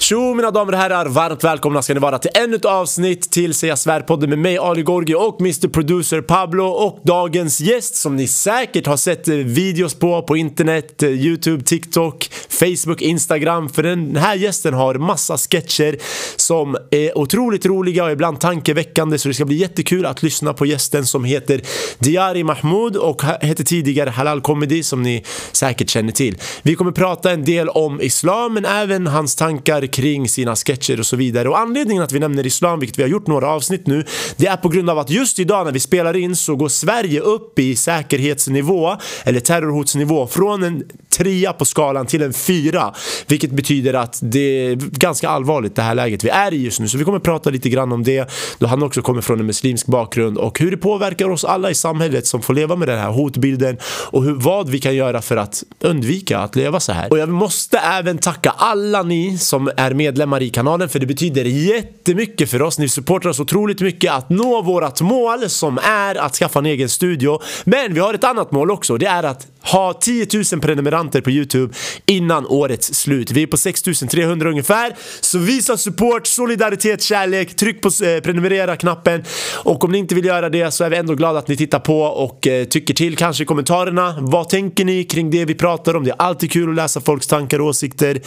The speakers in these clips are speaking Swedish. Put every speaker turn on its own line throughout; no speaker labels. Tjo mina damer och herrar, varmt välkomna ska ni vara till ännu ett avsnitt till Säga Svär-podden med mig Ali Gorgi och Mr Producer Pablo och dagens gäst som ni säkert har sett eh, videos på på internet, eh, Youtube, TikTok, Facebook, Instagram för den här gästen har massa sketcher som är otroligt roliga och ibland tankeväckande så det ska bli jättekul att lyssna på gästen som heter Diari Mahmoud och ha- hette tidigare Halal Comedy som ni säkert känner till. Vi kommer prata en del om islam men även hans tankar kring sina sketcher och så vidare. Och anledningen att vi nämner islam, vilket vi har gjort några avsnitt nu, det är på grund av att just idag när vi spelar in så går Sverige upp i säkerhetsnivå eller terrorhotsnivå från en trea på skalan till en fyra. Vilket betyder att det är ganska allvarligt det här läget vi är i just nu. Så vi kommer prata lite grann om det då han också kommer från en muslimsk bakgrund och hur det påverkar oss alla i samhället som får leva med den här hotbilden och hur, vad vi kan göra för att undvika att leva så här. Och jag måste även tacka alla ni som är medlemmar i kanalen för det betyder jättemycket för oss. Ni supportar oss otroligt mycket att nå vårt mål som är att skaffa en egen studio. Men vi har ett annat mål också. Det är att ha 10 000 prenumeranter på Youtube innan årets slut. Vi är på 6 300 ungefär. Så visa support, solidaritet, kärlek. Tryck på eh, prenumerera-knappen. Och om ni inte vill göra det så är vi ändå glada att ni tittar på och eh, tycker till kanske i kommentarerna. Vad tänker ni kring det vi pratar om? Det är alltid kul att läsa folks tankar och åsikter.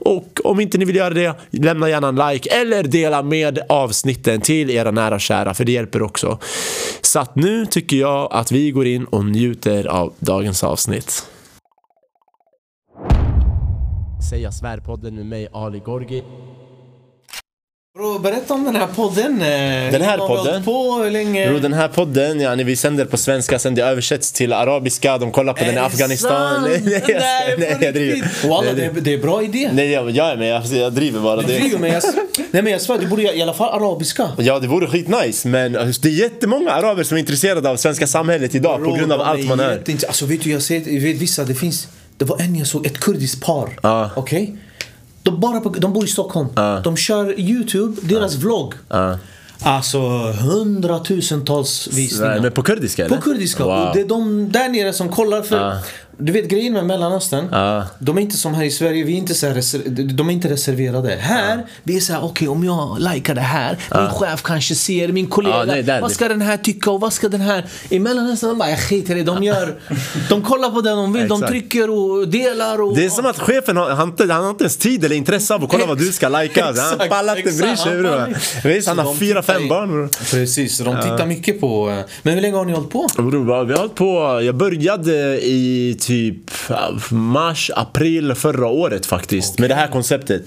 Och om inte ni vill göra det, lämna gärna en like eller dela med avsnitten till era nära och kära för det hjälper också. Så att nu tycker jag att vi går in och njuter av dagens avsnitt. Säga svärpodden med mig Ali Gorgi.
Bro, berätta om den här podden. eh,
Den här
Hur lång har vi
podden?
hållit På, hur länge?
Bro, den här podden, ja, ni, vi sänder på svenska sen det översätts till arabiska, de kollar på den i
det
Afghanistan.
sant?
Nej, nej, jag,
Nej, på
nej, jag driver.
riktigt. Walla, det, är- det är bra idé.
Nej, jag, jag är med, jag, jag driver bara.
Det är
Det.
ju, men jag, nej men jag svär, du borde i alla fall arabiska.
Ja, det vore skitnice, men eh, det är jättemånga araber som är intresserade av svenska samhället idag på grund av
Bro,
allt man
de
hör.
jätteint- Alltså vet du, jag ser, jag vet vissa, det finns, det var en jag såg, ett kurdiskt par.
Ja.
Okej? De, bara på, de bor i Stockholm.
Ah.
De kör YouTube, deras vlog. Alltså hundratusentals visningar.
Nej, men på kurdiska eller?
På kurdiska.
Wow. Ah.
Och det är de där nere som kollar för...
Ja.
Du vet grejen med Mellanöstern.
Ja.
De är inte som här i Sverige. Vi är inte så här, reser- de är inte reserverade. Här,
Ah.
vi är så här, okej om jag likar det här. Min chef kanske ser, min kollega.
Ja, Ah. nej, där-
vad ska den här tycka och vad ska den här... I Mellanöstern, de bara, jag skiter i det. De gör... de kollar på det de vill. de
Ah. Exakt.
trycker och delar och...
Det är som att chefen har, han, inte- han har inte ens tid eller intresse av att kolla vad du ska lajka. Han
Exakt,
pallar inte bry
exakt.
sig. bror. Visst, han har
De
fyra,
tittar
fem
i-
barn. bror.
Precis, så de
Ah.
tittar mycket på... eh, Men hur länge har ni hållit på?
Bror, vad- vi har hållit på, jag började i typ äh, mars, april förra året faktiskt med det här konceptet.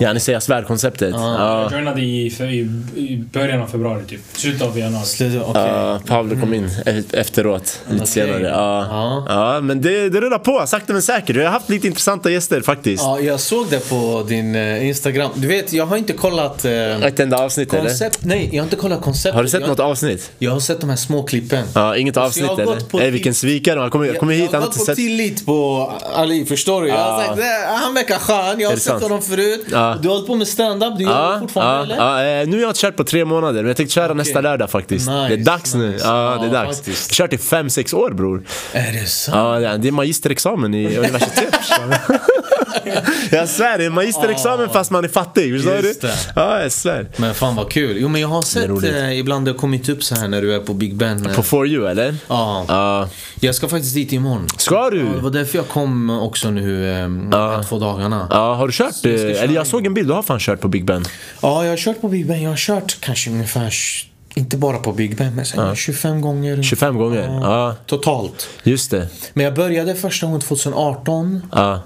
Ja, ni säger svärkonceptet.
Ah.
Ja.
Jag joinade i, för, i, i början av februari typ, slutet av januari.
Okej. Mm.
Ja, Pablo kom in e- efteråt, lite senare. Ja.
Ja.
Ja, men det, det rullar på sakta men säkert. Jag har haft lite intressanta gäster faktiskt.
Ja, jag såg det på din eh, Instagram. Du vet, jag har inte kollat eh,
Ett enda avsnitt eller?
koncept. Nej, jag har inte kollat koncept.
Har du sett
jag,
något avsnitt?
Jag har sett de här små klippen.
Ja, inget avsnitt
Alltså, jag har gått
eller?
på
Nej,
till-
vilken svikare. Han kommer, kommer hit,
jag
han har
har gått
inte
på
sett...
tillit på Ali, förstår du? Jag har
Ja.
sagt "Nej, han verkar skön, jag
Är
har
det
sett
sant? Ah.
honom förut.
Ja.
Du har hållit på med stand-up, du gör det
Ja, ja,
fortfarande eller?
ja, eh, nu har jag inte kört på tre månader men jag tänkte köra nästa lördag faktiskt.
Nice,
det är dags nu.
nice.
Ja, det är
Ja,
dags.
faktiskt.
Kört i fem, sex år bror.
Är det sant?
Ja, det är- det är magisterexamen i universitet. jag svär, det är magisterexamen fast man är fattig. Förstår du?
Just det.
Ja, jag svär.
Men fan vad kul. Jo men jag har sett
roligt.
eh, ibland det har kommit upp så här när du är på Big Ben. eh.
På For You eller?
Ja.
Ja.
Jag ska faktiskt dit imorgon.
Ska du?
Det var därför jag kom också nu
Ah.
eh, de här två dagarna.
Ja, har du kört? eh,
köra
Eller jag såg en bild, du har fan kört på Big Ben.
Ja, jag har kört på Big Ben. Jag har kört kanske ungefär, tj- inte bara på Big Ben, men sen 25 gånger.
25 gånger. Ja,
Totalt.
just det.
Men jag började första gången 2018
Ja.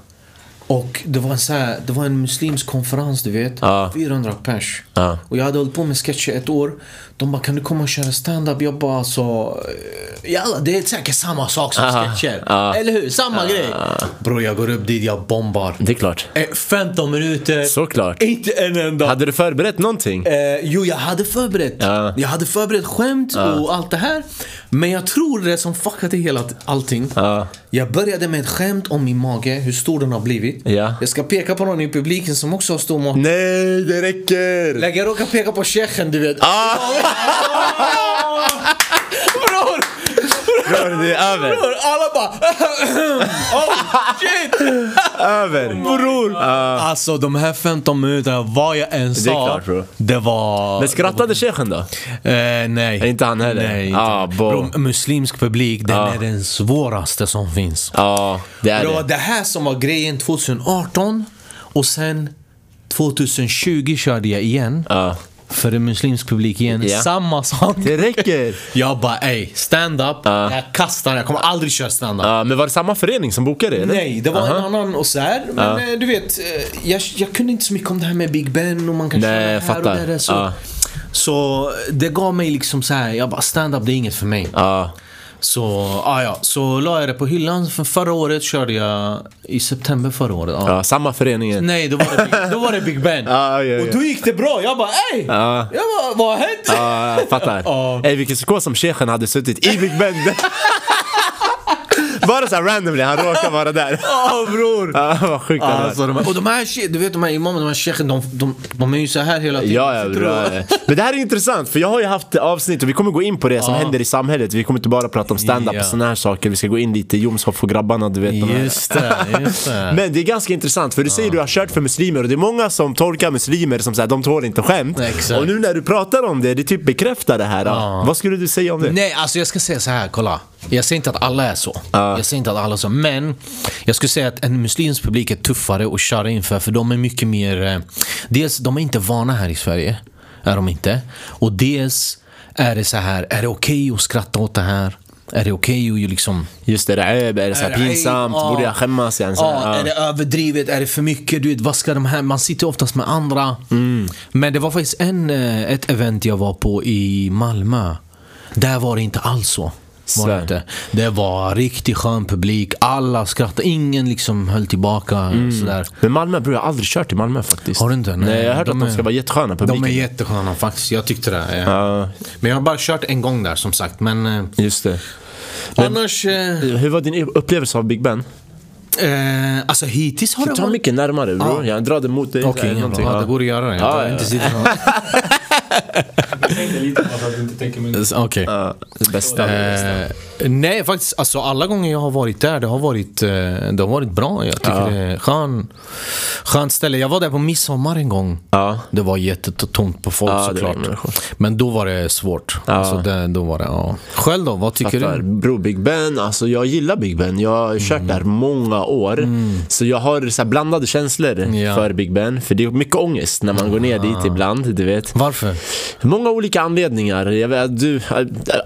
och det var, en så här, det var en muslimsk konferens, du vet.
Ja.
400 pers.
Ja.
Och jag hade hållit på med sketcher ett år. De bara, kan du komma och köra stand-up? Jag bara, alltså... Jalla, det är säkert samma sak som
Aha.
sketcher.
Ja.
Eller hur? Samma grej. Bror, jag går upp dit, jag bombar.
Det är klart.
Eh, 15 minuter.
Såklart.
Inte en enda
Hade du förberett någonting?
Eh, jo, jag hade förberett.
Ja.
Jag hade förberett skämt och allt det här. Men jag tror det som fuckade hela t- allting.
Ja.
Jag började med ett skämt om min mage, hur stor den har blivit.
Ja.
Jag ska peka på någon i publiken som också har stor mage.
Nej, det räcker!
Jag råkar peka på shechen, du vet.
Ah.
Bror!
Bror, det är över.
Bror, alla bara Oh shit!
Över.
Bror!
Alltså de här 15 minuterna, vad jag än sa,
Det är klart, bro.
det var...
Men skrattade shechen då?
Eh, nej.
Inte han heller?
Nej, inte.
Ah, bo.
Bro, muslimsk publik, den är den svåraste som finns.
Ja, det är
Det var
det.
det här som var grejen 2018 och sen 2020 körde jag igen.
Ja.
För en muslimsk publik igen.
Ja.
Samma sak.
Det räcker.
Jag bara ey, stand-up. Jag kastar den, jag kommer aldrig köra stand-up.
Ja, men var det samma förening som bokade det? eller?
Nej, det var en annan och så här. Men eh, du vet, eh, jag, jag kunde inte så mycket om det här med Big Ben och man kan
Nej,
köra
jag
här
fattar.
och där. Så,
Ja.
Så det gav mig liksom så här, jag bara stand-up det är inget för mig.
Ja.
Så, ah, ja, så la jag det på hyllan. För förra året körde jag, i september förra året. Ja.
Ja, samma förening. igen.
Nej, då var det Big, då var det Big Ben.
Ah, Ja, ja, Ah.
Och
ja.
då gick det bra. Jag bara ey!
Ja.
Jag bara, vad har hänt?
Ja, jag fattar. Ey, vilken psykos som shechen hade suttit i Big Ben. Bara såhär randomly, han råkar vara där.
Ja, bror!
Ah, Ja, vad sjukt det var.
Alltså, de här, och de här, she- du vet de här imamerna, de här shechen, de, de, de är ju så här hela tiden.
Ja, ja,
Sitter
bra.
och-
ja. Men det här är intressant, för jag har ju haft avsnitt och vi kommer gå in på det som
Ja.
händer i samhället. Vi kommer inte bara prata om stand-up
Ja.
och såna här saker. Vi ska gå in lite i Jomshof och grabbarna, du vet. de här.
Just det, just det.
Men det är ganska intressant för du säger du har kört för muslimer och det är många som tolkar muslimer som såhär, de tål inte skämt.
Exakt.
Och nu när du pratar om det, det typ bekräftar det här. Vad skulle du säga om det?
Nej, alltså jag ska säga så här, kolla. Jag säger inte att alla är så.
Ah.
Jag säger inte att alla är så. Men jag skulle säga att en muslimsk publik är tuffare att köra inför. För de är mycket mer... eh, Dels, de är inte vana här i Sverige. Är de inte. Och dels är det så här, är det okej att skratta åt det här? Är det okej att ju liksom...
Just det, raib, är det såhär pinsamt?
Ja.
Borde jag skämmas? Igen,
Ja,
såhär,
Är det överdrivet? Är det för mycket? Du vet, vad ska de här... Man sitter oftast med andra.
Mm.
Men det var faktiskt en, eh, ett event jag var på i Malmö. Där var det inte alls så. Var
Så.
det, inte. det var riktigt skön publik. Alla skrattade. Ingen liksom höll tillbaka.
Mm.
Sådär.
Men Malmö, bror, jag har aldrig kört i Malmö faktiskt.
Har du inte?
Nej, jag har hört
de
att de
är-
ska vara jättesköna publiken.
De är jättesköna faktiskt. Jag tyckte det. eh. Men jag har bara kört en gång där som sagt. Men eh,
Just det.
annars... Eh,
Hur var din upplevelse av Big Ben?
eh, alltså hittills har det
Ta
varit...
mycket närmare bror, jag drar det mot dig.
Okej,
eller någonting.
jävlar. ja, det går att göra det. Jag
Ja,
behöver
ja,
inte
ja.
sitta här.
Jag tänkte lite på att du inte tänker mig.
Okej.
Ja, det bästa.
Eh, nej, faktiskt. Alltså, alla gånger jag har varit där, det har varit, eh, det har varit bra. Jag tycker det är skön, skönt ställe. Jag var där på midsommar en gång.
Ja.
Det var jättetomt på folk
Ja, det var
såklart.
människor.
Men då var det svårt. Alltså, det, då var det, ja. Själv då? Vad tycker
Fattar.
du?
Bro, Big Ben, alltså jag gillar Big Ben. Jag har kört
Mm.
där många år. Så jag har så här blandade känslor
Ja. Ah.
för Big Ben. För det är mycket ångest när man går ner dit ibland, du vet.
Varför?
Många olika anledningar. Jag vet, du,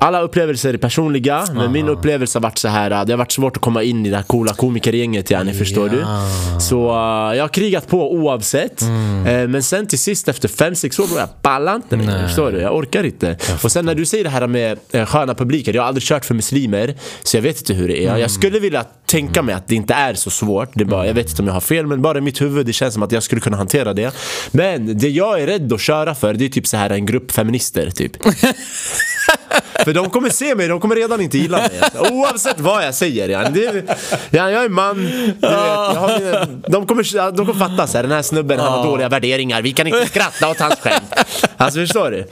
alla upplevelser är personliga, men min upplevelse har varit så här. Det har varit svårt att komma in i det här coola komikergänget, yani, förstår du? Så eh, jag har krigat på oavsett. Eh, men sen till sist, efter 5-6 år, då jag pallar inte längre, Förstår du? Jag orkar inte. Och sen när du säger det här med eh, sköna publiker. Jag har aldrig kört för muslimer, så jag vet inte hur det är. Jag skulle vilja tänka mig att det inte är så svårt. Det är bara, jag vet inte om jag har fel, men bara i mitt huvud det känns som att jag skulle kunna hantera det. Men det jag är rädd att köra för, det är typ så här en grupp feminister, typ. För de kommer se mig, de kommer redan inte gilla mig. Alltså. Oavsett vad jag säger. Ja. Det, är- ja, jag är man, du vet, jag har, mina- de, kommer, de kommer fatta så här, den här snubben han har dåliga värderingar, vi kan inte skratta åt hans skämt. Alltså förstår du?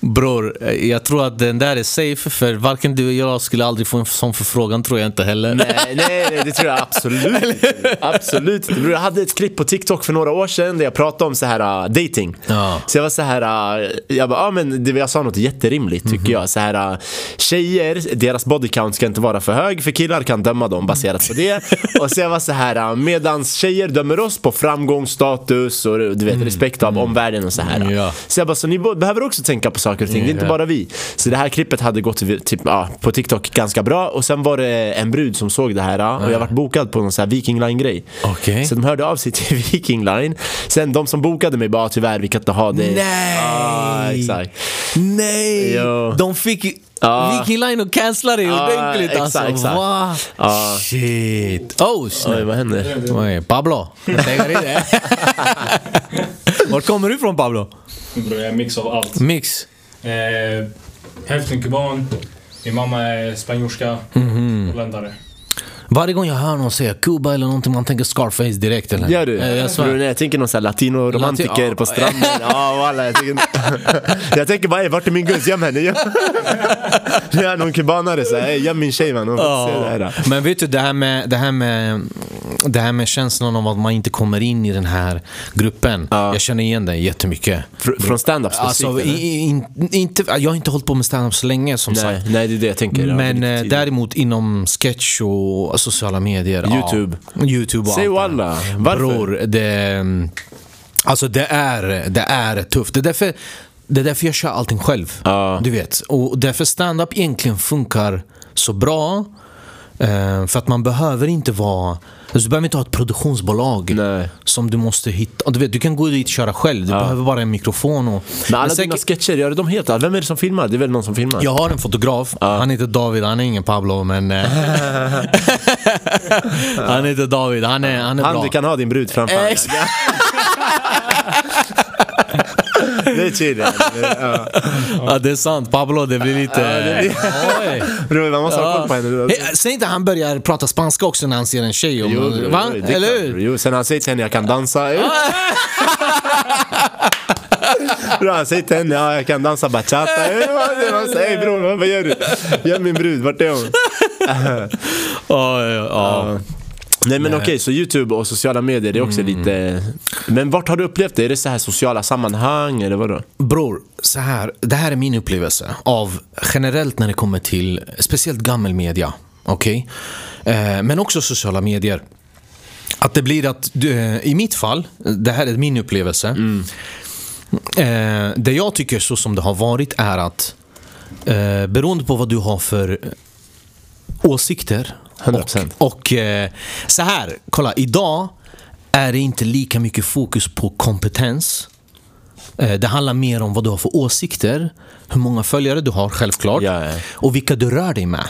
Bror, eh, jag tror att den där är safe. För varken du och jag skulle aldrig få en sån förfrågan, tror jag inte heller.
Nej, Eh, nej, nej, det tror jag absolut inte. Absolut inte. Bror, Jag hade ett klipp på TikTok för några år sedan där jag pratade om så här uh, dating.
Ja.
Så jag var så här, uh, jag bara, ah, men det, jag sa något jätterimligt tycker jag. Så här, uh, tjejer, deras body count ska inte vara för hög för killar kan döma dem baserat på det. Och så jag var så här, uh, medans tjejer dömer oss på framgång, status och du vet respekt av omvärlden och så här. uh.
Ja.
Så jag bara, så ni bo- behöver också tänka på saker och ting, det är inte
Ja.
bara vi. Så det här klippet hade gått vi- typ, ja, på TikTok ganska bra och sen var det en brud som såg det här ja, och jag vart bokad på någon så här Viking Line-grej.
Okej.
Så de hörde av sig till Viking Line. Sen de som bokade mig bara, tyvärr vi kan inte ha dig.
Nej! Ah,
Ja, exakt.
Nej!
Jo.
De fick
Ja.
Viking Line och cancellade det
Ja,
ordentligt
exakt,
alltså.
exakt.
Va?
Ja.
Shit. Oh, snap.
Oj, vad händer?
Oj, Pablo. Jag tänker i det. Var kommer du ifrån Pablo?
Bror, jag är en mix av allt.
Mix.
Eh,
Mhm.
hälften kuban. Min mamma är spanjorska. Holländare.
Varje gång jag hör någon säga Kuba eller någonting, man tänker Scarface direkt eller?
Gör du?
Eh, Jag svär.
Bror, nej, jag tänker någon sån här latino-romantiker
Lati- ja.
på stranden. Ja, walla. Jag tänker, jag tänker bara, "Ey, vart är min guzz? Göm henne. göm." Det är någon kubanare så här, "Ey, göm min tjej man. Hon får
Ja.
se det här. då."
Men vet du, det här, med, det, här med, det här med känslan av att man inte kommer in i den här gruppen. Jag känner igen den jättemycket.
Fr- från standups musik,
Alltså, i,
eller?
i, in- inte, jag har inte hållit på med standup så länge som
nej,
sagt.
nej, det är det jag tänker. Ja,
Men
riktigt
eh,
tidigt.
däremot inom sketch och sociala medier.
YouTube.
Ja, YouTube och
Säg
allt det här.
walla. Varför?
Bror, det, alltså det, är, det är tufft. Det är därför, det är därför jag kör allting själv.
Ja.
Du vet. Och därför stand-up egentligen funkar så bra. eh, För att man behöver inte vara... alltså Du behöver inte ha ett produktionsbolag
Nej.
som du måste hitta. Du, vet, du kan gå dit och köra själv. Du behöver bara en mikrofon. Och,
Men alla
Men säkert-
dina sketcher, gör de helt Vem är det som filmar? Det är väl någon som filmar?
jag har en fotograf, han heter David, han är ingen Pablo men... eh, han heter David, han är, han är
Han
bra.
du kan ha din brud framför
Eh,
dig.
exakt.
Det är chill. ja.
Ja, det är sant, Pablo det blir lite... Oj.
Bror, man måste ha koll på henne.
Hey, Säg inte han börjar prata spanska också när han ser en tjej. Om,
Jo, bror,
Eh, va?
jo, det är klart,
Eller
bror.
hur?
Jo, sen han säger till henne jag kan dansa. Jo. Bror, han säger till henne ja, jag kan dansa bachata. Jo, det är Man säger hej bror, vad gör du? Gör min brud, vart är hon?
Ja, ja, ja.
Nej men okej, så YouTube och sociala medier det är också
Mm.
lite... Men vart har du upplevt det? Är det så här sociala sammanhang eller vadå?
Bror, så här. Det här är min upplevelse av generellt när det kommer till speciellt gammelmedia. Okej? Eh, men också sociala medier. Att det blir att, du, eh, i mitt fall, det här är min upplevelse. Eh, det jag tycker så som det har varit är att eh, beroende på vad du har för åsikter
100%.
och, och eh, så här, kolla, idag är det inte lika mycket fokus på kompetens. Eh, Det handlar mer om vad du har för åsikter, hur många följare du har självklart
Ja, Mm. ja.
och vilka du rör dig med.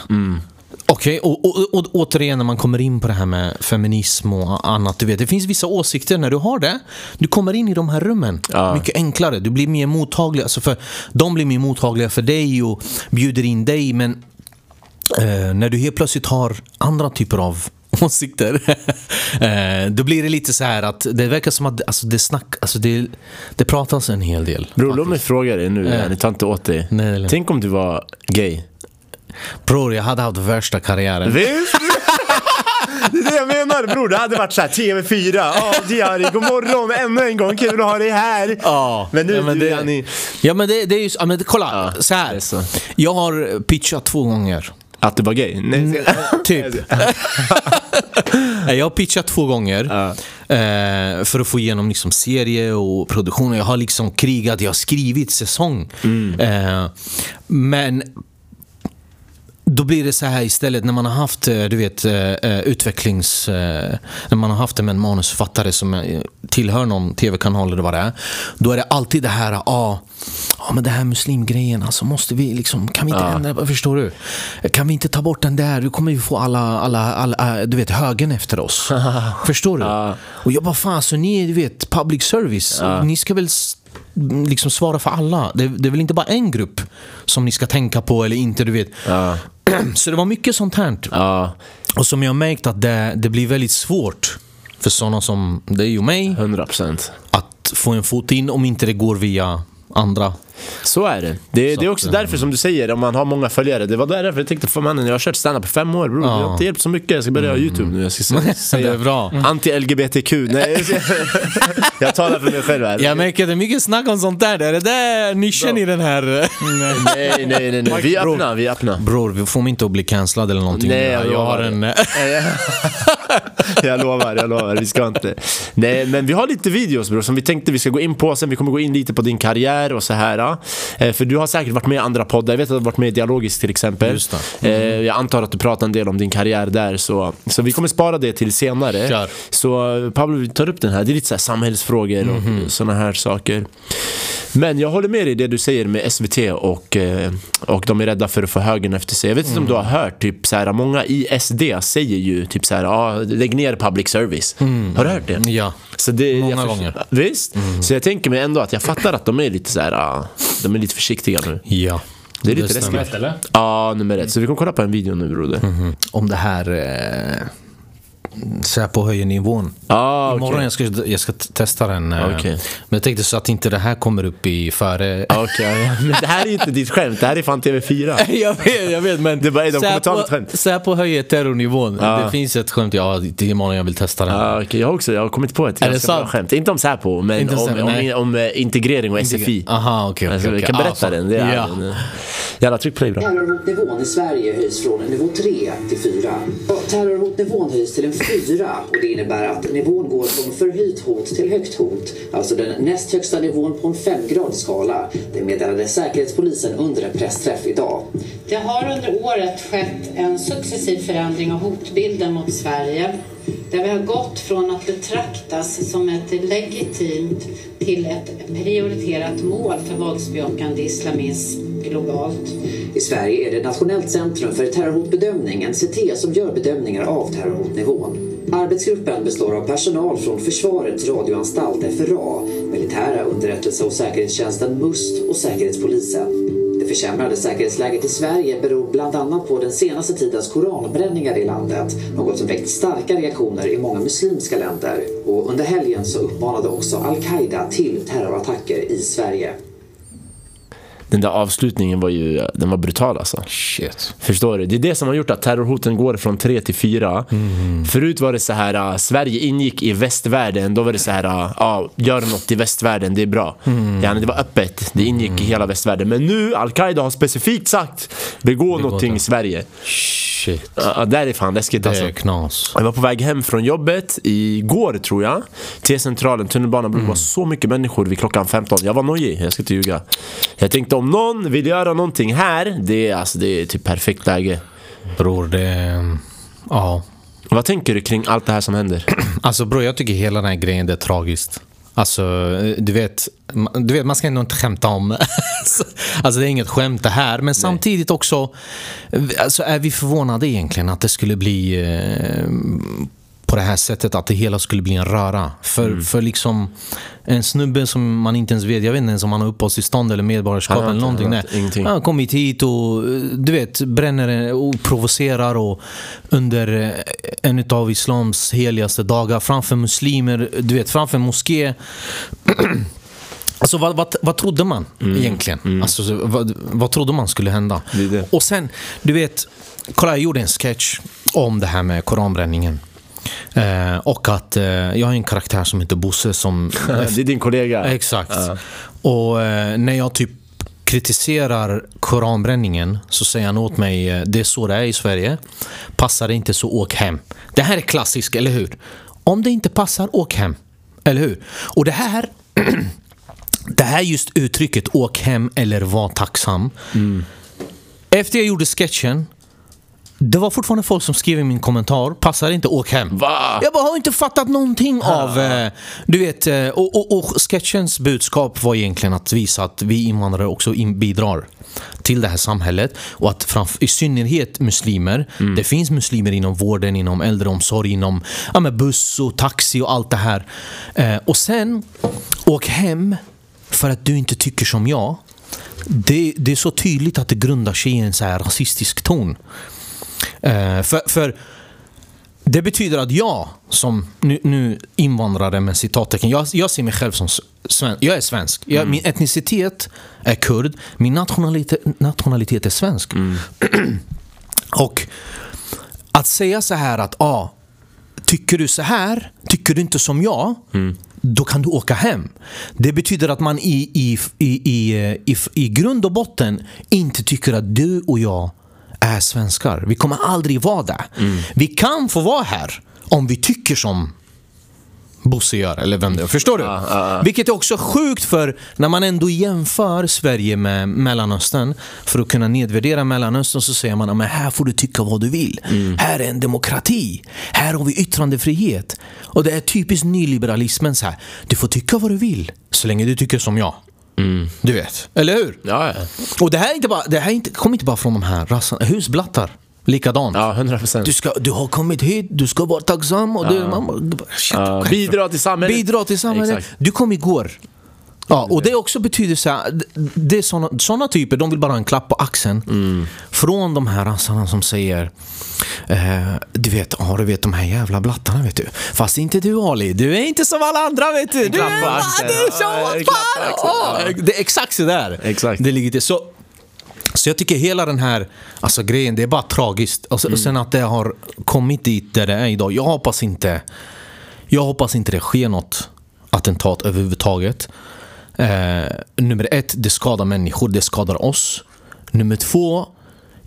Okej, och, och, och återigen när man kommer in på det här med feminism och annat. Du vet, det finns vissa åsikter när du har det. Du kommer in i de här rummen mycket enklare. Du blir mer mottaglig. Alltså för, de blir mer mottagliga för dig och bjuder in dig. Men Eh, när du helt plötsligt har andra typer av åsikter, eh, då blir det lite så här att det verkar som att alltså, det, snack, alltså, det, det pratas en hel del.
Bror låt mig fråga dig nu,
Ja.
ni tar inte åt dig.
Nej, nej, nej.
Tänk om du var gay?
Bror, jag hade haft värsta karriären.
Visst? Det är det jag menar bror, det hade varit såhär TV4, ja Diari, god morgon ännu en gång, kul att ha dig här.
Ja,
men nu
ja, men
du,
det-
Jani,
Ja men det, det är ju, ja, men det- kolla,
Ja,
så
det
här.
är så.
Jag har pitchat två gånger.
att du var gay? Nej,
Typ. Nej, jag har pitchat två gånger eh, för att få igenom liksom serie och produktion. Jag har liksom krigat, jag har skrivit säsong.
Mm.
Eh, men då blir det så här istället när man har haft eh, du vet, eh, eh, utvecklings... eh, När man har haft det med en manusförfattare som eh, tillhör någon tv-kanal eller vad det är. Då är det alltid det här, ja, ah, ah, men det här muslimgrejen, alltså måste vi liksom, kan vi inte ändra, förstår du? Kan vi inte ta bort den där, då kommer vi få alla, alla, alla eh, du vet, högen efter oss. förstår du? Och jag bara, fan, så ni är, du vet, public service, ni ska väl s- liksom svara för alla. Det, det är väl inte bara en grupp som ni ska tänka på eller inte, du vet. Så det var mycket sånt här.
Ja,
Och som jag märkt att det, det blir väldigt svårt för sådana som dig och mig
100%.
att få en fot in om inte det går via andra.
Så är det. Det, det är
eh,
också därför som du säger, om man har många följare, det var därför jag tänkte, för mannen jag har kört standup i fem år bror, jag har inte hjälpt så mycket, jag ska börja göra YouTube nu, jag ska se- Mm. säga
Mm. Det är bra.
anti-LGBTQ, nej jag ska- jag talar för mig själv här.
Jag märker det är mycket snack om sånt där. Är det där nischen i den här...
Nej, nej, nej, nej, vi är öppna, vi är öppna.
Bror, vi får inte att bli cancellad eller någonting.
Nej, jag
jag,
lovar
har
det.
en...
jag lovar, jag lovar. Vi ska inte. Nej, men vi har lite videos bror som vi tänkte vi ska gå in på sen. Vi kommer gå in lite på din karriär och så här. ja. Eh, För du har säkert varit med i andra poddar. Jag vet att du har varit med i Dialogisk till exempel.
Just
Eh, Jag antar att du pratar en del om din karriär där. Så, så vi kommer spara det till senare.
Kör.
Så eh, Pablo, vi tar upp den här. Det är lite så här samhällsfrågor och
Mhm.
sådana här saker. Men jag håller med dig i det du säger med SVT och, eh, och de är rädda för att få högern efter sig. Jag vet inte om du
Mm.
har hört, typ så här, många i SD säger ju typ så här, ah, lägg ner public service. Har du hört det?
ja.
Så det,
Mm. Många
jag förs-
gånger. Mm.
Visst? Så jag tänker mig ändå att jag fattar att de är lite så här, ah, de är lite försiktiga nu.
Ja.
Det är lite
Det
rätt.
stämmer.
Ja,
Rätt eller?
nummer ett. Så vi kommer kolla på en video nu broder.
Mm. Om det här... Eh, Säpo höjer nivån.
Ah, okej. Ah,
Imorgon jag ska jag ska t- testa den. eh,
Okej.
Men jag tänkte så att inte det här kommer upp i före...
Ah, okej, ja, ja. Men det här är ju inte ditt skämt, det här är fan TV4.
jag vet, jag vet men...
Det bara, "Ey, de kommer ta mitt skämt."
Säpo höjer terrornivån. Det finns ett skämt, ja, till imorgon jag vill testa den.
Ah, okej, jag också, jag har kommit på ett
Är det
ganska bra
sant?
skämt. Inte om Säpo, men
Inte om
om,
Säpo,
om,
nej.
om, eh, integrering och SFI.
Aha, okej. okej,
Alltså, vi
okej.
kan
Ah,
berätta
fan.
den. Det är
ja.
en, eh, jävla tryck play bra.
Terrorhotnivån i Sverige höjs från nivå 3 till 4. Ja, Terrorhotnivån höjs till en 4 och det innebär att nivån går från förhöjt hot till högt hot. Alltså den näst högsta nivån på en 5-gradig skala. Det meddelade Säkerhetspolisen under en pressträff idag.
Det har under året skett en successiv förändring av hotbilden mot Sverige där vi har gått från att betraktas som ett legitimt till ett prioriterat mål för våldsbejakande islamism globalt.
I Sverige är det Nationellt centrum för terrorhotbedömning, NCT, som gör bedömningar av terrorhotnivån. Arbetsgruppen består av personal från Försvarets radioanstalt, FRA, militära underrättelse och säkerhetstjänsten MUST och Säkerhetspolisen. Det försämrade säkerhetsläget i Sverige beror bland annat på den senaste tidens koranbränningar i landet, något som väckt starka reaktioner i många muslimska länder. Och under helgen så uppmanade också al-Qaida till terrorattacker i Sverige.
Den där avslutningen var ju, den var brutal alltså.
Shit.
Förstår du? Det är det som har gjort att terrorhoten går från 3 till 4.
Mm.
Förut var det så här, ah, Sverige ingick i västvärlden, då var det så här, ah, ah, gör något i västvärlden, det är bra.
Mm.
Ja, det var öppet, det ingick i hela västvärlden. Men nu, Al-Qaida har specifikt sagt, begå någonting i Sverige.
Shit.
Ja, där är fan läskigt
Det
alltså.
är knas.
Jag var på väg hem från jobbet igår tror jag Till centralen, tunnelbanan, mm. det var så mycket människor vid klockan 15 Jag var nojig, jag ska inte ljuga Jag tänkte om någon vill göra någonting här Det är, alltså, det är typ perfekt läge
Bror, det... Ja.
Vad tänker du kring allt det här som händer?
Alltså bror, jag tycker hela den här grejen det är tragiskt. Alltså, eh, du vet, ma- du vet, man ska ändå inte skämta om... alltså det är inget skämt det här, men samtidigt också... eh, Alltså är vi förvånade egentligen att det skulle bli... Eh, på det här sättet, att det hela skulle bli en röra. För,
Mm.
för liksom en snubbe som man inte ens vet, jag vet inte ens om han har uppehållstillstånd eller medborgarskap
Han har
eller
inte-
någonting.
han har
Nej.
inte- ingenting.
Han har kommit hit och eh, du vet, bränner och provocerar och under eh, en av islams heligaste dagar framför muslimer, du vet framför moské. Alltså vad, vad, vad trodde man egentligen? Alltså, så vad, vad trodde man skulle hända?
Mm. Det är det.
Och sen, du vet, kolla jag gjorde en sketch om det här med koranbränningen. Eh, och att eh, jag har ju en karaktär som heter Bosse som
Det är din kollega
Exakt. Och eh, när jag typ kritiserar koranbränningen så säger han åt mig, eh, det är så det är i Sverige. Passar det inte så åk hem. Det här är klassiskt, eller hur? Om det inte passar, åk hem. Eller hur? Och det här det här just uttrycket åk hem eller var tacksam. Efter jag gjorde sketchen, det var fortfarande folk som skrev i min kommentar, passar inte åk hem.
Va?
Jag bara har inte fattat någonting av, eh, du vet, eh, och, och, och sketchens budskap var egentligen att visa att vi invandrare också in, bidrar till det här samhället och att framf- i synnerhet muslimer, det finns muslimer inom vården, inom äldreomsorg, inom ja, men buss och taxi och allt det här. Eh, och sen, åk hem för att du inte tycker som jag. Det, det är så tydligt att det grundar sig i en så här rasistisk ton. Eh, för, för det betyder att jag som nu, nu invandrare med citattecken, jag, jag ser mig själv som s- sven, jag är svensk. Jag, Min etnicitet är kurd, min nationalitet, nationalitet är svensk. Och att säga så här att ah, tycker du så här, tycker du inte som jag, då kan du åka hem. Det betyder att man i, i, i, i, i, i grund och botten inte tycker att du och jag är svenskar. Vi kommer aldrig vara där. Vi kan få vara här om vi tycker som Bosse gör, eller vem det är. Förstår du?
Ah,
Vilket är också sjukt för när man ändå jämför Sverige med Mellanöstern, för att kunna nedvärdera Mellanöstern så säger man att här får du tycka vad du vill.
Mm.
Här är en demokrati. Här har vi yttrandefrihet. Och det är typiskt nyliberalismen så här. Du får tycka vad du vill, så länge du tycker som jag.
Mm.
Du vet, eller hur?
Ja, ja.
Och det här, är inte bara, det här är inte, kommer inte bara från de här rassarna. Husblattar, likadant.
ja 100%
Du, ska, du har kommit hit, du ska vara tacksam och du, man bara, shit,
Ja,
själv-
bidra till samhället.
Bidra till samhället.
Exakt.
Du kom igår. Ja, och det också betyder så här, d- det är såna, såna typer, de vill bara ha en klapp på axeln.
Mm.
Från de här rassarna som säger, eh, du vet, ja du vet de här jävla blattarna vet du. Fast inte du Ali, du är inte som alla andra vet du. Du
klapp
är
på
bara-
axeln.
du är
Ja,
som
en
vad
klapp på
fan.
axeln.
Ja, Det är exakt så där.
Exakt.
Det ligger till. Så, så jag tycker hela den här alltså, grejen, det är bara tragiskt. Och
Mm.
sen, och sen att det har kommit dit där det är idag. Jag hoppas inte jag hoppas inte det sker något attentat överhuvudtaget. Eh, nummer ett, det skadar människor, det skadar oss. Nummer två,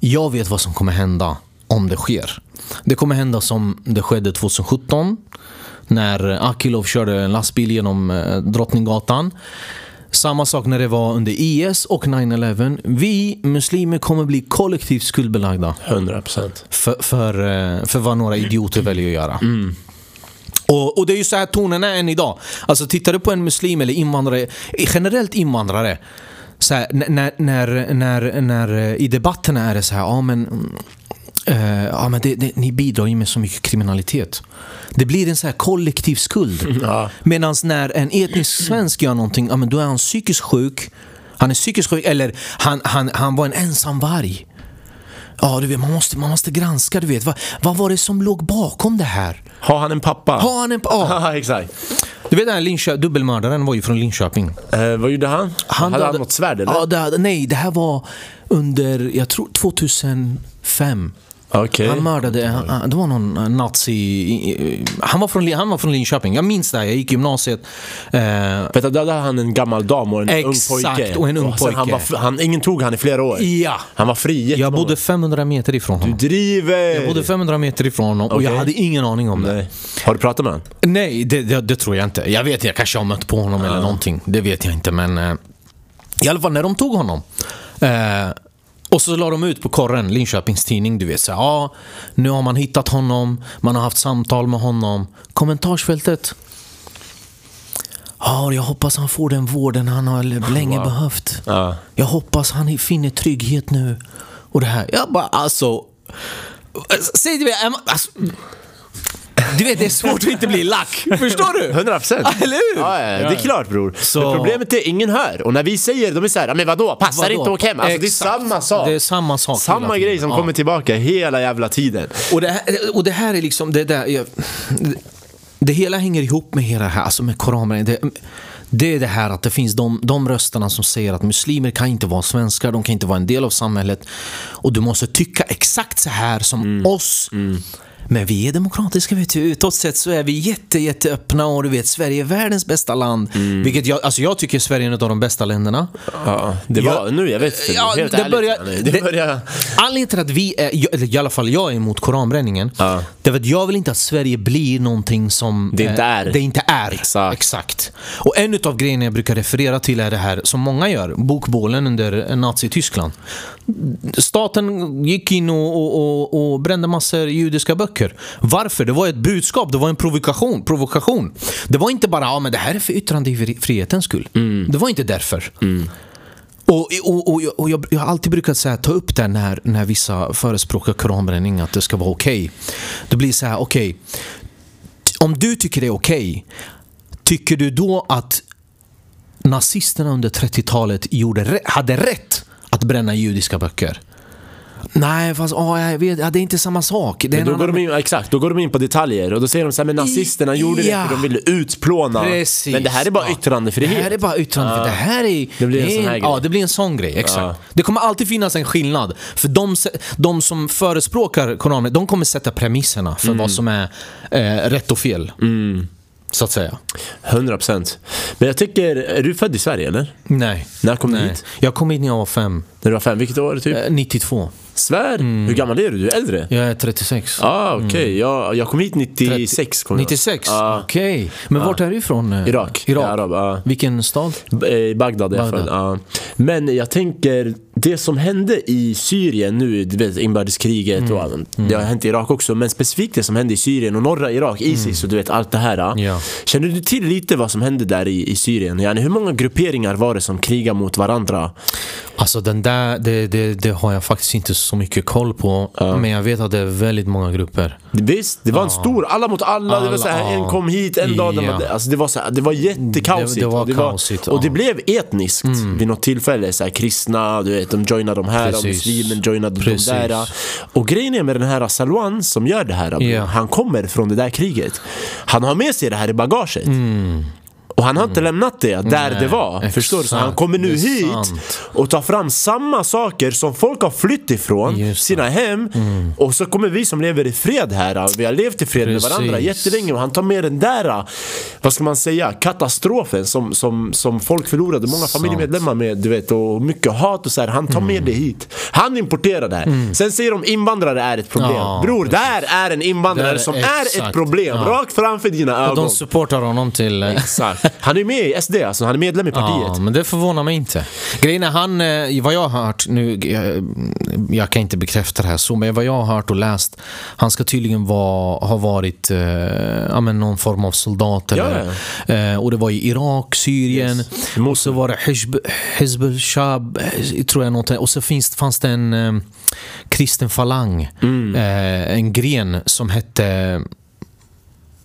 jag vet vad som kommer hända om det sker. Det kommer hända som det skedde 2017 när Akilov körde en lastbil genom eh, Drottninggatan. Samma sak när det var under IS och 9-11. Vi muslimer kommer bli kollektivt skuldbelagda
100%.
för, för, eh, för vad några idioter väljer att göra. Och, och det är ju så här tonen är än idag. Alltså tittar du på en muslim eller invandrare, eh, generellt invandrare. Så här, n- när, när, när, när, eh, I debatterna är det så här, ja men, mm, eh, ja, men det, det, ni bidrar ju med så mycket kriminalitet. Det blir en så här kollektiv skuld. Medan när en etnisk svensk gör någonting, ja, men då är han psykiskt sjuk. Han är psykiskt sjuk, eller han, han, han var en ensam varg. Ja, du vet, man måste, man måste granska, du vet. Vad, vad var det som låg bakom det här?
Har han en pappa?
Har han en... Ja.
Ja, exakt.
Du vet den här Linkö- dubbelmördaren var ju från Linköping.
Eh, vad gjorde han? hade
döda-
han något svärd eller?
Ja, det, hade- nej, det här var under, jag tror 2005.
Okej.
Han mördade, han, han- det var någon eh, nazi... i- i- Han var, från, Li- han var från Linköping, jag minns det här, jag gick i gymnasiet. Eh,
Vänta, dödade han en gammal dam och en
Exakt,
ung pojke?
och en ung
sen Han var,
pojke.
han, ingen tog han i flera år?
Ja.
Han var fri jättemånga
jag bodde
år.
500 meter ifrån honom.
Driver!
Jag bodde 500 meter ifrån honom och jag
Okej.
hade ingen aning om det.
Nej. Har du pratat med honom?
Nej, det, det, det tror jag inte. Jag vet, jag kanske har mött på honom eller någonting. Det vet jag inte, men... Eh, I alla fall när de tog honom. Eh, och så la de ut på korren, Linköpings tidning, du vet. Så, här, ja, nu har man hittat honom, man har haft samtal med honom. Kommentarsfältet. Ja, jag hoppas han får den vården han har länge behövt.
Ja.
Jag hoppas han finner trygghet nu. Och det här. Jag bara, alltså... eh, Säg till mig, är man- alltså, du vet, det är svårt att inte bli lack. Förstår du?
100 procent!
Eller hur?
Ja, ja, det är klart bror.
Så-
Men problemet är, ingen hör. Och när vi säger, de är såhär, "Ja, men vadå, passar
Vadå?
inte att åka hem? Alltså, det är
Exakt.
samma sak.
Det är samma sak hela
Samma
tiden.
grej som
Ja.
kommer tillbaka hela jävla tiden.
Och det, här, och det här är liksom, det där... Jag, det, det hela hänger ihop med hela det här, alltså med koranbränningen. Det, det är det här att det finns de, de rösterna som säger att muslimer kan inte vara svenskar, de kan inte vara en del av samhället. Och du måste tycka exakt så här som
Mm.
oss. Men vi är demokratiska vet du. Utåt sett så är vi jätte, jätteöppna och du vet Sverige är världens bästa land. Vilket jag, alltså jag tycker Sverige är ett av de bästa länderna.
Mm. Ja, det var, nu, jag vet inte.
Ja,
helt
det
ärligt,
börjar-
Janne. det,
det-
börjar...
Anledningen till att vi är, jag- eller i alla fall jag är emot koranbränningen,
Ja.
det är för att jag vill inte att Sverige blir någonting som
Det inte
eh,
är.
Det inte är.
Exakt.
Exakt. Och en av grejerna jag brukar referera till är det här som många gör, bokbålen under eh, Nazityskland. Staten gick in och, och, och, och brände massor judiska böcker. Varför? Det var ett budskap, det var en provokation. provokation. Det var inte bara ja, men det här är för yttrandefrihetens skull. Det var inte därför. Och, och, och, jag- och jag, jag har alltid brukat så här, ta upp det när, när vissa förespråkar koranbränning, att det ska vara okej. Då blir det så här, okej. Om du tycker det är okej, tycker du då att nazisterna under 30-talet gjorde, rä- hade rätt att bränna judiska böcker? Nej, fast ja, jag vet, ja, det är inte samma sak. Det är
Men
en
då går
annan-
de in, exakt, då går de in på detaljer och då säger de såhär, men nazisterna gjorde
Ja.
det för de ville utplåna.
Precis.
Men det här är bara
Ja.
yttrandefrihet. Ah.
Det här är bara yttrandefrihet. Det här är...
Det blir en
är
sån här grej. Ah.
Ja, det blir en sån grej. Exakt. Det kommer alltid finnas en skillnad. För de, se- de som förespråkar koranen, de kommer sätta premisserna för
Mm.
vad som är eh, rätt och fel. Så att säga.
100%. Men jag tycker, är du född i Sverige eller?
Nej.
När kom du
Nej.
hit?
Jag kom hit när jag var fem.
När du var fem, vilket år typ?
Eh, 92.
Svär? Hur gammal är du? Du är äldre?
Jag är 36.
Ah, okej. Jag, jag kom hit 96. Kom jag.
96?
Ja.
Okej. Men vart är du ifrån? eh?
Irak. Jag är
Irak.
arab, ja.
Vilken stad?
B- Eh, I Bagdad i alla fall.
Bagdad.
Ja. Men jag tänker, det som hände i Syrien nu, du vet, inbördeskriget och allt. Det har hänt i Irak också, men specifikt det som hände i Syrien och norra Irak, Isis och du vet allt det här. ja.
Ja.
Känner du till lite vad som hände där i, i Syrien? Yani, hur många grupperingar var det som krigade mot varandra?
Alltså den där, det, det, det har jag faktiskt inte så mycket koll på. Men jag vet att det är väldigt många grupper.
Visst, det var en stor, alla mot alla, det var
Alla,
så här, en
ja.
kom hit en dag, den var,
Ja. Mm,
alltså det var, så här, det var jättekaosigt.
Det- det var
och
kaosigt,
Och det
ja. Mm.
blev etniskt vid något tillfälle, så här, kristna, du vet, de joinade de här, och
Precis.
muslimen joinade
Precis.
de där. Och grejen är med den här Salwan som gör det här,
Ja.
han kommer från det där kriget. Han har med sig det här i bagaget. Och han har inte lämnat det där
Mm. Nej,
det var. Förstår du? Så
exakt.
han kommer nu
Det är
hit
sant.
och tar fram samma saker som folk har flytt ifrån,
Just Mm.
sina hem. Och så kommer vi som lever i fred här, vi har levt i fred
Precis.
med varandra jättelänge och han tar med den där, vad ska man säga, katastrofen som, som, som folk förlorade, många
Sant. Mm.
familjemedlemmar med, du vet, och mycket hat och så här. Han tar med det hit. Han importerar det här. Sen säger de invandrare är ett problem.
Ja,
Bror, där är en invandrare
Där är-
som är ett
exakt.
problem,
Ja.
rakt framför dina
Och
ögon.
de supportar honom till... eh,
Exakt. Han är ju med i SD, alltså han är medlem i partiet.
Ja, men det förvånar mig inte. Grejen är han, eh, vad jag har hört nu, jag, jag kan inte bekräfta det här så, men vad jag har hört och läst, han ska tydligen vara, ha varit eh, ja, men någon form av soldat. Eller, eh, och det var i Irak, Syrien, och så var det Hizb, Hizbul Shab, eh, tror jag någonting. Och så finns, fanns det en eh, kristen falang, eh, en gren som hette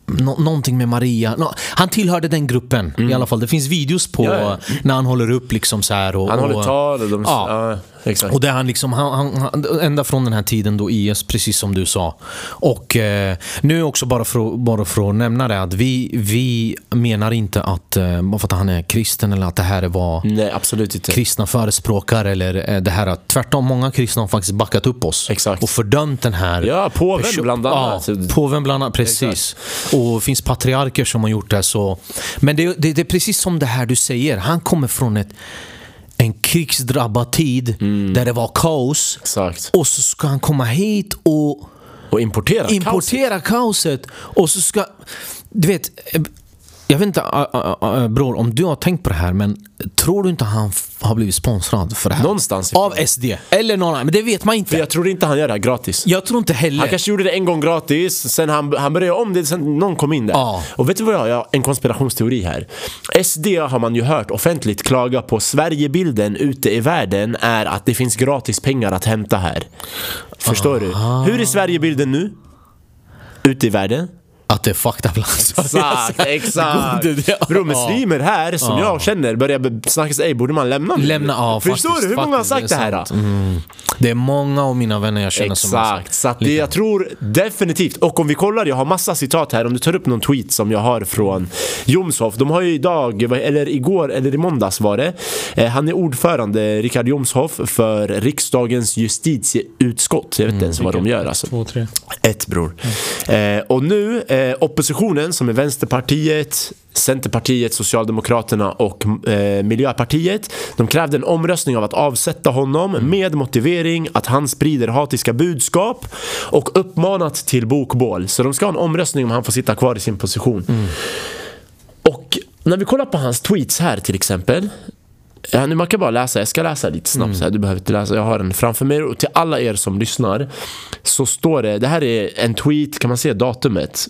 Nå- någonting med Maria. Nå- han tillhörde den gruppen i alla fall. Det finns videos på
Mm. Ja, ja.
när han håller upp liksom så här. Och,
Han håller
och,
tal och de...
Ja.
Ja, exakt.
Och där han liksom, han, han, han, ända från den här tiden då IS, precis som du sa. Och eh, nu också bara för, att- bara för att nämna det att vi, vi menar inte att, eh, bara för att han är kristen eller att det här var
Nej, absolut inte.
kristna förespråkare eller eh, det här att tvärtom, många kristna har faktiskt backat upp oss
Exakt.
och fördömt den här.
Ja, påven
perso-
bland annat.
Ja, påven bland annat, precis. Och finns patriarker som har gjort det. Så. Men det, det, det är precis som det här du säger, han kommer från ett en krigsdrabbad tid
Mm.
där det var kaos
Exakt.
och så ska han komma hit och
Och importera kaos.
importera kaoset. och så ska... Du vet, eh, jag vet inte ä, ä, ä, bror om du har tänkt på det här men tror du inte han f- har blivit sponsrad för det här?
Någonstans ifrån.
Av SD eller någon annan, men det vet man
För
inte.
jag tror inte han gör det här gratis.
Jag tror inte heller.
Han kanske gjorde det en gång gratis, sen han, han började om det, sen någon kom in där.
Ja.
Och vet du vad jag har? Jag har en konspirationsteori här. SD har man ju hört offentligt klaga på Sverigebilden ute i världen är att det finns gratis pengar att hämta här. Förstår du? Hur är Sverigebilden nu? Ute i världen?
Att det är fucked up alltså.
Exakt, exakt.
Det går inte, ja.
Bro, muslimer här som jag känner börjar be- snacka sig, "Ey, borde man lämna nu?
Lämna, ja,
Förstår
faktiskt,
du hur många har
faktiskt,
sagt det,
det är
här?
sant. Det är många av mina vänner jag känner som har
Exakt,
sagt-
så att det, jag tror definitivt, och om vi kollar, jag har massa citat här, om du tar upp någon tweet som jag har från Jomshof, de har ju idag, eller igår, eller i måndags var det, eh, han är ordförande, Richard Jomshof, för riksdagens justitieutskott, jag vet
Mm,
inte ens vad de gör alltså.
Två, tre.
Ett bror. Eh, och nu, eh, oppositionen som är Vänsterpartiet, Centerpartiet, Socialdemokraterna och eh, Miljöpartiet. De krävde en omröstning av att avsätta honom med motivering att han sprider hatiska budskap och uppmanat till bokbål. Så de ska ha en omröstning om han får sitta kvar i sin position. Och när vi kollar på hans tweets här till exempel. Ja, nu man kan bara läsa, jag ska läsa lite snabbt så här, du behöver inte läsa, jag har den framför mig. Och till alla er som lyssnar så står det, det här är en tweet, kan man se datumet?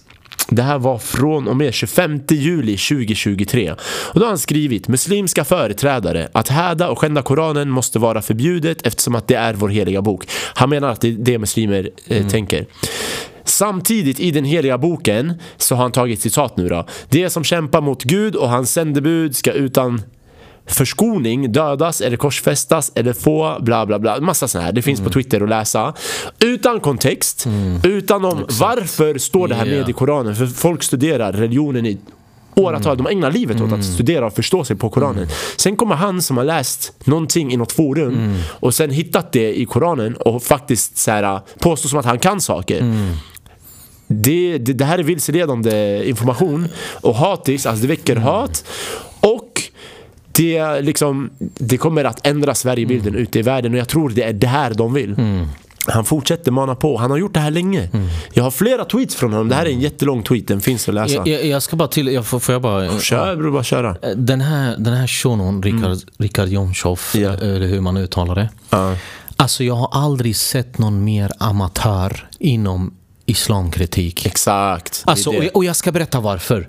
Det här var från och med 25 juli 2023. Och då har han skrivit Muslimska företrädare, att häda och skända Koranen måste vara förbjudet eftersom att det är vår heliga bok. Han menar att det är det muslimer eh, tänker. Samtidigt i den heliga boken så har han tagit citat nu då. Det som kämpar mot Gud och hans sändebud ska utan förskoning dödas eller korsfästas eller få bla bla bla. Massa sådana här. Det finns på Twitter att läsa. Utan kontext, utan om varför står det här med
Yeah.
i Koranen? För folk studerar religionen i åratal. De ägnar livet åt att studera och förstå sig på Koranen. Sen kommer han som har läst någonting i något forum och sen hittat det i Koranen och faktiskt så här, påstår som att han kan saker. Det, det, det här är vilseledande information och hatis, alltså det väcker hat. Och det, liksom, det kommer att ändra
Mm.
Sverigebilden ute i världen och jag tror det är det här de vill. Han fortsätter mana på, han har gjort det här länge.
Mm.
Jag har flera tweets från honom, det här är en jättelång tweet, den finns att läsa.
Jag, jag, jag ska bara till... Jag får, får jag bara...
Kör bror, bara köra.
Den här, den här shunon, Richard, Richard Jomshof,
Mm. Ja.
eh, eller hur man uttalar det. Alltså jag har aldrig sett någon mer amatör inom islamkritik.
Exakt. det är
Alltså,
det.
och, jag, och jag ska berätta varför.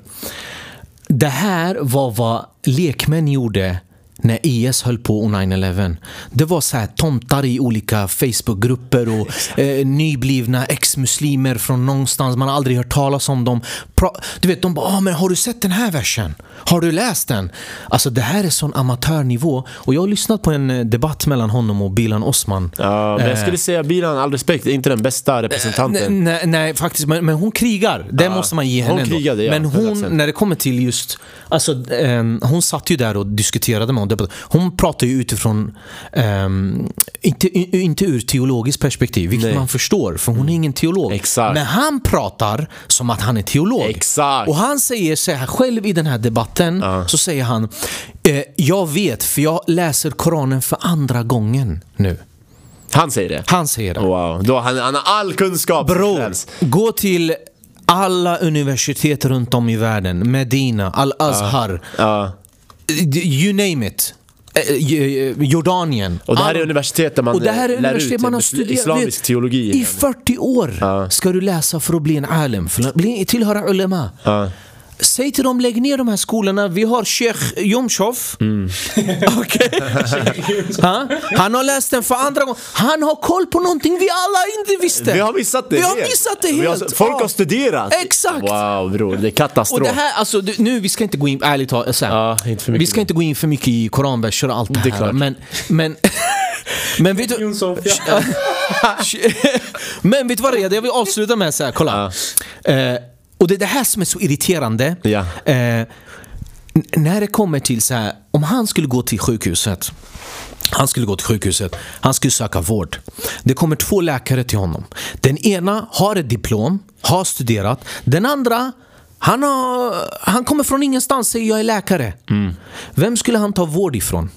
Det här var vad lekmän gjorde när IS höll på och 9-11. Det var så här tomtar i olika Facebookgrupper och eh, nyblivna ex-muslimer från någonstans. Man har aldrig hört talas om dem. Pra- du vet, de bara ah, men “Har du sett den här versen? Har du läst den?” Alltså det här är sån amatörnivå. Och jag har lyssnat på en eh, debatt mellan honom och Bilan Osman.
Ja, men jag skulle säga Bilan, all respekt, är inte den bästa representanten.
Eh. Nej, nej, nej faktiskt, men, men hon krigar. Det måste man ge
hon
henne ändå.
krigade, ja,
men hon,
100%.
när det kommer till just... Alltså, ehm, hon satt ju där och diskuterade med honom. Hon pratar ju utifrån... ehm, inte, i- inte ur teologiskt perspektiv, vilket
Nej.
man förstår, för hon är ingen teolog.
Exakt.
Men han pratar som att han är teolog.
Exakt.
Och han säger så här själv i den här debatten, så säger han eh, “Jag vet, för jag läser Koranen för andra gången nu”.
Han säger det.
Han säger det.
Wow, då, han, han har all kunskap som
Bror,
krävs.
gå till alla universitet runt om i världen. Medina, Al-Azhar,
Ja.
you name it. Eh, eh, Jordanien.
Och det här
All-
är universitet där man
och det här är
eh, lär
universitet
ut
man har
isl-
studerat
islamisk
vet,
teologi.
I 40 år ska du läsa för att bli en alim, för att bli, tillhöra ulema. Säg till dem, lägg ner de här skolorna. Vi har Sheikh Jomshof.
Mm.
Okej? Ha? Han har läst den för andra gången. Han har koll på någonting vi alla inte visste.
Vi har missat det
Vi har
helt.
missat det
Vi har-
helt.
Folk
Ja.
har studerat!
Exakt.
Wow bror, det är katastrof.
Och det här, alltså, du- nu, vi ska inte gå in, ärligt talat, så här,
Ja, inte för mycket.
vi ska inte gå in för mycket i koranverser och allt det,
Det är
här.
klart.
Men, men, men vet du...
Jonsson,
men vet du vad det är? Jag vill avsluta med så här, kolla. Eh, och det är det här som är så irriterande.
Ja.
Eh, n- när det kommer till så här, om han skulle gå till sjukhuset. Han skulle gå till sjukhuset, han skulle söka vård. Det kommer två läkare till honom. Den ena har ett diplom, har studerat. Den andra, han, har, han kommer från ingenstans, säger jag är läkare.
Mm.
Vem skulle han ta vård ifrån?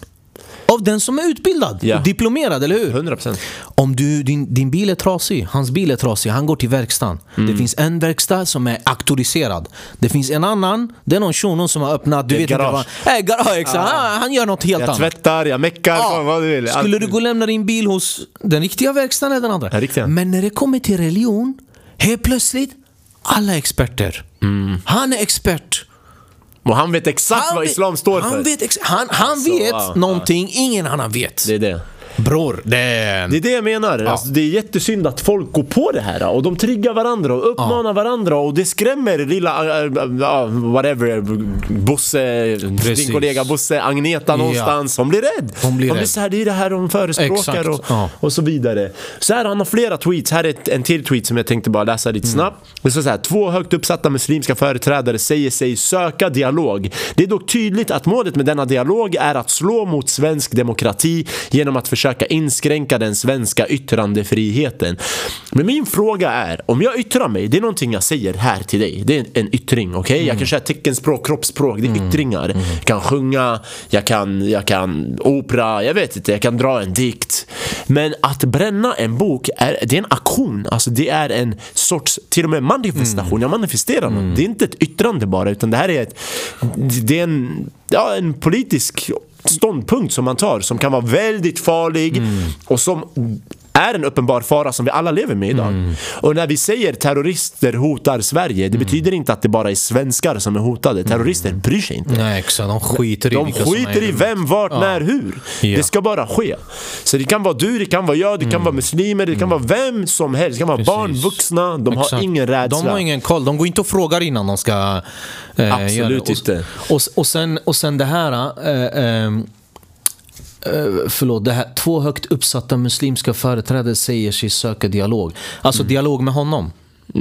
Av den som är utbildad
Ja.
och diplomerad, eller hur?
100%.
Om du, din, din bil är trasig, hans bil är trasig, han går till verkstaden.
Mm.
Det finns en verkstad som är auktoriserad. Det finns en annan, det är någon shuno som har öppnat,
Det
du
är
vet inte
garage.
vad... Äh, garage, exakt. Han, han gör något helt
Jag
annat.
tvättar, jag meckar,
Ja.
fan vad du vill.
Skulle du gå och lämna din bil hos den riktiga verkstaden eller den andra?
Den riktiga.
Men när det kommer till religion, helt plötsligt, alla är experter. Han är expert.
Och han vet Mm. exakt vad
vet-
islam står för. Alltså,
han vet, ex- han, han vet
ja,
någonting ingen annan vet.
Det är det.
Bror, det är...
Det är det jag menar. Alltså, det är jättesynd att folk går på det här och de triggar varandra och uppmanar varandra och det skrämmer lilla, äh, äh, äh, whatever, Bosse,
Precis.
din kollega Bosse, Agneta någonstans. Hon blir rädd.
Hon blir rädd.
så här, det är det här de förespråkar
Exakt,
och,
ja.
och så vidare. Så här, han har flera tweets. Här är ett, en till tweet som jag tänkte bara läsa
Mm.
lite snabbt. Det står så här, två högt uppsatta muslimska företrädare säger sig söka dialog. Det är dock tydligt att målet med denna dialog är att slå mot svensk demokrati genom att försöka inskränka den svenska yttrandefriheten. Men min fråga är, om jag yttrar mig, det är någonting jag säger här till dig. Det är en, en yttring, okej?
Mm.
Jag kan köra teckenspråk, kroppsspråk, det är yttringar. Jag kan sjunga, jag kan, jag kan opera, jag vet inte, jag kan dra en dikt. Men att bränna en bok, är, det är en aktion. Alltså det är en sorts, till och med manifestation. Jag manifesterar något. Det är inte ett yttrande bara, utan det här är ett, det är en, ja, en politisk ståndpunkt som man tar som kan vara väldigt farlig och som är en uppenbar fara som vi alla lever med idag. Och när vi säger terrorister hotar Sverige, det betyder inte att det bara är svenskar som är hotade. Terrorister bryr sig inte.
Nej, exakt. De skiter i
De
vilka som
skiter
är
i vem, vart, när, hur.
Ja. Mm.
Det ska bara ske. Så det kan vara du, det kan vara jag, det kan vara muslimer, det kan vara vem som helst. Det kan vara barn, vuxna, de har
Exakt.
ingen rädsla.
De har ingen koll. De går inte och frågar innan de ska eh,
Absolut
göra det. Och,
inte.
Och, och, sen, och sen det här... Eh, ehm, eh, Förlåt, det här. Två högt uppsatta muslimska företrädare säger sig söka dialog.
Mm.
Alltså dialog med honom.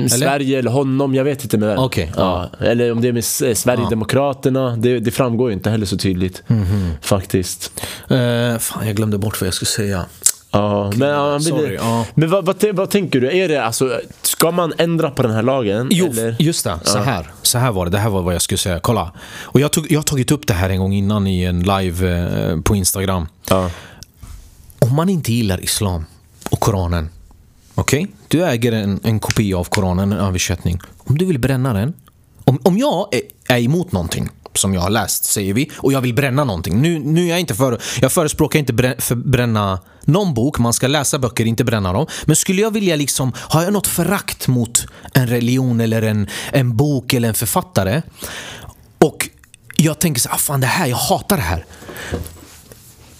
Sverige eller honom, jag vet inte med vem.
Okej,
ja. Eller om det är med S- eh, Sverigedemokraterna, det, det framgår ju inte heller så tydligt.
Mhm.
Faktiskt.
Eh, fan, jag glömde bort vad jag skulle säga.
Ja, men, ja, han
sorry,
ville,
ja.
men vad, vad, vad tänker du? Är det, alltså, ska man ändra på den här lagen?
Jo,
eller?
just det. Så här. så här var det. Det här var vad jag skulle säga. Kolla. Och jag, tog, jag har tagit upp det här en gång innan i en live eh, på Instagram.
Ja.
Om man inte gillar Islam och Koranen. Okej? Du äger en, en kopia av Koranen, en översättning. Om du vill bränna den. Om, om jag är, är emot någonting som jag har läst, säger vi, och jag vill bränna någonting. Nu, nu är jag inte för, jag förespråkar inte brä, för bränna någon bok, man ska läsa böcker, inte bränna dem. Men skulle jag vilja, liksom, har jag något förakt mot en religion eller en, en bok eller en författare och jag tänker så här, "Ah, fan det här, jag hatar det här.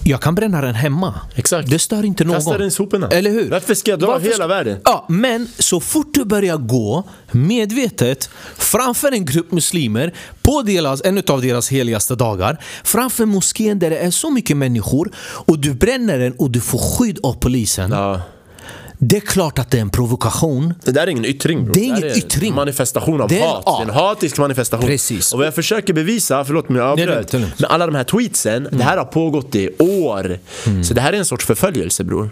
Jag kan bränna den hemma.
Exakt.
Det stör inte någon.
Kasta den i soporna.
Eller hur?
Varför ska jag dra
Varför
hela
ska-
världen?
Ja, men så fort du börjar gå medvetet framför en grupp muslimer på deras, en av deras heligaste dagar, framför moskén där det är så mycket människor och du bränner den och du får skydd av polisen.
Ja.
Det är klart att det är en provokation.
Det där är ingen yttring bror.
Det är ingen
där
yttring.
manifestation av
Det är en-
hat.
ja.
Det är en hatisk manifestation.
Precis.
Och vad jag försöker bevisa, förlåt om jag
det är lugnt,
avbröt,
det är lugnt.
med alla de här tweetsen, det här har pågått i år.
Mm.
Så det här är en sorts förföljelse bror.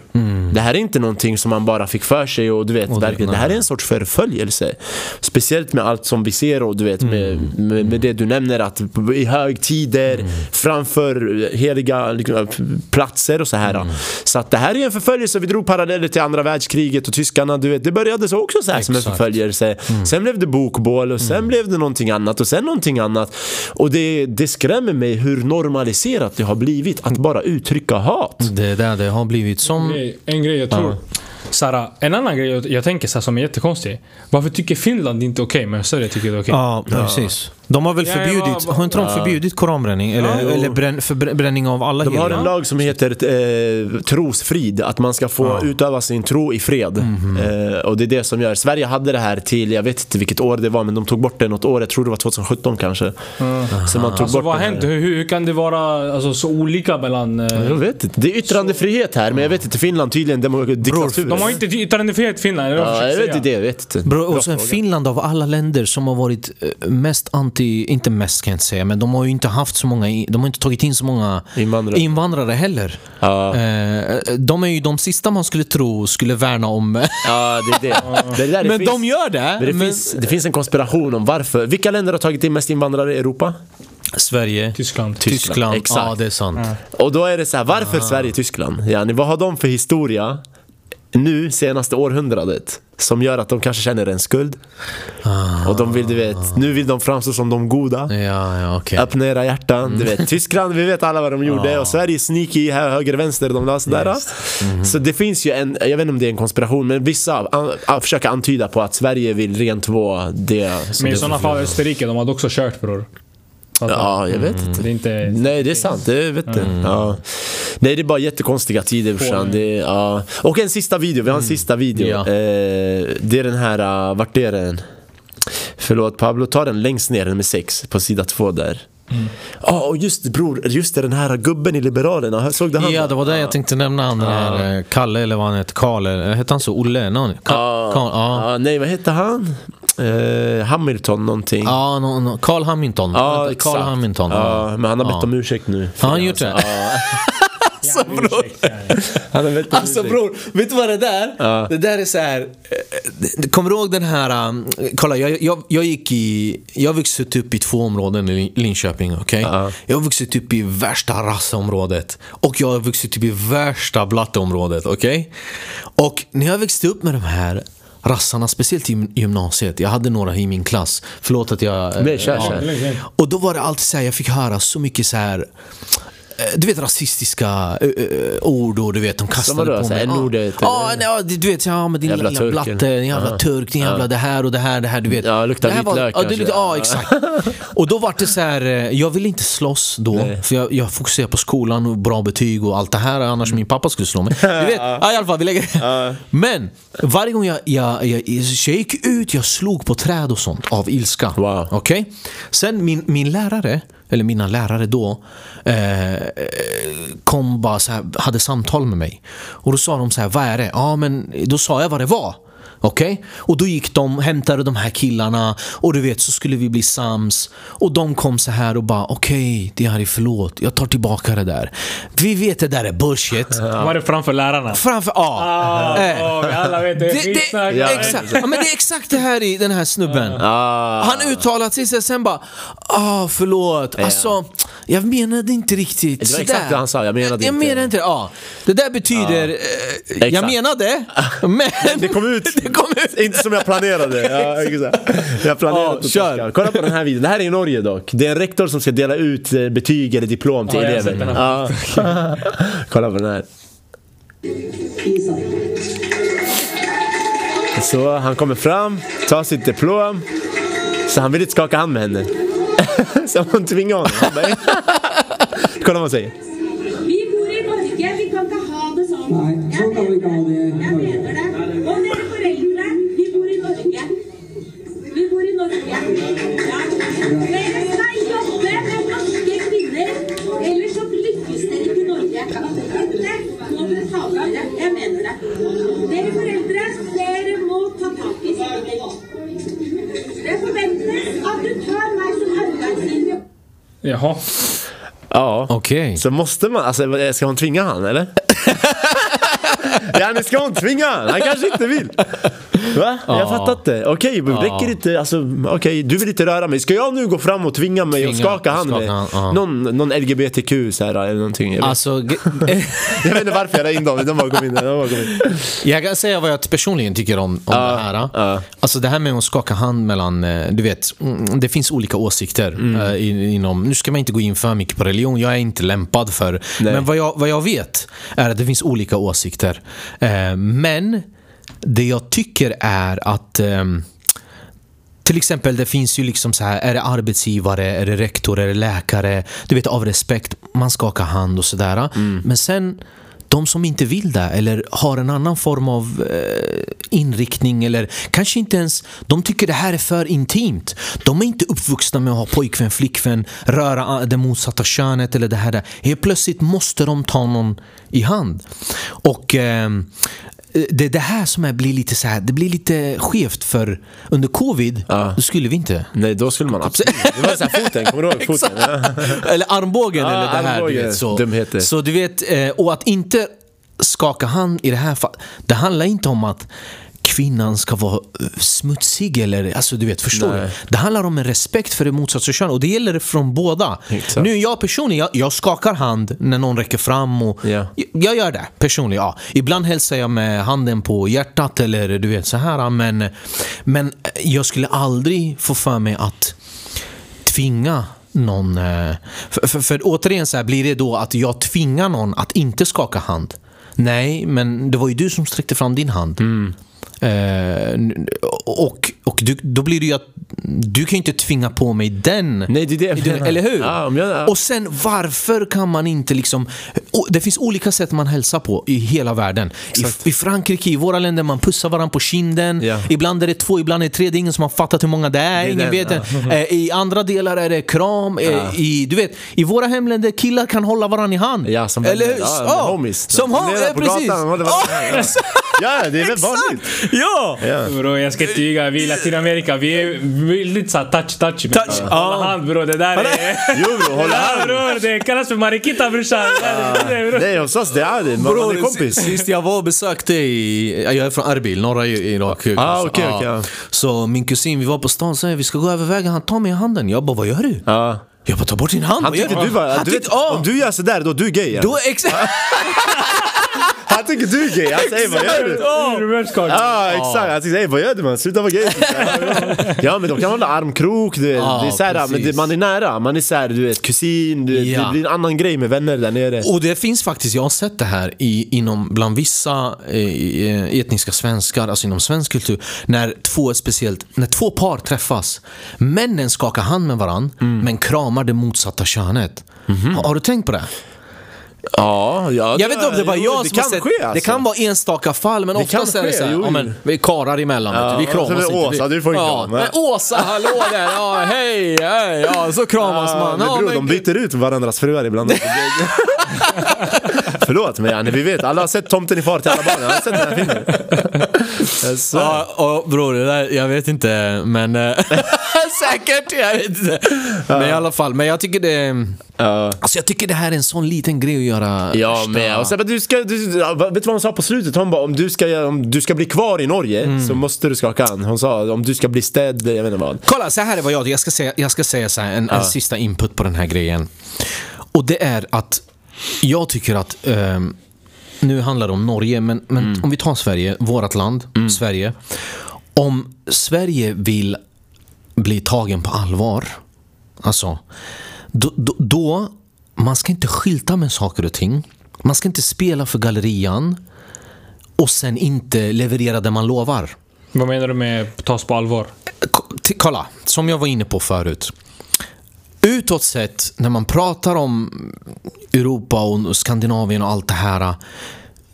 Det här är inte någonting som man bara fick för sig och du vet, verkligen. Det här är en sorts förföljelse. Speciellt med allt som vi ser och du vet, med,
Mm.
med, med det du nämner att i högtider, framför heliga liksom, platser och så här.
Mm.
Så att det här är en förföljelse. Vi drog paralleller till andra världskriget och tyskarna, du vet, det började så också så här som en
Exakt.
förföljelse.
Mm.
Sen blev det bokbål och sen blev det någonting annat och sen någonting annat. Och det, det skrämmer mig hur normaliserat det har blivit att bara uttrycka hat.
Mm.
Det där det har blivit som...
Det är En grej jag tror. Sara, en annan grej jag, jag tänker så här, som är jättekonstig. Varför tycker Finland inte okej men Sverige tycker det är okej?
Ja, precis. De har väl
Ja, ja,
förbjudit,
ja.
har inte de förbjudit koranbränning? Eller, eller brän, förbränning av alla
De har
heliga?
en lag som heter eh, trosfrid, att man ska få utöva sin tro i fred.
Mhm.
Eh, och det är det som gör, Sverige hade det här till, jag vet inte vilket år det var, men de tog bort det något år, jag tror det var 2017 kanske. Så man tog
Alltså
bort
vad har
den här.
hänt? Hur, hur hur kan det vara alltså, så olika mellan... eh,
Jag vet inte, det är yttrandefrihet här, men jag vet inte, Finland tydligen demo- diktatur.
De har inte yttrandefrihet i Finland, är det vad
Ja, jag
försöker
vet inte,
säga?
det, jag vet inte.
Bro, och sen Finland av alla länder som har varit eh, mest anti, inte mest kan jag inte säga, men de har ju inte haft så många, i- de har inte tagit in så många
Invandrare.
invandrare heller.
Ja.
Eh, De är ju de sista man skulle tro skulle värna om.
Ja, det är det. det, är där det
men
finns.
de gör det!
Men det,
men
finns, det finns en konspiration om varför. Vilka länder har tagit in mest invandrare i Europa?
Sverige,
Tyskland.
Tyskland,
Exakt.
ja det är sant.
Och då är det så här, varför Sverige och Tyskland? Ja, ni, vad har de för historia nu senaste århundradet? Som gör att de kanske känner en skuld. Och de vill, du vet, nu vill de framstå som de goda.
Ja, ja okej.
Öppna era hjärtan. Du vet, Tyskland, vi vet alla vad de gjorde. Och Sverige sneaky, här, höger, vänster, de la sådär. Så det finns ju en, jag vet inte om det är en konspiration, men vissa an, an, försöker antyda på att Sverige vill rentvå det. Som
Men i
det
sådana fall Österrike, de hade också kört bror. Fattar?
ja, jag vet inte.
Det är inte...
Nej det är sant, det vet du.
Mm.
Ja. Nej det är bara jättekonstiga tider brorsan. Det är, ja. Och en sista video, vi har en sista video.
Mm. Ja.
Eh, det är den här, uh, vart är den? Förlåt Pablo, ta den längst ner, nummer 6 på sida 2 där.
Mm.
Ja, och just det, bror, just det, den här gubben i Liberalerna, såg du han?
Ja, det var det jag tänkte nämna, han den här eh, Kalle eller vad han heter, Karl, eller- hette han så? Olle? Någon? Ka-
Ja.
Karl, ja.
Ja, nej vad hette han? Eh, Hamilton någonting.
Ja, no, no. Carl Hamilton.
Ja,
Vänta, Carl
exakt.
Hamilton.
Ja, men han har bett om ursäkt nu.
Har han gjort det?
Alltså bror.
Han har bett om
Alltså
ursäkt.
bror, vet du vad det där? Det där är så här. eh, det- Kommer du ihåg den här, um, kolla jag, jag, jag gick i, jag växte upp i två områden i Lin- Linköping, okej? Jag har vuxit upp i värsta rassområdet och jag har vuxit upp i värsta blatteområdet, okej? Och när jag växte upp med de här rassarna, speciellt i gym- gymnasiet, jag hade några i min klass, förlåt att jag... eh,
Nej, kör,
ja.
kör.
Och då var det alltid så här, jag fick höra så mycket så här eh, du vet rasistiska eh, eh, ord och du vet de kastade
vadå?
på
Så
mig.
här,
Ja.
N-ordet,
Ja,
eller?
ja, du vet, ja men din
Jävla
jävla,
turken.
blatte, din jävla
Ja.
turk, din jävla det här och det här, det här, du vet.
Ja, luktar
det här var-
vitlök
ja, det,
kanske.
luktar- ja, exakt. Och då var det så här, eh, jag ville inte slåss då, för jag, jag fokuserade på skolan och bra betyg och allt det här, annars min pappa skulle slå mig. Du vet, ja, i alla fall, vi lägger Men, varje gång jag, jag, jag, jag gick ut, jag slog på träd och sånt av ilska.
Wow.
Okej? Sen min, min lärare, eller mina lärare då, eh, eh, kom bara så här, hade samtal med mig. Och då sa de så här, vad är det? Ja, men då sa jag vad det var. Okej? Och då gick de, hämtade de här killarna och du vet så skulle vi bli sams. Och de kom så här och bara okej, det här är förlåt, jag tar tillbaka det där. Vi vet det där är bullshit.
Var det framför lärarna?
Framför, ja.
Ah,
Eh.
ah, vi alla vet det.
Det, det,
Skitsnack.
ja, exakt. Ja, men det är exakt det här i den här snubben.
Ah.
Han uttalar sig så sen bara ah förlåt, alltså jag menade inte riktigt
Det var
sådär."
exakt det han sa, "Jag menade
jag
inte."
Menade inte det. Ja. Det där betyder, eh, jag
Exakt.
menade, men...
Det kom ut.
det kom ut.
Inte som jag planerade. Ja, exakt. jag planerade
Ja,
att
kör.
torska. Kolla på den här videon. Det här är i Norge dock. Det är en rektor som ska dela ut eh, betyg eller diplom till
Ja, jag har
elever.
sett den
Ja. Kolla på den här. Så han kommer fram, tar sitt diplom. Så han vill inte skaka hand med henne. så hon tvingar honom. Han bara, "Eh." Kolla vad han säger.
Vi bor i på Nej, sånt har vi inte av i Norge.
Om ni är föräldrar, ni bor i Norge. Vi bor i Norge. Ja. Människorna jobbar med norske kvinner. Ellers så lykkes dere ikke i Norge. Dette må dere ta med dere. Jeg mener det. Dere foreldre, dere må ta tak i sine ting. Det forventes at du tar meg som arbeidsgiver.
Jaha.
Ja.
Okej.
Så måste man, alltså ska hon tvinga han eller? Ja, nu ska hon tvinga han? Han kanske inte vill. Va? Jag fattar inte. Okej, men räcker det inte? Alltså, okej, du vill inte röra mig. Ska jag nu gå fram och tvinga mig och
Tvinga,
skaka hand
skaka
med
hand, ja.
någon, någon LGBTQ så här, eller någonting? Jag vet,
Alltså, ge-
jag vet inte varför jag la in dem, men de bara kom in. De bara kom in.
Jag kan säga vad jag personligen tycker om, om det här. Alltså det här med att skaka hand mellan, eh, du vet, mm, det finns olika åsikter. eh, i- inom, nu ska man inte gå in för mycket på religion, jag är inte lämpad för. Men vad jag, vad jag vet är att det finns olika åsikter. Eh, men det jag tycker är att ehm, till exempel, det finns ju liksom så här, är det arbetsgivare, är det rektor, är det läkare? Du vet, av respekt, man skakar hand och sådär. Men sen, de som inte vill det eller har en annan form av eh, inriktning eller kanske inte ens, de tycker det här är för intimt. De är inte uppvuxna med att ha pojkvän, flickvän, röra a- det motsatta könet eller det här. Där. Helt plötsligt måste de ta någon i hand. Och... ehm, det är det här som är, blir lite så här, det blir lite skevt för under covid, då skulle vi inte.
Nej, då skulle man absolut... Typ, Det var så här foten, kommer du ihåg foten?
eller armbågen
Ja,
eller det här.
armbågen.
Du vet, så.
Dumheter.
så du vet, eh, och att inte skaka hand i det här fallet. Det handlar inte om att kvinnan ska vara eh, smutsig eller, alltså du vet, förstår du? Det handlar om en respekt för det motsatta könet och det gäller från båda.
Exakt.
Nu jag personligen, jag, jag skakar hand när någon räcker fram och
Ja.
jag, jag gör det personligen. Ja. Ibland hälsar jag med handen på hjärtat eller du vet så här men, men jag skulle aldrig få för mig att tvinga någon. eh, För, för, för återigen så här, blir det då att jag tvingar någon att inte skaka hand. Nej, men det var ju du som sträckte fram din hand.
Mm.
Eh, n- och och du, då blir det ju att du kan ju inte tvinga på mig den.
Nej, det är det jag
Du-
menar.
Eller hur?
Ja, om jag,
Och sen varför kan man inte liksom... och Det finns olika sätt man hälsar på i hela världen. I, I Frankrike, i våra länder, man pussar varandra på kinden.
Ja.
Ibland är det två, ibland är det tre. Det är ingen som har fattat hur många det är. ingen
den,
vet det. Eh, I andra delar är det kram. Eh, I, du vet, I våra hemländer killar kan hålla varandra i hand.
Ja, som
Eller
vänner.
hur?
Ja,
Ja,
homies.
Som
De
homies,
promenerar
ja,
på
precis.
gatan, håller varandra i hand.
Ja, exakt.
ja, det är väl vanligt?
Ja!
Bro, jag ska inte ljuga. Vi i Latinamerika, vi är väldigt såhär touch-touch.
Touch, ja.
Hålla hand bror, det där är...
Jo bror, hålla
Ja,
hand.
bror, det kallas för mariquita brorsan.
Ah.
Det där är-
Nej, hos oss det är det. Man man är kompis.
Sist jag var och besökte i, jag är från Erbil, norra i- Irak.
Ah, okej,
Ja.
okej, ja.
Så min kusin, vi var på stan och sa vi ska gå över vägen, han tar mig i handen. Jag bara, vad gör du?
Ja.
Jag bara, ta bort din hand.
Han
Vad gör
tyckte du var...
Han
Du vet,
tyckte, ah,
om du gör sådär, då du är gay. ja.
då, exakt.
Han tycker du är gay, han säger vad gör du?
Reverse card.
Ja exakt, han tycker "Ey, vad gör du man? Sluta vara gay! ja men de kan hålla armkrok, du, vet.
Ja,
det är så här, men
precis.
det, man är nära, man är såhär du vet kusin, du, vet,
Ja.
det blir en annan grej med vänner där nere
Och det finns faktiskt, jag har sett det här i, inom, bland vissa eh, etniska svenskar, alltså inom svensk kultur, när två, speciellt, när två par träffas. Männen skakar hand med varandra,
Mm.
men kramar det motsatta könet.
Mhm.
Har, har du tänkt på det?
Ja, ja
Jag vet inte om det var
jo,
jag som har
kan
sett,
ske, alltså.
Det kan vara enstaka fall men oftast
kan
är det
ske,
såhär,
jo,
ja,
jo.
men vi är karlar emellan vet
Ja,
du, vi
och så är
kramas
det
inte.
Åsa,
vi,
du får inte
ja,
krama.
men Åsa, hallå där, ja hej, hej, ja så kramas
Ja,
man.
men
Ja,
bror, de byter ut varandras fruar ibland också. Förlåt men Janne, vi vet, alla har sett Tomten i far till alla barn, jag har sett den här filmen Alltså.
Ja, och bror, det där, jag vet inte men... eh, säkert, jag vet inte. Men i alla fall, men jag tycker det... Alltså jag tycker det här är en sån liten grej att göra.
Ja
första-
men, och sen, bara, du ska, du, ja, vad- vet du vad hon sa på slutet? Hon bara om du ska, om du ska bli kvar i Norge
Mm.
så måste du skaka hand Hon sa om du ska bli städd, jag vet inte vad
Kolla, så här är vad jag Jag ska säga, jag ska säga så här, en, en sista input på den här grejen. Och det är att jag tycker att, ehm, nu handlar det om Norge, men, men om vi tar Sverige, vårt land, Sverige. Om Sverige vill bli tagen på allvar, alltså, då, då, då man ska inte skylta med saker och ting. Man ska inte spela för gallerian och sen inte leverera det man lovar.
Vad menar du med tas på allvar?
K- t- kolla, som jag var inne på förut. Utåt sett, när man pratar om Europa och Skandinavien och allt det här.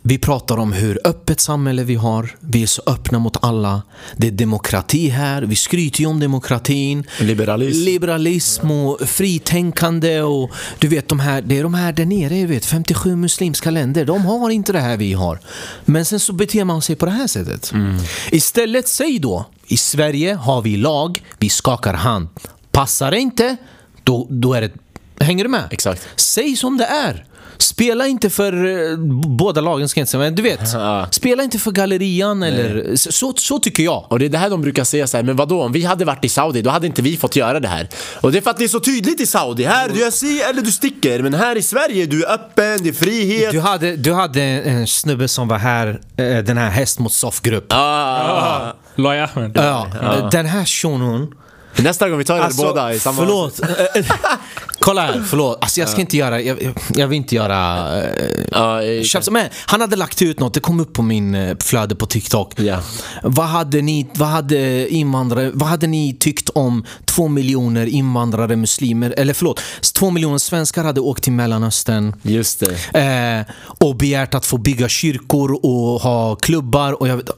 Vi pratar om hur öppet samhälle vi har. Vi är så öppna mot alla. Det är demokrati här. Vi skryter ju om demokratin.
Liberalism.
Liberalism och fritänkande och du vet de här, det är de här där nere, jag vet 57 muslimska länder, de har inte det här vi har. Men sen så beter man sig på det här sättet.
Mm.
Istället säg då, i Sverige har vi lag, vi skakar hand. Passar det inte, då, då är det Hänger du med?
Exakt.
Säg som det är. Spela inte för eh, b- båda lagen, ska jag inte säga, men du vet.
Ja.
Spela inte för gallerian eller... Så- Så, så tycker jag.
Och det är det här de brukar säga så här, men vadå om vi hade varit i Saudi då hade inte vi fått göra det här. Och det är för att det är så tydligt i Saudi, här du gör si eller du sticker. Men här i Sverige, du är öppen, det är frihet.
Du hade, du hade en snubbe som var här, eh, den här häst mot soffgrupp. Ja.
Ah.
Lai Ahmed.
Den här shunon.
Nästa gång vi tar er båda i samma...
Alltså, förlåt. Kolla här, förlåt. Alltså jag ska inte göra, jag, jag- jag vill inte göra... eh,
Ja, eh,
Tjafs, men han hade lagt ut något, det kom upp på min eh, flöde på TikTok.
Ja.
Vad hade ni, vad hade invandrare, vad hade ni tyckt om två miljoner invandrare muslimer, eller förlåt, två miljoner svenskar hade åkt till Mellanöstern
just det.
eh, och begärt att få bygga kyrkor och ha klubbar och jag vet,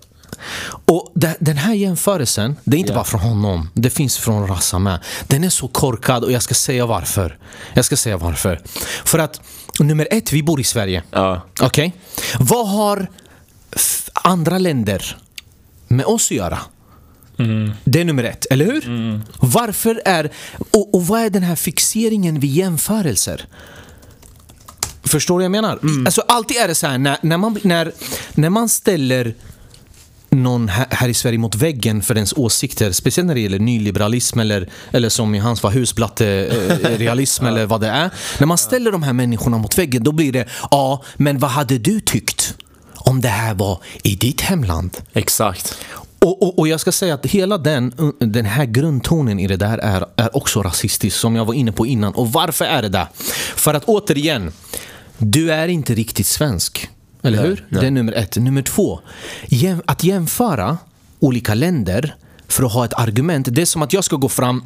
och de- den här jämförelsen, det är inte bara från honom, det finns från Rassa med. Den är så korkad och jag ska säga varför. Jag ska säga varför. För att nummer ett, vi bor i Sverige.
Ja.
Okej? Vad har f- andra länder med oss att göra? Det är nummer ett, eller hur? Varför är... Och, och vad är den här fixeringen vid jämförelser? Förstår du vad jag menar? Alltså alltid är det så här när, när, man, när, när man ställer någon här, här i Sverige mot väggen för ens åsikter, speciellt när det gäller nyliberalism eller, eller som i hans fall husblatterealism eller vad det är. När man ställer de här människorna mot väggen då blir det ja, men vad hade du tyckt om det här var i ditt hemland?
Exakt.
Och, och, och jag ska säga att hela den, den här grundtonen i det där är, är också rasistisk som jag var inne på innan. Och varför är det det? För att återigen, du är inte riktigt svensk. Eller hur? Det är nummer ett. Nummer två, jäm, att jämföra olika länder för att ha ett argument. Det är som att jag ska gå fram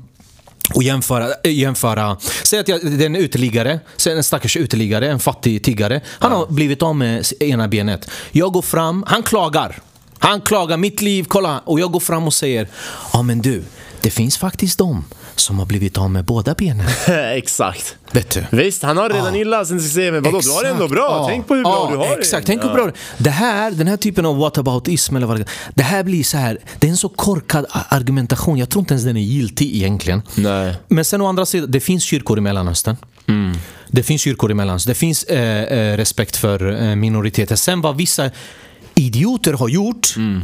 och jämföra, äh, jämföra. Säg att jag, det är en uteliggare, säg en stackars uteliggare, en fattig tiggare. Han har blivit av med s- ena benet. Jag går fram, han klagar. Han klagar, mitt liv, kolla. Och jag går fram och säger, ja men du, det finns faktiskt de som har blivit av med båda benen.
Exakt.
Vet du.
Visst, han har det redan
Ja.
illa sen systemet. Vadå, du har det ändå
Ah. Exakt.
bra.
Ja.
Tänk på hur bra du
Ja,
har
Exakt,
det.
tänk på hur bra du- det här, Den här typen av whataboutism eller vad det Det här blir så här, det är en så korkad a- argumentation. Jag tror inte ens den är giltig egentligen.
Nej.
Men sen å andra sidan, det finns kyrkor i Mellanöstern.
Mm.
Det finns kyrkor i Mellanöstern. Det finns eh, eh, respekt för eh, minoriteter. Sen vad vissa idioter har gjort
Mm.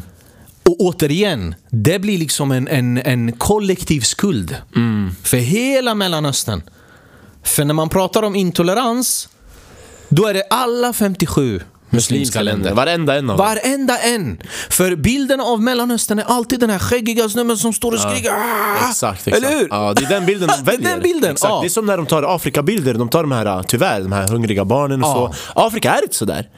och återigen, det blir liksom en, en, en kollektiv skuld
Mm.
för hela Mellanöstern. För när man pratar om intolerans, då är det alla 57 muslimska länder.
Varenda en av dem.
Varenda en! För bilden av Mellanöstern är alltid den här skäggiga snubben som står och skriker "Ah!"
Exakt, exakt.
Eller hur?
Ja, det är den bilden de
Det är
väljer.
den bilden,
exakt.
ja.
Det är som när de tar Afrikabilder, de tar de här, äh, tyvärr, de här hungriga barnen och
Ja.
så. Afrika är inte sådär.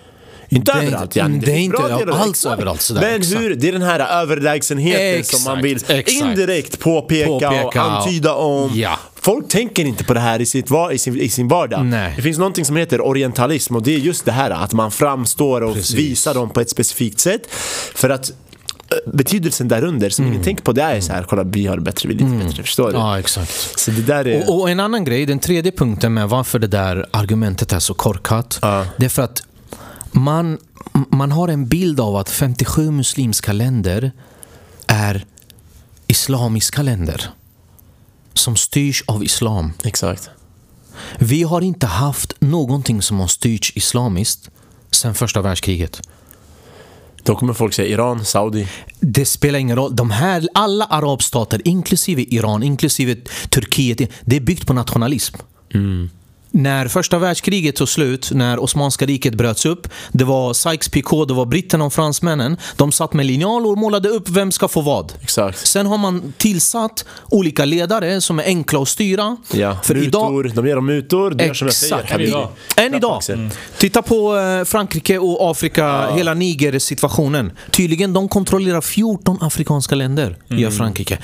Inte
Det är
överallt
inte-
yani.
det är
finns
inte
bra delar,
alls
exakt.
överallt sådär,
Men
exakt.
hur, det är den här överlägsenheten som man vill
Exakt, exakt.
indirekt påpeka, och
Påpeka och-
antyda om.
Ja.
Folk tänker inte på det här i, sitt, var- i, sin, i sin vardag.
Nej.
Det finns någonting som heter orientalism och det är just det här att man framstår och
Precis.
visar dem på ett specifikt sätt. För att eh, betydelsen därunder som ingen tänker på det är så här, kolla vi har det bättre, vi är lite bättre, förstår du?
Mm. Ja, exakt.
Så det där är...
Och, och en annan grej, den tredje punkten med varför det där argumentet är så korkat. Det är för att man, man har en bild av att 57 muslimska länder är islamiska länder. Som styrs av islam.
Exakt.
Vi har inte haft någonting som har styrts islamiskt sedan första världskriget.
Då kommer folk säga Iran, Saudi.
Det spelar ingen roll. De här, alla arabstater, inklusive Iran, inklusive Turkiet, det är byggt på nationalism. Mm. När första världskriget tog slut, när Osmanska riket bröts upp, det var Sykes-Picot, det var britterna och fransmännen. De satt med linjal och målade upp vem ska få vad.
Exakt.
Sen har man tillsatt olika ledare som är enkla att styra.
Ja.
För idag,
mutor, de ger dem mutor, du gör som jag säger.
Exakt.
Habibi.
idag.
Än idag. Mm.
Axel.
Titta på eh, Frankrike och Afrika, hela Niger-situationen. Tydligen de kontrollerar 14 afrikanska länder, gör Frankrike.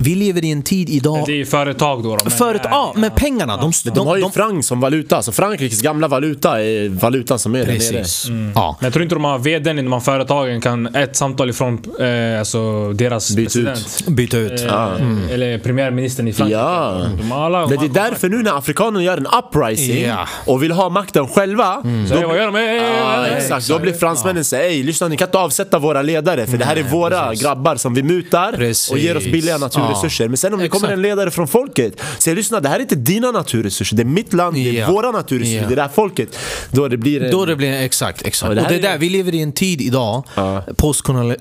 Vi lever i en tid idag...
Det är ju företag då. då men-
Förut, ja, men pengarna. De,
De har ju francs som valuta. Alltså Frankrikes gamla valuta är valutan som är där nere.
Precis. Ja.
Men jag tror inte de har vdn inom företagen kan ett samtal ifrån eh, alltså deras
Byt ut. Ah.
president.
Byta ut.
Eh, Eller premiärministern i Frankrike.
Ja.
De har alla,
Men det är därför nu när afrikanerna gör en uprising
Ja. Mm.
och vill ha makten själva.
Så, eh, vad gör de? Eh,
Ja,
eh, eh,
Ah, exakt. Då blir fransmännen så ej lyssna ni kan inte avsätta våra ledare för det här är våra grabbar som vi mutar
Precis.
och ger oss billiga naturresurser. Men sen om det
Exakt.
kommer en ledare från folket, säger lyssna det här är inte dina naturresurser, det är mitt land, det är
Ja.
våra naturresurser,
Ja.
det är det här folket. Då det blir en...
Då det blir exakt, exakt.
Och
Och
det
det,
här är-
där, vi lever i en tid idag,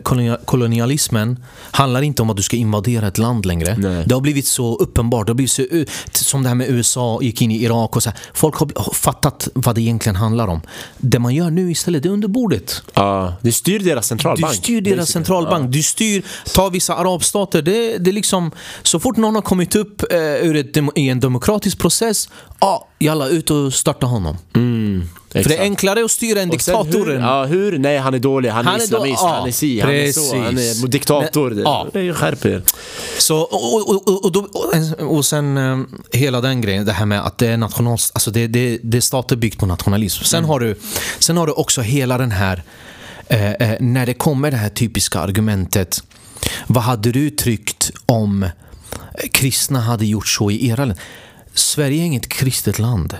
postkolonialismen handlar inte om att du ska invadera ett land längre. Det har blivit så uppenbart, det har blivit så, som det här med USA gick in i Irak och så här. Folk har har fattat vad det egentligen handlar om. Det man gör nu istället, det är under bordet.
Ja, det styr deras
Du
centralbank.
styr deras
basically.
centralbank, du styr, ta vissa arabstater. Det, det är liksom, så fort någon har kommit upp eh, ur ett, dem- i en demokratisk process, ja, jalla ut och starta honom.
Ja,
För det är
Mm, exakt.
enklare att styra än
Och sen
diktatoren.
Hur, ja, hur? Nej, han är dålig, han,
Han
är
är då-
islamist,
ja,
han är si, han är så,
precis.
han är diktator.
Men- ja.
Det- Skärp er.
Så, och, och, och, och, då- och, och sen eh, hela den grejen, det här med att det är, national, alltså det, det, det är stater byggt på nationalism. Sen, har du, sen har du också hela den här, eh, eh, när det kommer det här typiska argumentet. Vad hade du tryckt om eh, kristna hade gjort så i era länder? Sverige är inget kristet land.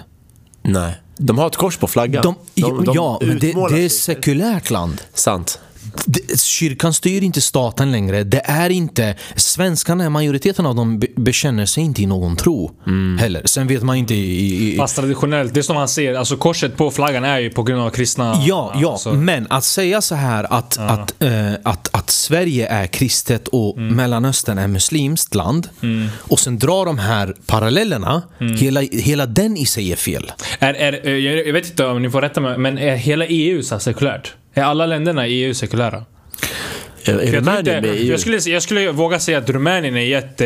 Nej. De har ett kors på flaggan.
De, ja, men det,
utmålar
det är
sig.
ett sekulärt land.
Sant.
Det- Kyrkan styr inte staten längre. Det är inte, svenskarna, majoriteten av dem be- bekänner sig inte i någon tro heller. Sen vet man inte i... i, i
Mm. Fast traditionellt, det är som han säger, alltså korset på flaggan är ju på grund av kristna...
Ja, ja,
alltså.
men att säga så här att, att, eh, att, att Sverige är kristet och
Mm.
Mellanöstern är muslimskt land och sen dra de här parallellerna,
Mm.
hela, hela den i sig är fel.
Är, är, eh, jag jag vet inte om ni får rätta mig, men är hela EU så här sekulärt? Är alla länderna i EU sekulära?
Är, är
Jag, tror
Rumänien
inte,
med i E EU?
jag, skulle, jag skulle våga säga att Rumänien är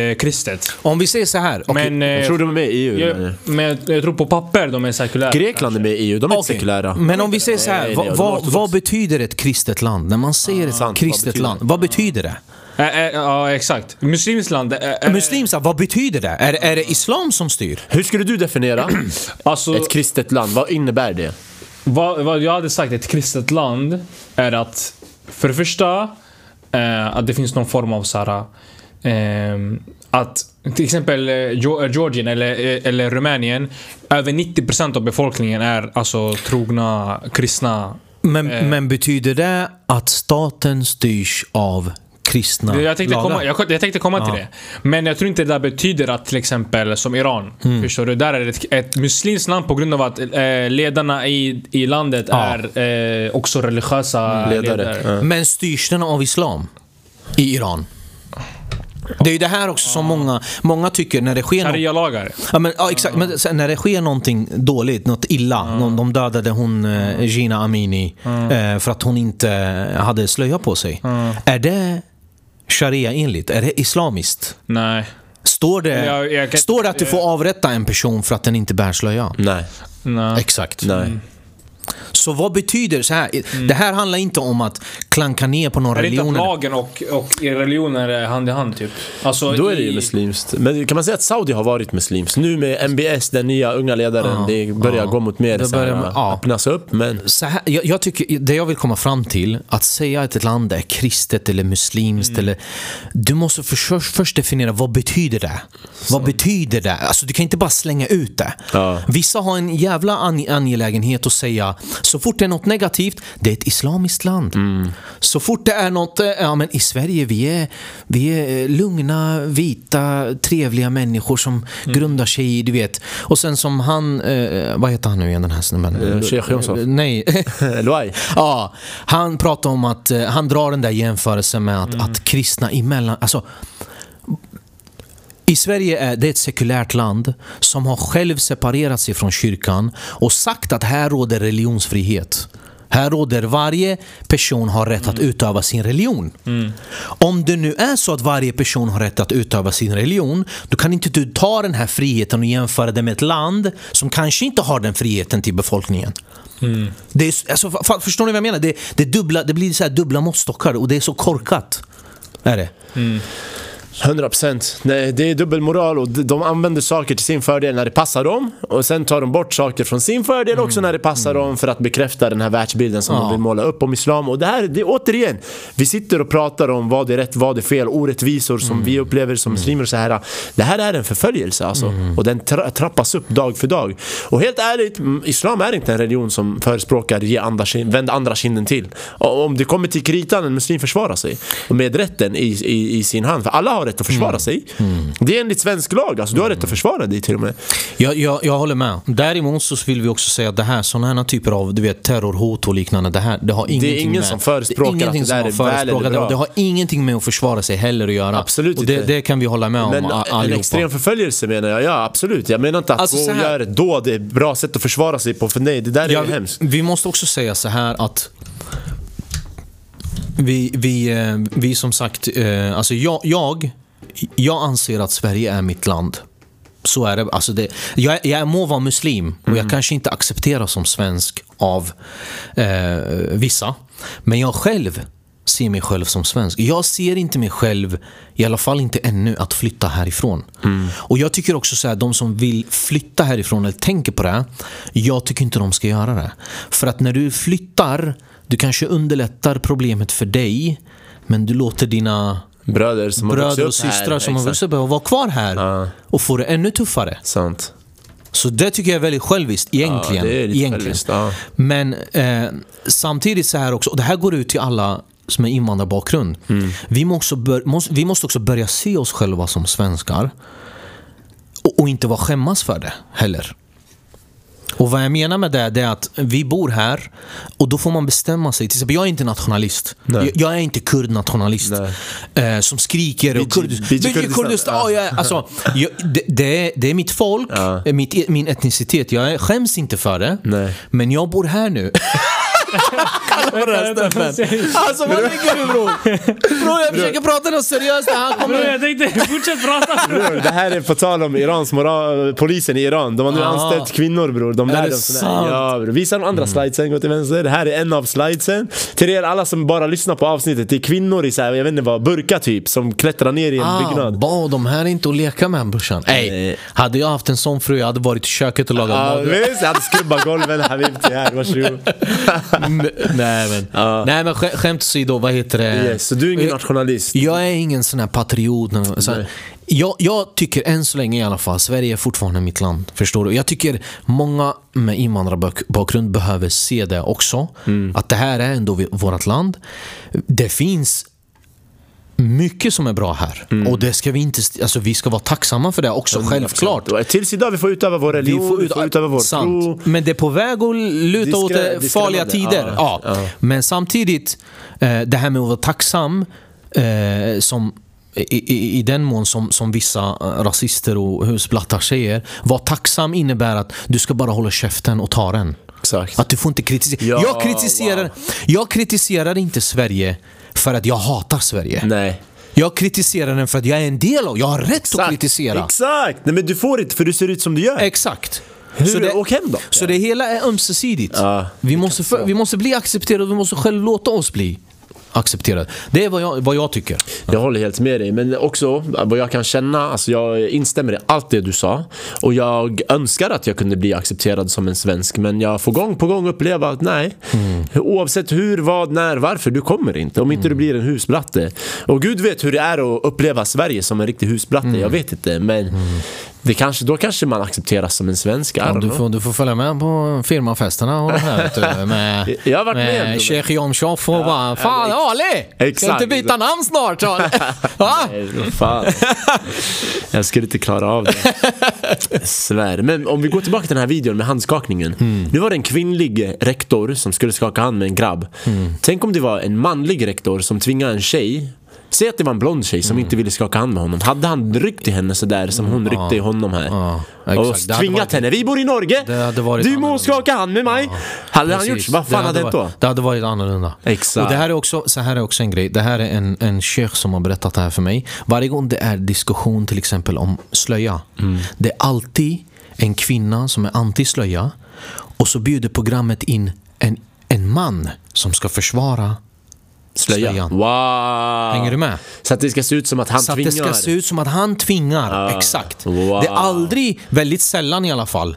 jättekristet.
Om vi säger så här, okej,
Men, eh,
Jag tror de är med i EU.
jag, men jag tror på papper de är sekulära.
Grekland är med i EU, de är inte
Okej,
sekulära.
Men om vi säger så
Nej,
här,
nej,
vad,
de är
vad,
ortodoxa.
vad betyder ett kristet land? När man säger ett
Ah. sant, vad
kristet
betyder
land,
det?
vad betyder det?
Ä- ä- Eh, Ja, exakt. Muslimskt land. eh, ä- ä-
Äh, Muslimsa, vad betyder det? Är, är det islam som styr?
Hur skulle du definiera
Alltså,
ett kristet land? Vad innebär det?
vad, vad jag hade sagt ett kristet land är att för det första eh, att det finns någon form av så här, eh, att till exempel eh, Geo- eh, Georgien eller, eh, eller Rumänien över 90% av befolkningen är alltså trogna kristna.
Men,
Eh.
men betyder det att staten styrs av kristna
Jag tänkte
lagar?
komma, jag, jag tänkte komma till det. Men jag tror inte det där betyder att till exempel som Iran.
Mm.
Förstår du? Där är det ett, ett muslimskt land på grund av att eh, ledarna i, i landet är eh, också religiösa
Mm. Ledare.
ledare.
Men styrs den av islam i Iran? Det är ju det här också som många, många tycker när det sker något-
Sharia-lagar.
Ja, men, ja, exakt. Men sen när det sker någonting dåligt, något illa.
Mm.
Någon, de dödade hon eh, Gina Amini eh, för att hon inte hade slöja på sig.
Mm.
Är det sharia-enligt? Är det islamiskt?
Nej.
Står det,
Jag- jag kan- Eh. Mm.
står det att du får avrätta en person för att den inte bär slöja?
Nej.
Nej.
Exakt.
Nej.
Så vad betyder så här? Det här handlar inte om att klanka ner på någon
Mm. Är det inte
religion.
att lagen och, och religionen är hand i hand typ? Alltså,
Då är det ju
i-
muslimskt. Men kan man säga att Saudi har varit muslimskt? Nu med MBS, den nya unga ledaren, det börjar
ja.
gå mot mer
Det
så
börjar-
här,
ja.
öppnas upp. Men
så här, jag, jag tycker, det jag vill komma fram till, att säga att ett land är kristet eller
Mm.
muslimskt eller... Du måste först, först definiera vad betyder det? Vad betyder det? Alltså du kan inte bara slänga ut det.
Ja.
Vissa har en jävla an, angelägenhet att säga, så fort det är något negativt, det är ett islamiskt land. Så fort det är något, eh, ja men i Sverige vi är, vi är eh, lugna, vita, trevliga människor som
Mm.
grundar sig i, du vet. Och sen som han, eh, vad heter han nu igen den här snubben?
Eh, Sheikh Yusuf.
Nej.
Luai,
Ja, han pratar om att eh, han drar den där jämförelsen med att, att kristna emellan... Alltså, i Sverige är det ett sekulärt land som har själv separerat sig från kyrkan och sagt att här råder religionsfrihet. Här råder varje person har rätt att utöva sin religion. Om det nu är så att varje person har rätt att utöva sin religion, då kan inte du ta den här friheten och jämföra det med ett land som kanske inte har den friheten till befolkningen. Det är, alltså, fa- förstår ni vad jag menar? Det, det, är dubbla, det blir så här dubbla måttstockar och det är så korkat. Är det?
100 procent. Det är dubbelmoral och d- de använder saker till sin fördel när det passar dem och sen tar de bort saker från sin fördel också när det passar dem för att bekräfta den här världsbilden som de vill måla upp om islam. Och det här, det är återigen, vi sitter och pratar om vad är rätt, vad är fel, orättvisor som vi upplever som muslimer och så här. Det här är en förföljelse alltså
Mm.
och den tra- trappas upp dag för dag. Och helt ärligt, mm, islam är inte en religion som förespråkar ge andra, kin- vänd andra kinden till. Och om det kommer till kritan, en muslim försvarar sig och med rätten i, i, i sin hand. För alla har rätt att
Mm.
försvara sig. Det är enligt svensk lag, alltså, du har rätt att försvara dig till och med.
Jag, jag, jag håller med. Däremot så vill vi också säga att det här, sådana här typer av du vet, terrorhot och liknande, det här, det har
är
ingenting
ingen
med,
som förespråkar
det är ingenting
att det där
som
är väl eller
förespråkar det,
bra.
och det har ingenting med att försvara sig heller att göra.
Absolut
och det,
inte.
det kan vi hålla med om
Men eh,
a-
en
allihopa.
extrem förföljelse menar jag, ja absolut. Jag menar inte att
Alltså,
gå
så
och
här-
göra ett dåd är ett bra sätt att försvara sig på, för nej, det där är
Ja,
ju hemskt.
vi, vi måste också säga så här att vi, vi, eh, vi som sagt, eh, alltså jag, jag, jag anser att Sverige är mitt land. Så är det. Alltså det jag, jag må vara muslim och
Mm.
jag kanske inte accepteras som svensk av eh, vissa. Men jag själv ser mig själv som svensk. Jag ser inte mig själv, i alla fall inte ännu, att flytta härifrån.
Mm.
Och jag tycker också så här, de som vill flytta härifrån eller tänker på det, här, jag tycker inte de ska göra det. För att när du flyttar, du kanske underlättar problemet för dig, men du låter dina
Bröder som har vuxit
bröder och
upp här,
systrar som har
exakt.
vuxit upp här vara kvar här och få det ännu tuffare.
Sant.
Så det tycker jag är väldigt själviskt egentligen.
det är lite
egentligen.
själviskt, ja.
Men eh, samtidigt så här också, och det här går ut till alla som är invandrarbakgrund.
Mm.
Vi, må också bör, måste, vi måste också börja se oss själva som svenskar. Och, och inte vara skämmas för det heller. Och vad jag menar med det, det är att vi bor här och då får man bestämma sig. Till exempel, jag är inte nationalist. Jag, jag är inte kurdnationalist. Eh, som skriker och kurd...
BG
BG
Kurdistan.
Kurdistan, ja, jag är- alltså, jag, det, det, är, det är mitt folk, eh, mitt, min etnicitet. Jag är- skäms inte för det.
Nej.
Men jag bor här nu.
Vänta, vänta.
Alltså vad tänker du bror? Bror jag försöker prata något seriöst när han
Bror,
kommer.
Jag tänkte, fortsätt prata. bror.
Bror, det här är på tal om Irans moral, polisen i Iran. De har nu
Ah.
anställt kvinnor bror. De lär
det
dem sådär.
sant? Mm.
Ja, bror. Visa de andra slidesen, gå till vänster. Det här är en av slidesen. Till er alla som bara lyssnar på avsnittet, det är kvinnor i så här, jag vet inte vad, burka typ, som klättrar ner i en
Ah,
byggnad.
ba, de här är inte att leka med brorsan. Ey,
Nej.
hade jag haft en sån fru jag hade varit i köket och lagat
Ja
mat.
visst, jag hade skrubbat golven habibti här, varsågod.
Mm, Nej men, Nej, men sk- skämt åsido, vad heter det?
Yes, så du är ingen nationalist?
Jag är ingen sån här patriot. någon- Så här, jag, jag tycker än så länge i alla fall, Sverige är fortfarande mitt land. Förstår du? Jag tycker många med invandrarbakgrund behöver se det också.
Mm.
Att det här är ändå vi- vårt land. Det finns mycket som är bra här.
Mm.
Och det ska vi inte... st- Alltså vi ska vara tacksamma för det också, självklart.
Tills idag vi får utöva vår religion, vi får, utöva vår
Sant.
tro.
Men det är på väg att luta åt
Diskre-
eh, farliga
diskriminande.
tider. Ja. Men samtidigt, eh, det här med att vara tacksam eh, som i, i, I den mån som, som vissa eh, rasister och husblattar säger. Var tacksam innebär att du ska bara hålla käften och ta den.
Exakt.
Att du får inte kritisera.
Ja,
jag, kritiserar,
wow.
jag kritiserar inte Sverige för att jag hatar Sverige.
Nej.
Jag kritiserar den för att jag är en del av Jag har rätt att
Exakt.
kritisera.
Exakt! Nej men du får inte för du ser ut som du gör.
Exakt.
Hur- åk hem då.
Så det hela är ömsesidigt. vi, måste för, vi måste bli accepterade och vi måste själv låta oss bli accepterade. Det är vad jag, vad jag tycker.
Jag håller helt med dig, men också vad jag kan känna, alltså jag instämmer i allt det du sa och jag önskar att jag kunde bli accepterad som en svensk men jag får gång på gång uppleva att nej, oavsett hur, vad, när, varför, du kommer inte om inte du blir en husblatte. Och gud vet hur det är att uppleva Sverige som en riktig husblatte, jag vet inte men det kanske, då kanske man accepteras som en svensk. I don't
Du
know.
får, du får följa med på firmafesterna och det här vet du, med,
Jag har varit med om det.
med Sheikh Jomshof och bara Fan Ali! Ska du
Exakt.
inte byta namn snart? sa han. Va?
Nej, vad fan. Jag skulle inte klara av det. Jag Svär. Men om vi går tillbaka till den här videon med handskakningen.
Mm.
Nu var det en kvinnlig rektor som skulle skaka hand med en grabb.
Mm.
Tänk om det var en manlig rektor som tvingade en tjej Säg att det var en blond tjej
Mm.
som inte ville skaka hand med honom. Hade han ryckt i henne sådär som hon ryckte i honom här?
Ja, exakt.
Och
Det hade
tvingat
varit-
henne. Vi bor i Norge!
Det hade varit
Du må
annorlunda."
skaka hand med mig! Hade han gjort
Precis.
så, vad fan hade hänt då?
varit, Det hade varit annorlunda.
Exakt.
Och det här är också, så här är också en grej. Det här är en, en sheikh som har berättat det här för mig. Varje gång det är diskussion till exempel om slöja.
Mm.
Det är alltid en kvinna som är anti-slöja och så bjuder programmet in en, en man som ska försvara
Slöja.
Slöjan.
Wow!
Hänger du med?
Så att det ska se ut som att han
Så att
tvingar.
det ska se ut som att han tvingar. Exakt.
Wow.
Det är aldrig, väldigt sällan i alla fall,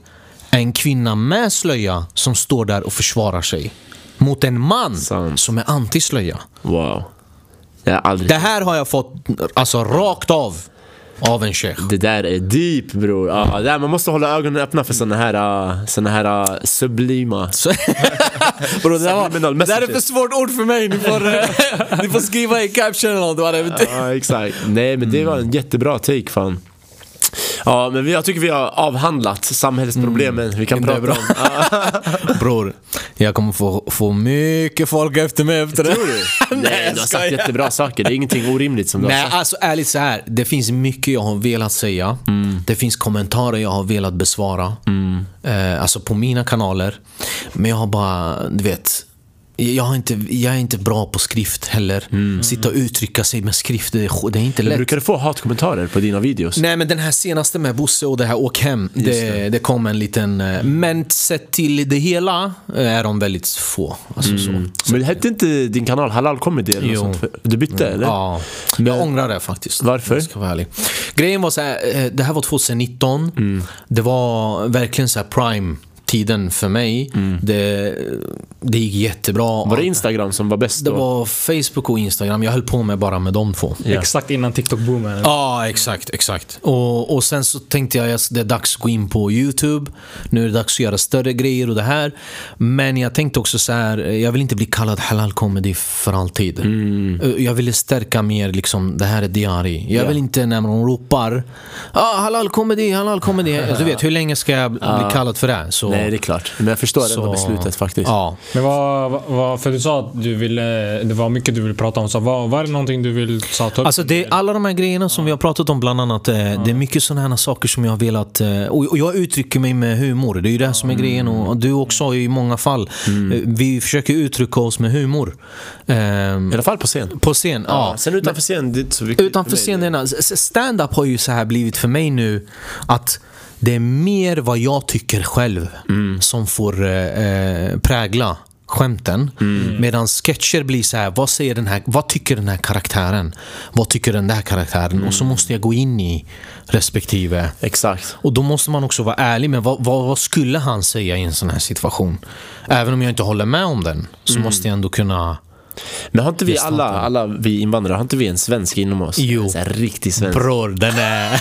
en kvinna med slöja som står där och försvarar sig. Mot en man
Sant.
som är anti-slöja.
Wow. Jag har aldrig...
Det här har jag fått alltså rakt av, av en sheikh.
Det där är deep bror. Ja, det där, man måste hålla ögonen öppna för såna här, ah, såna här ah, sublima.
Bro, det, där var,
Subliminal
det där är
messages.
för svårt ord för mig. Ni får, eh, ni får skriva i captionen eller något. vad det betyder.
Ja, exakt. Nej, men det var
Mm.
en jättebra take fan. Ja, men vi- jag tycker vi har avhandlat samhällsproblemen vi kan
Det är
prata
Mm. bra.
om. Ja.
Bror, jag kommer få, få mycket folk efter mig efter det. Tror du?
Nej, du har sagt jättebra saker. Det är ingenting orimligt som du har
Nej,
sagt.
alltså ärligt så här. Det finns mycket jag har velat säga. Det finns kommentarer jag har velat besvara. Eh, alltså på mina kanaler. Men jag har bara, du vet. Jag, har inte, jag är inte bra på skrift heller. Sitta och uttrycka sig med skrift, det är, sk- det är inte lätt.
Brukar du få hatkommentarer på dina videos?
Nej men den här senaste med Bosse och det här Åk hem. Det, det. kom en liten... eh, Men sett till det hela eh, är de väldigt få. Alltså, så.
Men hette inte din kanal Halal Comedy eller något
Jo. Mm.
sånt? Du bytte eller?
Ja, jag ångrar det faktiskt.
Varför?
Jag ska vara ärlig. Grejen var så här, eh, det här var 2019.
Mm.
Det var verkligen så här prime tiden för mig. Det, det gick jättebra.
Mm. Var det Instagram som var bäst
Det
då?
var Facebook och Instagram. Jag höll på med bara med de två.
Ja.
Exakt innan TikTok-boomen.
Ja, exakt, exakt. Och, och sen så tänkte jag att det är dags att gå in på YouTube. Nu är det dags att göra större grejer och det här. Men jag tänkte också så här, eh, jag vill inte bli kallad halal comedy för alltid.
Mm.
Eh, Jag ville stärka mer liksom, det här är diari. Jag vill inte när man ropar, ah, halal comedy, halal comedy. Alltså, Du vet, hur länge ska jag bli kallad för det? Så,
Nej, det är klart. Men jag förstår ändå beslutet faktiskt.
Ja.
Men vad, vad- vad, för du sa att du ville, det var mycket du ville prata om. Så vad, vad är det någonting du vill så, ta upp?
Alltså det, alla de här grejerna som vi har pratat om bland annat. eh, Det är mycket sådana här saker som jag har velat... eh, Och och jag uttrycker mig med humor. Det är ju det här som är grejen. Och du också i många fall. Eh, Vi försöker uttrycka oss med humor. Ehm,
I alla fall på scen.
På scen, ja.
Ja, sen utanför scen, det är inte så viktigt
Utanför
för mig.
scenen, alltså, s- stand-up har ju så här blivit för mig nu att det är mer vad jag tycker själv
Mm.
som får eh, eh, prägla skämten.
Mm.
Medan sketcher blir så här, vad, säger den här, vad tycker den här karaktären? Vad tycker den där karaktären? Och
Mm.
så måste jag gå in i respektive.
Exakt.
Och då måste man också vara ärlig med vad, vad, vad skulle han säga i en sån här situation? Även om jag inte håller med om den så
Mm.
måste jag ändå kunna
Men har inte vi
Just
alla,
något.
alla vi invandrare, har inte vi en svensk inom oss?
Jo.
En sån här riktig svensk.
Bror, den är...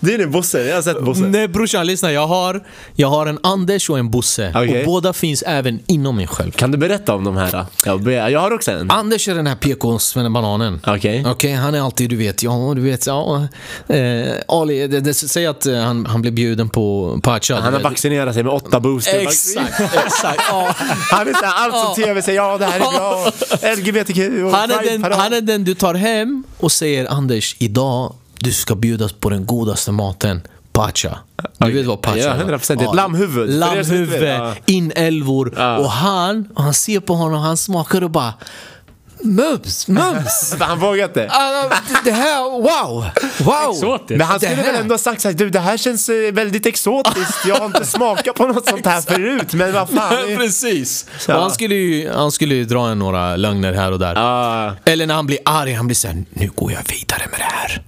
Det är din Bosse, jag har sett Bosse.
Nej brorsan, lyssna. Jag har, jag har en Anders och en Bosse.
Okej.
Och båda finns även inom mig själv.
Kan du berätta om de här? äh, Jag, be- jag har också en.
Anders är den här PK bananen
Ah. Okej.
han är alltid, du vet, ja, du vet, ja. Eh, Ali, det, det, säg att eh, han, han blev bjuden på Pacha.
Han har vaccinerat sig med åtta booster.
Exakt, exakt. Ja.
Han är såhär, allt som tv säger ja det här är bra, LGBTQ och
Han, är den,
Pride-parad.
han är den du tar hem och säger Anders, idag du ska bjudas på den godaste maten. Pacha. Du vet vad pacha
Ja,
är, va?
100%. Det är ett lammhuvud. För er som inte vet,
Lammhuvud,
ja.
inälvor.
Ja.
Och han, och han ser på honom, han smakar och bara Mums, mums!
han vågar inte.
Ah, det här, wow! Wow!
Exotiskt.
Men han
Det
skulle väl
här-
ändå ha sagt såhär, du det här känns eh, väldigt exotiskt, jag har inte smakat på något sånt här förut, men vad fan.
Precis!
Ja.
Och han skulle ju, han skulle ju dra en några lögner här och där.
Ah.
Eller när han blir arg, han blir såhär, nu går jag vidare med det här.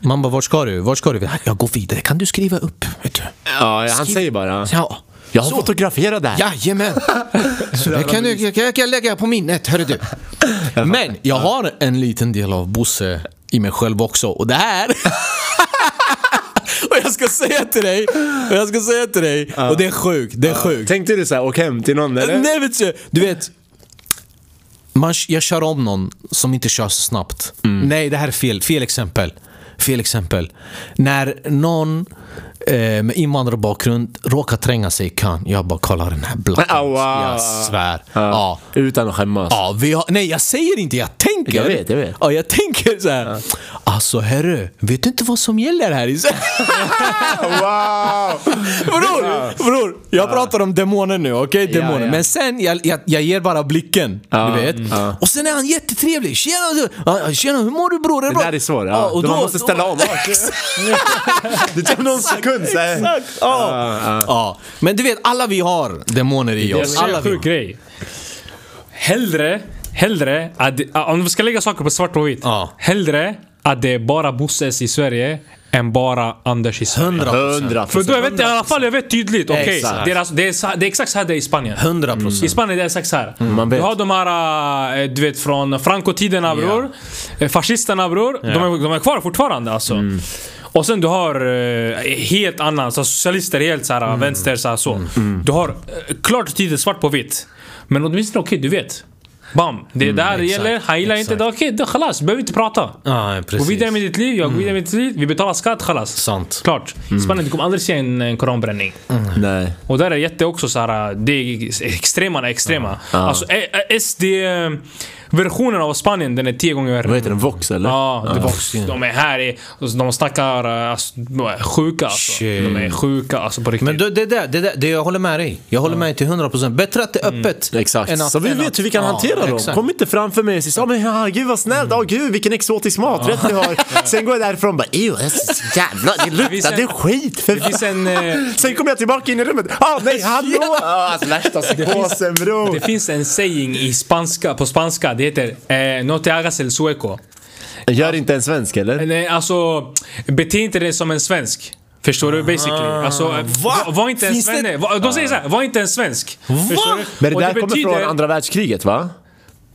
Man bara, vart ska du? Vart ska du? Jag går vidare, kan du skriva upp? Vet du?
Ja, han
Skriv-
säger bara.
Ja.
Jag har
Så.
fotograferat det här.
Jajamän! Så det kan, du, kan, kan jag lägga på minnet, hörru du. Men jag har en liten del av Bosse i mig själv också och det här Och jag ska säga till dig, och jag ska säga till dig, och det är sjukt, det är sjukt.
Tänkte du såhär, åk hem till någon eller?
Nej vet du, du vet. Man, jag kör om någon som inte kör så snabbt.
Mm.
Nej, det här är fel. Fel exempel. Fel exempel. När någon eh, med invandrarbakgrund råkar tränga sig i kön. Jag bara kollar den här blacken.
Ah, wow.
Jag svär. Ja.
Utan att skämmas.
Ja, vi har, nej, jag säger inte, jag tänker.
Jag vet, jag vet.
Ja, jag tänker så här. Alltså herre, vet du inte vad som gäller här i Sverige?
Ah, Wow!
Bror, bror, jag pratar om demoner nu, okej? Demoner.
ja.
Men sen, jag, jag, jag ger bara blicken. du vet. Och sen är han jättetrevlig. Tjena, du. Ja, tjena hur mår du bror? Är det
Det där är svårt, ja.
och
Då man måste ställa om. Det tog någon sekund såhär.
Exakt! Ja. Ja. Men du vet, alla vi har demoner i
jag
oss.
ser
Alla
en
vi
sjuk
har.
grej. Hellre, hellre att, det- ah, om vi ska lägga saker på svart och vitt.
Ja.
Hellre att det är bara Bosses i Sverige än bara Anders i Sverige.
100 procent.
100
För då jag vet i alla fall, jag vet tydligt. Okej,
Exakt.
det, är alltså, det, är, så- det är exakt så här det är i Spanien.
100
I
Mm.
procent. Mm.
Spanien det är exakt så här.
man vet.
Du har de här, eh, du vet från Franco-tiderna bror. Eh, Fascisterna bror. De, är, de är kvar fortfarande alltså.
Mm.
Och sen du har eh, helt annan, så socialister helt så här,
Mm.
vänster så, här, så. Du har eh, klart och tydligt svart på vitt. Men åtminstone okej, du vet. Bam! Det är där det
Mm, exakt,
gäller, han gillar inte det, okej, då khalas, behöver inte prata.
Ja, precis. Mm.
Gå vidare med ditt liv, jag går vidare med ditt liv. Vi betalar skatt, khalas.
Sant. Mm.
Klart. I Spanien, du kommer aldrig se en, en koranbränning.
Nej.
Och där är jätte också så här, det är extrema, extrema. Alltså ä- ä- SD eh, versionen av Spanien den är tio gånger
Vad
värre.
heter den? Vox eller?
Ja, det var, de är här, i, alltså, de snackar eh, alltså, de är sjuka alltså.
Shit.
De är sjuka alltså på riktigt.
Men det, det, där, det, där, det jag håller med dig. Jag håller med dig till 100 procent. Bättre att det är öppet.
Mm. Exakt.
än att-
så vi
än
vet
att-
hur vi kan
ja,
hantera dem.
exakt.
Kom inte framför mig och säg oh, men ja, gud vad snällt, åh gud vilken exotisk maträtt ni har. Sen går jag därifrån och bara ew, det är så jävla, det luktade
en-
skit för
Det finns en, eh,
Sen kommer jag tillbaka in i rummet, ah nej hallå! Ja, alltså värsta psykosen bror.
det finns en saying i spanska, på spanska, det heter eh, No te hagas el sueco.
Gör inte en svensk eller?
Nej, alltså bete inte dig som en svensk. Förstår du? Basically. Alltså,
Ah.
var, var inte en
Finns det-
svenne. Va? De säger såhär, var inte en svensk. Förstår du?
Men det
Och
där kommer från andra världskriget va?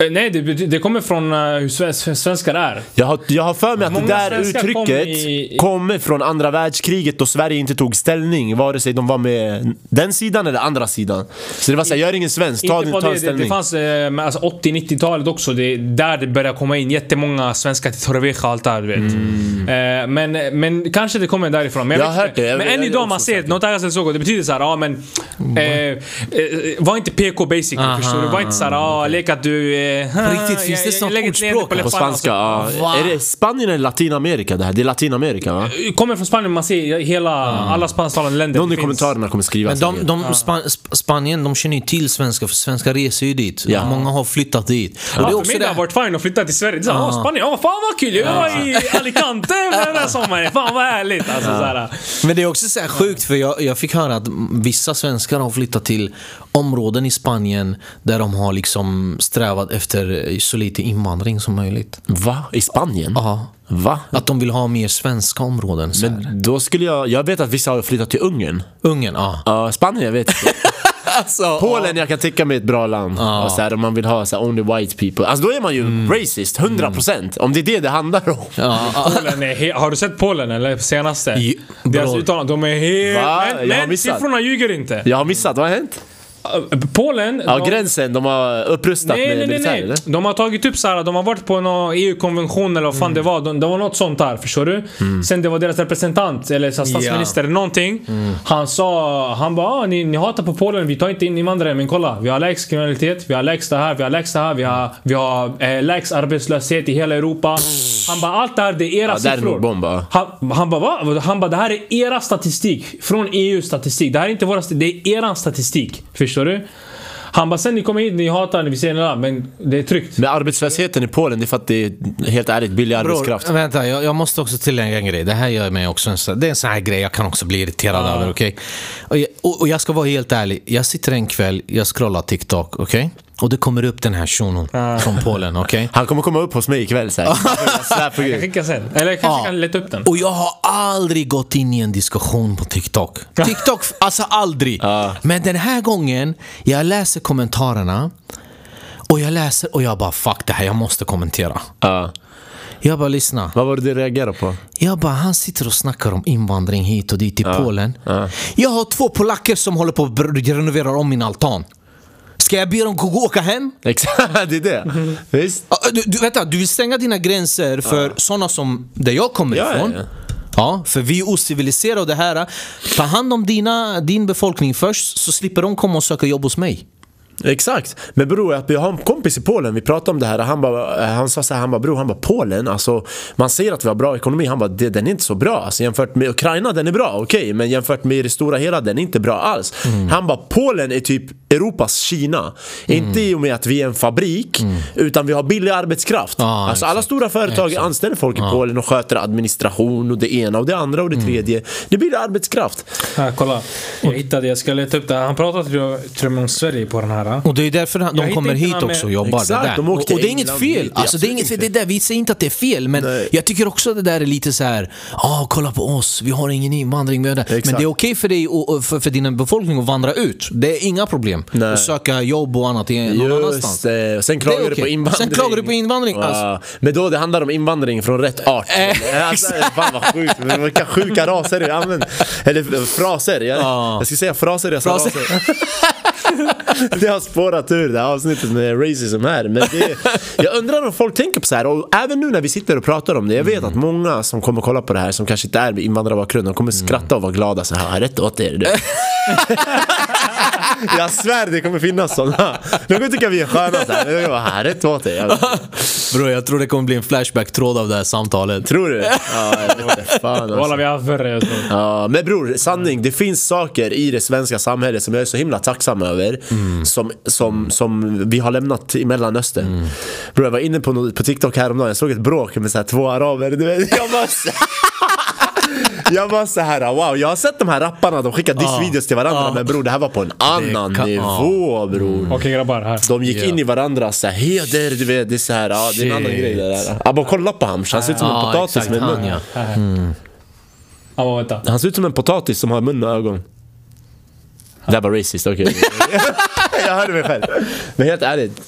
Eh, Nej, det, bety- det kommer från eh, hur sven- svenskar är.
Jag har, jag har för mig att
Många
det där
svenskar kom
uttrycket
i- i-
kommer från andra världskriget då Sverige inte tog ställning vare sig de var med den sidan eller andra sidan. Så det var såhär, gör ingen svensk, ta,
Inte bara
ta en
det, det, det
ställning.
fanns eh, men alltså 80-90-talet också, det är där det började komma in jättemånga svenskar till Torrevieja och allt det här, du vet. Eh, men, men kanske det kommer därifrån. Men
Mm. Jag har
vet
hört det. Jag-
Men
jag-
än
jag är
idag man
också Mm.
ser något annat än så, det betyder såhär, ja men... Eh, eh, var inte PK basic, förstår du? Var inte såhär, ja lek att du... Eh,
På riktigt, finns det sånt
lägger ett leende
ordspråk
På
läpparna,
spanska,
alltså.
ja.
Va?
Är det Spanien eller Latinamerika det här? Det är Latinamerika va?
Kommer från Spanien, man ser hela, alla spansktalande länder.
Mm. Någon
det
i
finns.
kommentarerna kommer skriva
Men de,
säkert.
de, Span- Sp- Spanien, de känner ju till svenskar för svenskar reser ju dit.
Ja.
Många har flyttat dit. Och
Ja,
det är
för
också
mig det
det
har varit fine att flytta till Sverige. Det är ah. Spanien, ja fan vad kul! Jag var i Alicante den här sommaren. Fan vad härligt! Alltså, såhär.
Men det är också så här sjukt för jag, jag fick höra att vissa svenskar har flyttat till områden i Spanien där de har liksom strävat efter så lite invandring som möjligt.
Va? I Spanien?
Ja.
Va?
Att de vill ha mer svenska områden. Så här.
Men då skulle jag, jag vet att vissa har flyttat till Ungern.
Ungern, ja.
Ja, Spanien jag vet inte.
Alltså,
Polen jag kan tycka mig är ett bra land.
Ja.
Och så här, om man vill ha så här, only white people. Alltså då är man ju racist, 100%. Om det är det det handlar om.
Ja, ja.
Polen är he- har du sett Polen eller? Senaste?
Ja,
Deras
bror.
uttalanden, de är helt...
Va? Jag har
Men, men
missat.
siffrorna ljuger inte.
Jag har missat, vad har hänt?
Äh, Polen...
Ja,
de-
gränsen, de har upprustat
Nej,
med
nej, nej,
militär
nej.
eller?
De har tagit upp såhär, de har varit på någon EU-konvention eller vad fan
Mm.
det var. De, det var något sånt där, förstår du? Sen det var deras representant, eller så här statsminister eller någonting.
Mm.
Han sa, han bara ah, ni, ni hatar på Polen, vi tar inte in invandrare men kolla. Vi har lägst kriminalitet, vi har lägst det här, vi har lägst det här, vi har, vi har eh, lägst arbetslöshet i hela Europa. Han bara allt det här det är era
Ja, där är
siffror.
nog bomba.
Han, han bara va? Han bara det här är era statistik. Från EU statistik. Det här är inte våra statistik. Det är eran statistik. Förstår du? Han bara sen ni kommer hit, ni hatar, vi ser det men det är tryggt.
Men arbetslösheten i Polen, det är för att det är helt ärligt billig arbetskraft.
Bror, vänta, jag, jag måste också tillägga en grej. Det här gör mig också en sån, Det är en sån här grej jag kan också bli irriterad över. okej? Och, jag, och, och jag ska vara helt ärlig. Jag sitter en kväll, jag scrollar TikTok, okej? Och det kommer upp den här shunon från Polen, okej?
Han kommer komma upp hos mig ikväll så här. Jag svär på
Jag
gud.
skickar sen. Eller kanske
Ja.
kan leta upp den.
Och jag har aldrig gått in i en diskussion på TikTok. TikTok, alltså aldrig. Men den här gången, jag läser kommentarerna och jag läser och jag bara fuck det här, jag måste kommentera.
Ja.
Jag bara lyssna.
Vad var det du reagerade på?
Jag bara, han sitter och snackar om invandring hit och dit i Polen. Jag har två polacker som håller på att br- renovera om min altan. Ska jag be dem gå åka hem?
Exakt, det är det. Visst?
Ah, Du, du, vänta, du vill stänga dina gränser för sådana som där jag kommer
Ja,
ifrån.
ja,
Ja,
ja.
för vi är ociviliserade och det här. Ta hand om dina, din befolkning först så slipper de komma och söka jobb hos mig.
Exakt. Men bror, att jag har en kompis i Polen, vi pratade om det här och han, bara, eh, han sa så här, han bara bror, han bara Polen, alltså man säger att vi har bra ekonomi, han bara "Det- den är inte så bra. Alltså, jämfört med Ukraina, den är bra, okej, men jämfört med det stora hela, den är inte bra alls. Han bara Polen är typ Europas Kina. Inte i och med att vi är en fabrik, utan vi har billig arbetskraft.
Ja,
alltså alla stora företag anställer folk i Polen och sköter administration och det ena och det andra och det tredje. Det blir arbetskraft.
Här, kolla. Jag hittade, jag ska leta upp det. Han pratade till, till och med om Sverige på den här. göra.
Och det är därför han-
Jag
de
hittar
kommer
inte
hit
några
också och
mer-
jobbar
Exakt,
det där.
de åkte
och, och det är
till
inget
England
fel.
dit,
Alltså, det är
absolut
inget fel. Det är
inte.
där, vi säger inte att det är fel, men
Nej.
jag tycker också att det där är lite så här. ah, kolla på oss, vi har ingen invandring. Vi har det. Men det är okej för dig och, och för, för din befolkning att vandra ut. Det är inga problem.
Nej.
Och söka jobb och annat i- någon annanstans.
Just det, och sen klagar
Det är
du på
okej.
invandring.
Sen klagar du på invandring,
Ja,
alltså.
Men då det handlar om invandring från rätt art.
Eh,
alltså, fan vad sjukt, men vilka sjuka raser du använder. Eller eh, fraser, jag,
Ja.
jag ska säga fraser, jag sa
Fraser.
raser. Det har spårat ur det här avsnittet med racism här. Men det, jag undrar om folk tänker på så här, och även nu när vi sitter och pratar om det. Jag vet att många som kommer kolla på det här, som kanske inte är med invandrarbakgrund, de kommer skratta och vara glada så här, rätt åt er. Du. Jag svär det kommer finnas sådana. De kommer tycka vi är sköna så här. men jag bara, "Ah, Rätt åt dig. Jag bara,
Bro, jag tror det kommer bli en flashback-tråd av det här samtalet.
Tror du? Ja, jag vet inte. Fan
Walla,
alltså.
vi har haft värre. jag tror.
Ja, men bror, sanning. Det finns saker i det svenska samhället som jag är så himla tacksam över. Som, som, som vi har lämnat i Mellanöstern. Bror, jag var inne på, något- på TikTok häromdagen. Jag såg ett bråk med så här, två araber. Du vet, jag bara så- Jag bara så här, wow, jag har sett de här rapparna, de skickar diss-videos till varandra men bror det här var på en annan
kan- ja. Mm.
nivå bror
Okej grabbar, här.
De gick in i varandra såhär, heder, du vet, det är såhär, ja det är en annan
Shit.
grej det där. Abba kolla på han, han ser ut som en
Ja,
potatis med
han,
mun.
ja.
Här. Han bara vänta.
Han ser ut som en potatis som har mun och ögon. Det här var racist, okej. Jag hörde mig själv. Men helt ärligt.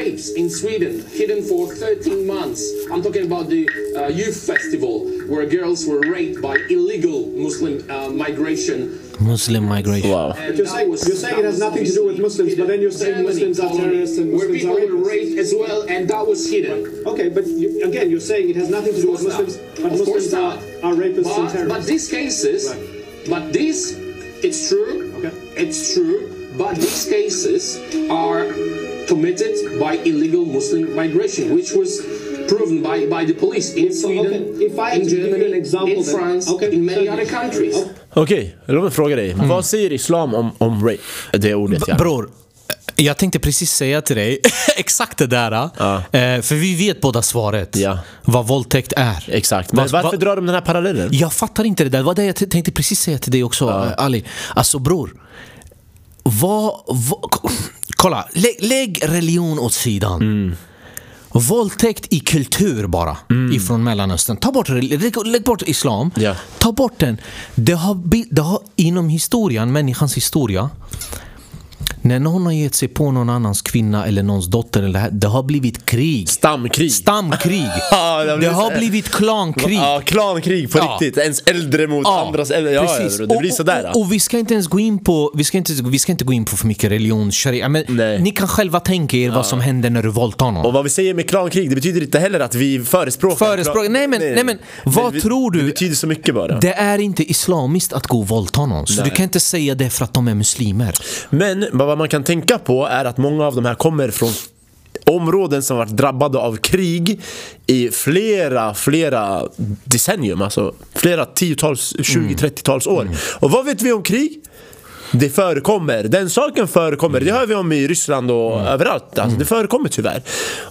rapes in Sweden, hidden for 13 months. I'm talking about the uh, youth festival where girls were raped by illegal Muslim uh, migration.
Muslim migration.
Wow.
And
You're
that
saying-
was-
you're saying
that
it has
was
nothing to do with
obviously
Muslims, but then you're saying
Germany
Muslims are
colony,
terrorists and
where
Muslims are
people were
rapists.
raped as well, and that was hidden.
Okay, but you, again, you're saying it has nothing to do with
Of course
Muslims,
not.
but
Of course
Muslims are,
not.
are rapists and
But, but
terrorists.
these cases,
Right.
but these, it's true,
Okay.
it's true, but these cases are committed by illegal Muslim migration, which was proven by, by the police in Sweden,
okay, if I had
in
to give you an
Germany,
example
in
then-
France,
okay,
in many
tell me.
other countries.
Oh.
Okej, låt mig fråga dig.
Mm.
Vad säger islam om, om rape? Det ordet ja.
Bror, jag tänkte precis säga till dig exakt det där. Eh, för vi vet båda svaret.
Ja.
Vad våldtäkt är.
Exakt. Men
Vad-
varför
vad-
drar de den här parallellen?
Jag fattar inte det där. Det var det jag t- tänkte precis säga till dig också, eh, Ali. Alltså bror. Vad... vad k- kolla, lägg, lägg religion åt sidan.
Mm.
Våldtäkt i kultur bara, ifrån Mellanöstern. Ta bort, reli- lägg, lägg bort islam.
Ja.
Ta bort den. Det har, bi- det har inom historien, människans historia, när någon har gett sig på någon annans kvinna eller någons dotter, eller det, här, det har blivit krig.
Stamkrig.
Stamkrig.
Ja, det har
det
blivit-
har blivit klankrig.
Ja, klankrig på
Ja.
riktigt. Ens äldre mot andras äldre. Ja,
precis.
ja, det blir
Och-
sådär.
Och, och, vi ska inte ens gå in på, vi ska inte, vi ska inte gå in på för mycket religion, sharia. Men
Nej.
ni kan själva tänka er vad som händer när du våldtar någon.
Och vad vi säger med klankrig, det betyder inte heller att vi förespråkar...
Förespråkar- nej, men- nej, men vad
det,
tror du-
Det betyder så mycket bara.
Det är inte islamiskt att gå och våldta någon, så
Nej.
du kan inte säga det för att de är muslimer.
Men vad man kan tänka på är att många av de här kommer från områden som varit drabbade av krig i flera, flera decennium. Alltså flera tiotals, 20-30-tals år. Och vad vet vi om krig? Det förekommer, den saken förekommer. Det hör vi om i Ryssland och överallt. Alltså, Det förekommer tyvärr.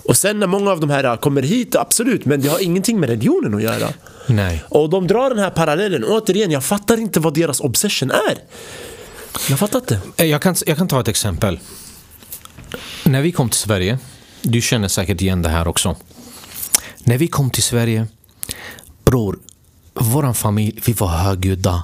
Och sen när många av de här kommer hit, absolut, men det har ingenting med religionen att göra.
Nej.
Och de drar den här parallellen. Återigen, jag fattar inte vad deras obsession är. Jag fattar inte.
Eh, Jag kan, jag kan ta ett exempel. När vi kom till Sverige, du känner säkert igen det här också. När vi kom till Sverige, bror, vår familj, vi var högljudda.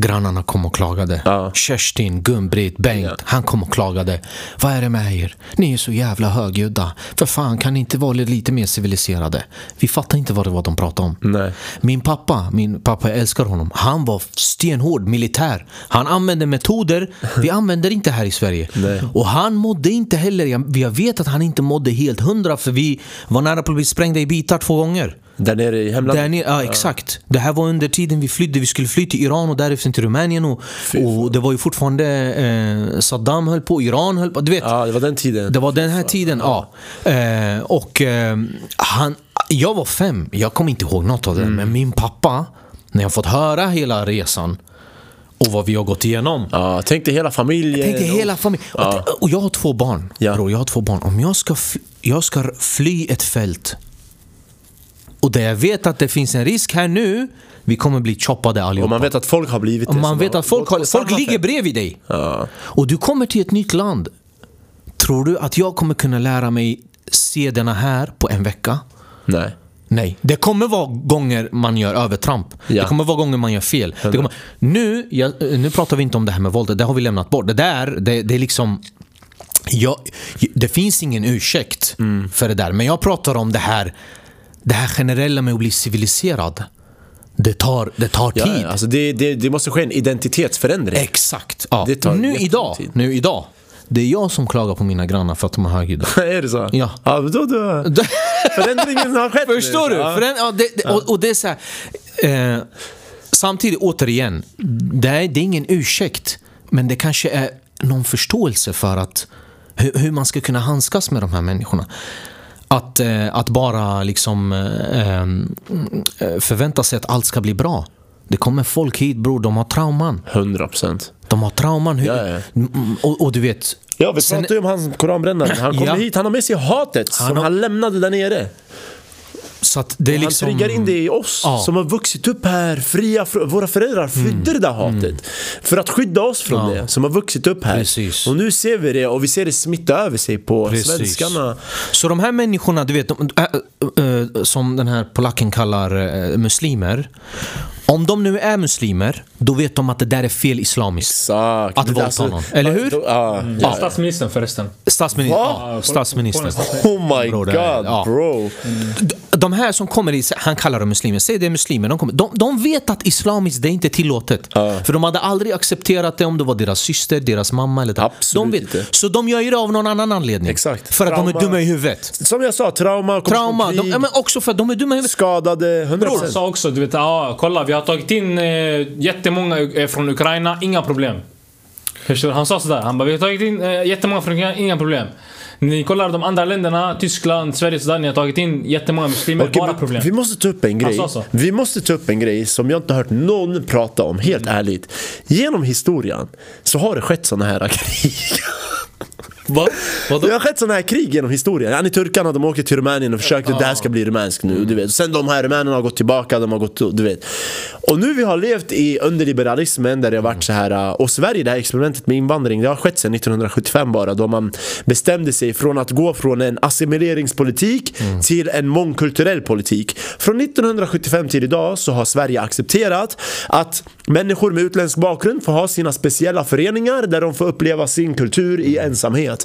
Grannarna kom och klagade.
Ja.
Kerstin, Gun-Britt, Bengt, han kom och klagade. Vad är det med er? Ni är så jävla högljudda. För fan, kan ni inte vara lite mer civiliserade? Vi fattar inte vad det var de pratade om.
Nej.
Min pappa, min pappa jag älskar honom, han var stenhård militär. Han använde metoder vi använder inte här i Sverige. Och han mådde inte heller, jag, jag vet att han inte mådde helt hundra för vi var nära på att bli sprängda i bitar två gånger.
Där nere i hemlandet?
Där nere, ja, exakt. Det här var under tiden vi flydde. Vi skulle fly till Iran och därefter till Rumänien. Och, och det var ju fortfarande eh, Saddam höll på, Iran höll på. Du vet,
Ja, det var den tiden.
det var den här tiden, ja. Eh, och eh, han, jag var fem, jag kommer inte ihåg något av det. Men min pappa, när jag fått höra hela resan och vad vi har gått igenom.
Ja, tänk dig hela familjen.
Jag tänkte hela familjen.
Ja.
Och, och jag har två barn.
Ja.
Bror, jag har två barn. Om jag ska, fly, jag ska fly ett fält och där jag vet att det finns en risk här nu, vi kommer bli choppade allihopa.
Och man vet att folk har blivit det.
Om man
som
vet
har
att folk,
gått på
har, folk
samma
ligger
fält.
bredvid dig. Och du kommer till ett nytt land. Tror du att jag kommer kunna lära mig se denna här på en vecka?
Nej.
Nej. Det kommer vara gånger man gör övertramp.
Ja.
Det kommer vara gånger man gör fel. Det kommer, nu, jag, nu pratar vi inte om det här med våldet, det har vi lämnat bort. Det där, det, det är liksom... Jag, det finns ingen ursäkt
Mm.
för det där. Men jag pratar om det här, det här generella med att bli civiliserad. Det tar, det tar tid.
Ja, ja, alltså det, det, det måste ske en identitetsförändring.
Exakt. Ja.
Det tar
nu,
jättelång
idag,
tid.
nu idag, det är jag som klagar på mina grannar för att de är högljudda.
är det så?
Ja.
ja men då, då. Förändringen har skett nu.
Förstår du?
Ja.
För den, ja, det, det, och, och det är så här, eh, Samtidigt, återigen, det är, det är ingen ursäkt. Men det kanske är någon förståelse för att hur, hur man ska kunna handskas med de här människorna. Att, eh, att bara liksom eh, eh, förvänta sig att allt ska bli bra. Det kommer folk hit bror, de har trauman.
100 procent.
De har trauman. Hur,
Ja, ja.
Mm, Och, och du vet,
Ja, vi pratade ju om han koranbrännaren. Han kommer
Ja.
hit, han har med sig hatet som
har-
han lämnade där nere.
så att det är
Han
liksom...
triggar in det i oss
Ja. Mm.
som har vuxit upp här, fria fr- våra föräldrar flydde det där hatet. För att skydda oss från
Ja.
det, som har vuxit upp här.
Precis.
Och nu ser vi det och vi ser det smitta över sig på
Precis.
svenskarna.
Så de här människorna, du vet, de, äh, äh, som den här polacken kallar äh, muslimer. Om de nu är muslimer, då vet de att det där är fel islamiskt.
Exakt.
Att
Men
våldta
alltså-
någon. Eller hur?
Då- ja.
Ja. Statsministern förresten.
Statsminister,
Va?
ja, statsministern.
Oh my
Bro,
god
det är- ja.
bro.
D- De här som kommer, i- han kallar dem muslimer, säg det är muslimer. De, kommer, de, de vet att islamiskt, det är inte tillåtet. För de hade aldrig accepterat det om det var deras syster, deras mamma eller
Absolut
de vet.
inte.
Så de gör ju det av någon annan anledning.
Exakt.
För att de
Trauma.
är dumma i huvudet.
Som jag sa, trauma, kommer
Trauma,
från
de,
krig,
ja, men också för att de är dumma i huvudet.
skadade, 100%.
Bror sa också, du vet, ja kolla vi har tagit in eh, jättemånga eh, från Ukraina, inga problem. Förstår du? Han sa sådär, han bara vi har tagit in eh, jättemånga från Ukraina, inga problem. Ni kollar de andra länderna, Tyskland, Sverige sådär, ni har tagit in jättemånga muslimer,
Okej,
bara
men
problem. Alltså,
Vi måste ta upp en grej.
sa så.
Vi måste ta upp en grej som jag inte hört någon prata om, helt
Mm.
ärligt. Genom historien så har det skett såna här krig.
Va? Vadå?
Det har skett såna här krig genom historien. Ja, ni turkarna de åker till Rumänien och försökte det här ska bli rumänskt nu. Du vet. Sen de här rumänerna har gått tillbaka, de har gått, du vet. Och nu vi har levt i under liberalismen där det har varit så här äh, och Sverige det här experimentet med invandring det har skett sedan 1975 bara då man bestämde sig från att gå från en assimileringspolitik till en mångkulturell politik. Från 1975 till idag så har Sverige accepterat att människor med utländsk bakgrund får ha sina speciella föreningar där de får uppleva sin kultur i ensamhet.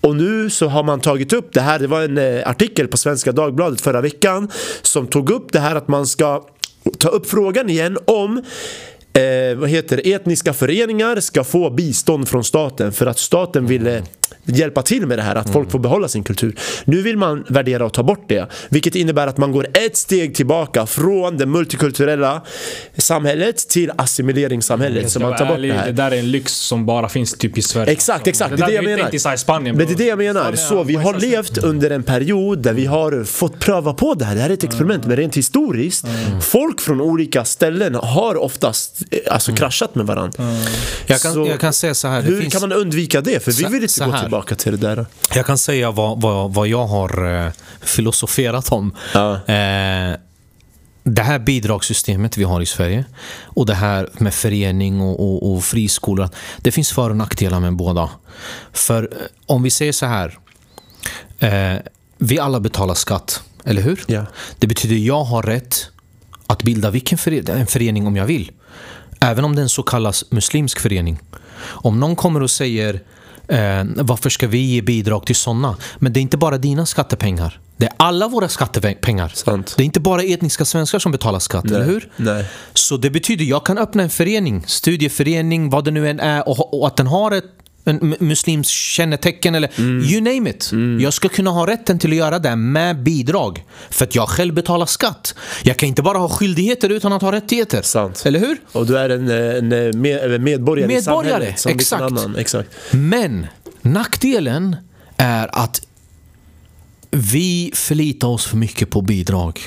Och nu så har man tagit upp det här, det var en eh, artikel på Svenska Dagbladet förra veckan som tog upp det här att man ska ta upp frågan igen om eh, vad heter det? etniska föreningar ska få bistånd från staten för att staten ville hjälpa till med det här, att folk får behålla sin kultur. Nu vill man värdera och ta bort det, vilket innebär att man går ett steg tillbaka från det multikulturella samhället till assimileringssamhället. Så man tar bort det här.
där är en lyx som bara finns typ i Sverige.
Exakt, exakt.
Det,
Det är det
där
jag
är ju
menar.
inte i så här Spanien.
Men det
bror.
är det jag menar.
Spanien,
Så vi har
Manchester.
levt under en period där vi har fått pröva på det här. Det här är ett
Mm.
experiment, men rent historiskt. Folk från olika ställen har oftast eh, alltså,
Mm.
kraschat med varandra.
Jag kan,
Så
jag kan säga så här. Det
Hur
finns,
kan man undvika det? För vi
Så-
vill
så
inte gå
här.
tillbaka till det där.
Jag kan säga vad, vad, vad jag har eh, filosoferat om.
Ja.
Eh, det här bidragssystemet vi har i Sverige och det här med förening och, och, och friskolor. Det finns för och nackdelar med båda. För eh, om vi säger så här. Eh, vi alla betalar skatt, eller hur?
Ja.
Det betyder jag har rätt att bilda vilken före- en förening om jag vill. Även om den så kallas muslimsk förening. Om någon kommer och säger eh, varför ska vi ge bidrag till sådana? Men det är inte bara dina skattepengar. Det är alla våra skattepengar.
Sant.
Det är inte bara etniska svenskar som betalar skatt, eller hur?
Nej.
Så det betyder jag kan öppna en förening, studieförening, vad det nu än är och, ha- och att den har ett en mu- muslims kännetecken eller you name it. Jag ska kunna ha rätten till att göra det med bidrag. För att jag själv betalar skatt. Jag kan inte bara ha skyldigheter utan att ha rättigheter.
Sant.
Eller hur?
Och du är en, eh, en eh, med, eh, medborgare, i
Medborgare,
samhället. Som vilken
exakt.
Annan. exakt.
Men nackdelen är att vi förlitar oss för mycket på bidrag.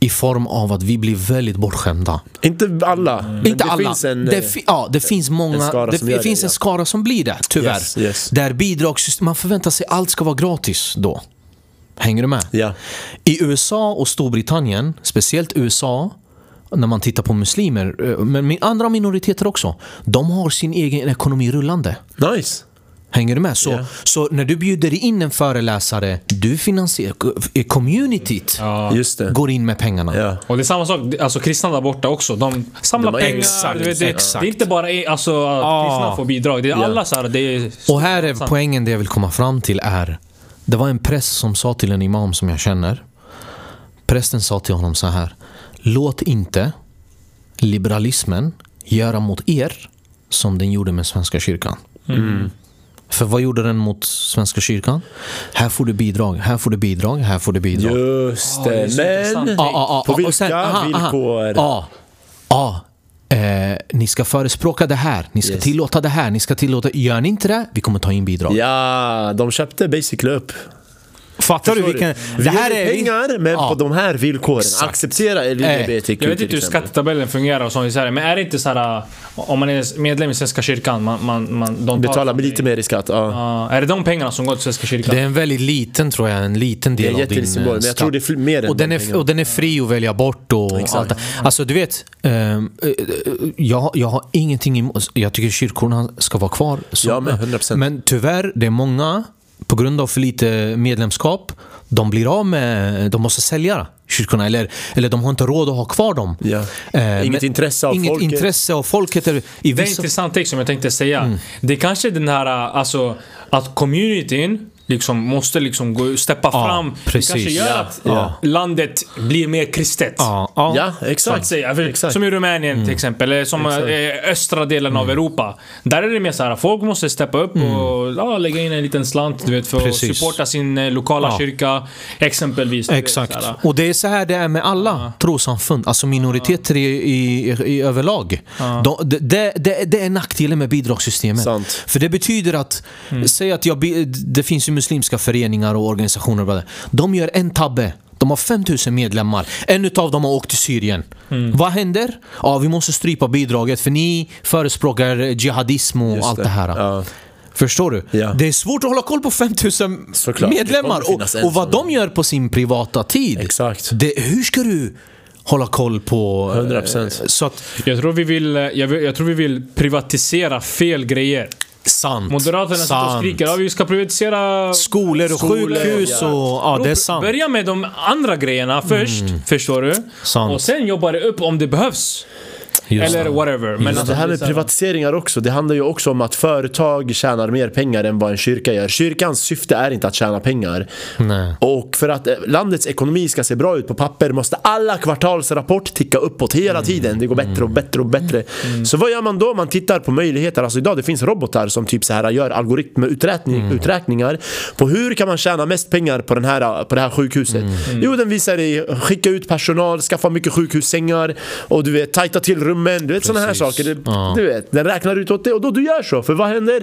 I form av att vi blir väldigt bortskämda.
Inte alla. men
Mm. Inte
det
alla.
Finns en,
det,
eh,
fi- ja, det finns många.
skara
det
som gör det,
finns en
ja.
skara som blir det, tyvärr.
Yes, yes.
Där bidragssystem, man förväntar sig allt ska vara gratis då. Hänger du med?
Ja.
I USA och Storbritannien, speciellt USA, när man tittar på muslimer, eh, men min- andra minoriteter också, de har sin egen ekonomi rullande.
Nice.
Hänger du med? Så, så när du bjuder in en föreläsare, du finansierar... eh, Communityt går in med pengarna.
Och det är samma sak, alltså kristna där borta också. De samlar
De har-
pengar.
exakt,
du vet, det,
exakt.
det är inte bara eh, alltså, att kristna får bidrag. Det är
Ja.
alla så här, det är
Och här är poängen det jag vill komma fram till är. Det var en präst som sa till en imam som jag känner. Prästen sa till honom så här. Låt inte liberalismen göra mot er som den gjorde med Svenska kyrkan.
Mm.
För vad gjorde den mot Svenska kyrkan? Här får du bidrag, här får du bidrag, här får du bidrag.
Just det, men
Ja, ja, ja.
på
Och
vilka
sen- aha, aha.
villkor?
Ja. Ja. Eh, ni ska förespråka det här, ni ska tillåta det här, ni ska tillåta... Gör ni inte det, vi kommer ta in bidrag.
Ja, de köpte basically upp.
Fattar du vilken-
Vi
det här
ger
är-
pengar, men på de här villkoren. Acceptera LGBTQ
Jag vet inte
till
hur
exempel.
skattetabellen fungerar och sånt, så här, men är det inte så här eh, om man är medlem i Svenska kyrkan, man, man, man, de
Betala lite mer i skatt, ja.
Ja, är det de pengarna som går till Svenska kyrkan?
Det är en väldigt liten, tror jag, en liten
Det är
del av din
jätteliten symbol,
eh,
men jag
skatt.
tror det är fl- mer än
och, den
de
är,
pengarna.
och den är fri att välja bort och allt det. Alltså du vet, ehm, eh, jag, jag har ingenting emot, jag tycker kyrkorna ska vara kvar. Så,
Ja, men 100%.
men tyvärr, det är många, på grund av för lite medlemskap, de blir av med, de måste sälja kyrkorna eller, eller de har inte råd att ha kvar dem. Eh,
Inget intresse av
inget
folket.
intresse av folket. eller- I
Det är en
vissa- Mm.
intressant text som jag tänkte säga. Det är kanske den här, alltså att communityn liksom måste liksom gå, steppa
Ja,
fram.
precis.
Det kanske gör
Ja,
att
ja.
landet blir mer kristet.
Ja, ja. Ja,
Så
exakt. Mm.
att säga. För, Som i Rumänien till exempel, eller som
Exakt. Mm.
eh, östra delen av Europa. Där är det mer så här, folk måste steppa upp och ja, lägga in en liten slant du vet, för att
Mm. Precis.
supporta sin eh, lokala
Ja.
kyrka. Exempelvis. du vet,
Exakt.
så här.
Och det är så här det är med alla trossamfund, alltså minoriteter i, i, i överlag. De, det- det, det, det är nackdelen med bidragssystemet. För det betyder att,
Mm.
säg att jag, bi- det finns ju muslimska föreningar och organisationer. och vad det är. De gör en tabbe. De har 5000 medlemmar. En utav dem har åkt till Syrien.
Mm.
Vad händer? Ja, vi måste strypa bidraget för ni förespråkar jihadism och
Just
allt det,
det.
här. Förstår du? Det är svårt att hålla koll på 5000
Såklart, det
medlemmar
kommer finnas
och,
en
och vad de gör på sin privata tid. Exakt. Det, hur ska du hålla koll på... eh,
100%.
Så att,
Jag tror vi vill, eh, jag, vill, jag tror vi vill privatisera fel grejer.
Sant.
Moderaterna sitter och
Sant.
skriker ja, vi ska privatisera
Skolor och sjukhus och- ja, det är sant. Mm.
Börja med de andra grejerna först, förstår du?
Sant.
Och sen jobba det upp om det behövs.
Just
Eller
det.
whatever.
Men det här med privatiseringar också, det handlar ju också om att företag tjänar mer pengar än vad en kyrka gör. Kyrkans syfte är inte att tjäna pengar.
Nej.
Och för att eh, landets ekonomi ska se bra ut på papper måste alla kvartalsrapport ticka uppåt hela
Mm.
tiden. Det går bättre och bättre och bättre. Så vad gör man då? Man tittar på möjligheter. Alltså idag det finns robotar som typ så här gör
Mm.
algoritmuträkningar på hur kan man tjäna mest pengar på, den här, på det här sjukhuset.
Mm.
Jo, den visar dig skicka ut personal, skaffa mycket sjukhussängar och du vet tajta till rummen. Du vet sådana här
Precis.
saker. Det,
Ja.
Du vet, den räknar ut åt det och då du gör så. För vad händer?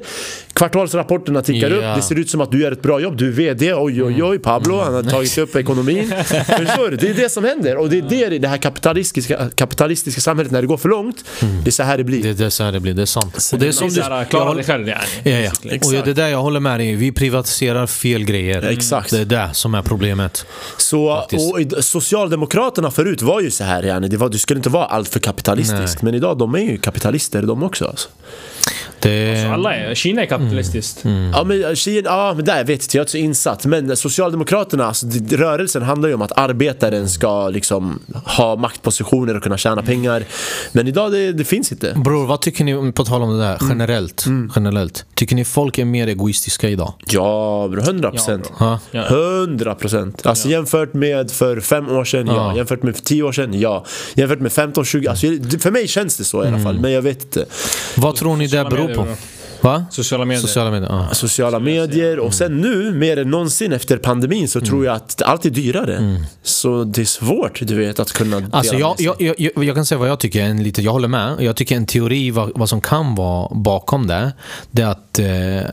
Kvartalsrapporterna tickar
Ja.
upp. Det ser ut som att du gör ett bra jobb. Du är VD. Oj,
Mm.
oj, oj. Pablo, han har tagit upp ekonomin. Förstår du? Det är det som händer. Och det är det i det här kapitalistiska, kapitalistiska samhället, när det går för långt. Det är så här det blir.
Mm. Det, det är så här det blir, det är sant. Och det är som du...
här,
jag
klara liksom.
håller-
dig själv. ja.
Ja, ja. Och ja, det är där jag håller med dig. Vi privatiserar fel grejer. Exakt. Det är det som är problemet.
Mm. Så, och i- Socialdemokraterna förut var ju så här, yani. det var, du skulle inte vara allt för kapitalistisk. Men idag, de är ju kapitalister de också. Alltså.
Det...
Alltså, Alla är, Kina är kapitalistiskt.
Mm.
Ja men Kina, ja men där vet inte, jag är inte så insatt. Men eh, Socialdemokraterna, alltså, det- rörelsen handlar ju om att arbetaren ska liksom ha maktpositioner och kunna tjäna pengar. Men idag det, det finns inte.
Bror, vad tycker ni, på tal om det där, generellt, generellt. Tycker ni folk är mer egoistiska idag?
Ja bro, 100 procent.
Ja.
100 procent. Alltså jämfört med för fem år sedan, ja.
Ja.
Jämfört med för tio år sedan, ja. Jämfört med 15, 20, alltså, det- för mig känns det så i alla
Mm.
fall. Men jag vet inte.
Vad tror ni det beror på?
medier,
Va?
Sociala medier.
Sociala medier, ja.
sociala medier och
Mm.
sen nu mer än någonsin efter pandemin så tror jag att allt är dyrare. Så det är svårt du vet att kunna dela
Mm. Alltså
med
jag, jag, jag, jag, jag kan säga vad jag tycker, en lite, jag håller med. Jag tycker en teori vad, vad som kan vara bakom det, det är att eh,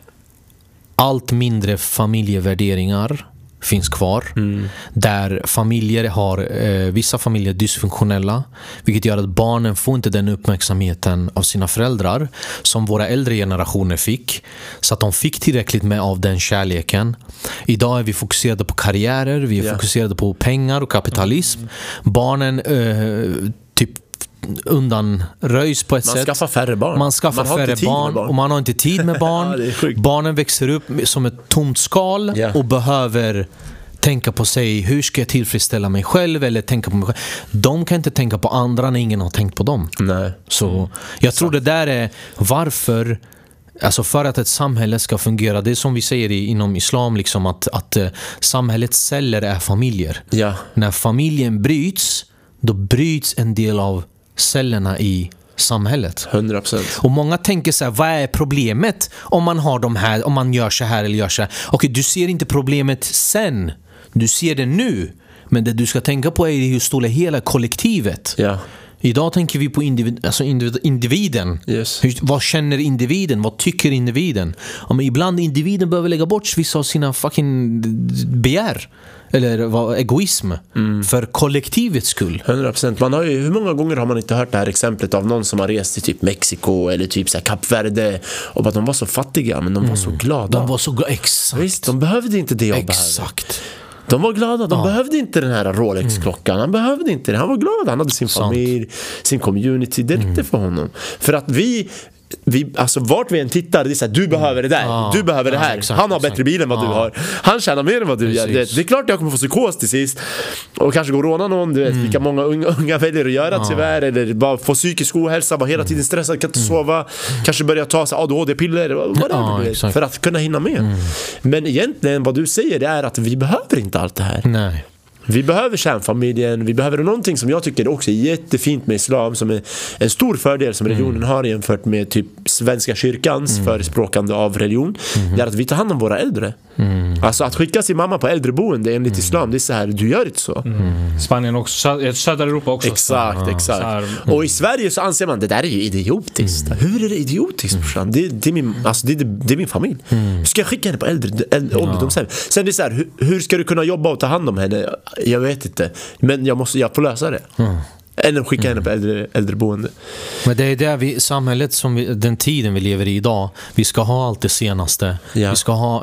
allt mindre familjevärderingar finns kvar.
Mm.
Där familjer har, eh, vissa familjer är dysfunktionella. Vilket gör att barnen får inte den uppmärksamheten av sina föräldrar som våra äldre generationer fick. Så att de fick tillräckligt med av den kärleken. Idag är vi fokuserade på karriärer, vi är
Ja.
fokuserade på pengar och kapitalism. Barnen eh, typ undanröjs på ett
Man
sätt.
skaffar färre barn.
Man skaffar
Man har inte
färre
tid med
barn,
barn.
och man har inte tid med barn. Barnen växer upp som ett tomt skal
Ja.
och behöver tänka på sig, hur ska jag tillfredsställa mig själv eller tänka på mig själv. De kan inte tänka på andra när ingen har tänkt på dem.
Nej. Mm.
Så jag tror det där är varför Alltså för att ett samhälle ska fungera, det är som vi säger i, inom islam, liksom att, att eh, samhällets celler är familjer. När familjen bryts, då bryts en del av cellerna i samhället.
100%.
Och många tänker så här, vad är problemet om man har de här, om man gör så här eller gör så här? Okej, du ser inte problemet sen. Du ser det nu. Men det du ska tänka på är hur stora hela kollektivet. Idag tänker vi på individ, alltså individ, individen. Hur, vad känner individen? Vad tycker individen? Ja, men ibland individen behöver lägga bort vissa av sina fucking begär. Eller vad, egoism. För kollektivets skull.
100%. Man har ju, hur många gånger har man inte hört det här exemplet av någon som har rest till typ Mexiko eller typ så här Kap Verde och bara de var så fattiga men de var så glada.
Mm. De var så glada, exakt.
Visst, de behövde inte det jag
Exakt.
De var glada, de behövde inte den här Rolex-klockan. Han behövde inte det. Han var glad, han hade sin familj, sin community. Det
Mm.
räckte för honom. För att vi, vi, alltså vart vi än tittar, det är så här, du behöver det där,
Mm. Ja.
du behöver det
Ja,
här.
exakt,
han har
exakt.
bättre bil än vad du
Ja.
har. Han tjänar mer än vad du gör. Det,
Precis.
det är klart jag kommer få psykos till sist. Och kanske gå och råna någon, du vet, vilka många unga, unga väljer att göra
Mm. Ja. Mm.
tyvärr. Eller bara få psykisk ohälsa, vara hela tiden stressad, kan inte sova. Kanske börja ta så här ADHD-piller, whatever.
Ja,
du vet,
exakt.
för att kunna hinna med. Men egentligen vad du säger det är att vi behöver inte allt det här.
Nej.
Vi behöver kärnfamiljen, vi behöver någonting som jag tycker också är jättefint med islam som är en stor fördel som religionen har jämfört med typ Svenska kyrkans förespråkande av religion. Det är att vi tar hand om våra äldre. Alltså att skicka sin mamma på äldreboende enligt islam, det är så här, du gör inte så.
Spanien också, sö- södra Europa också.
Exakt,
Ja,
exakt.
så här,
Och i Sverige så anser man det där är ju idiotiskt. Hur är det idiotiskt brorsan? Det, det, är min- alltså, det, är- det är min familj. Ska jag skicka henne på äldre, äldre ålderdomshem? Sen det är så här, hur, hur ska du kunna jobba och ta hand om henne? Jag vet inte. Men jag, måste, jag får lösa det. Eller skicka henne på äldre, äldreboende.
Men det är det vi, samhället som vi, den tiden vi lever i idag. Vi ska ha allt det senaste. Vi ska ha...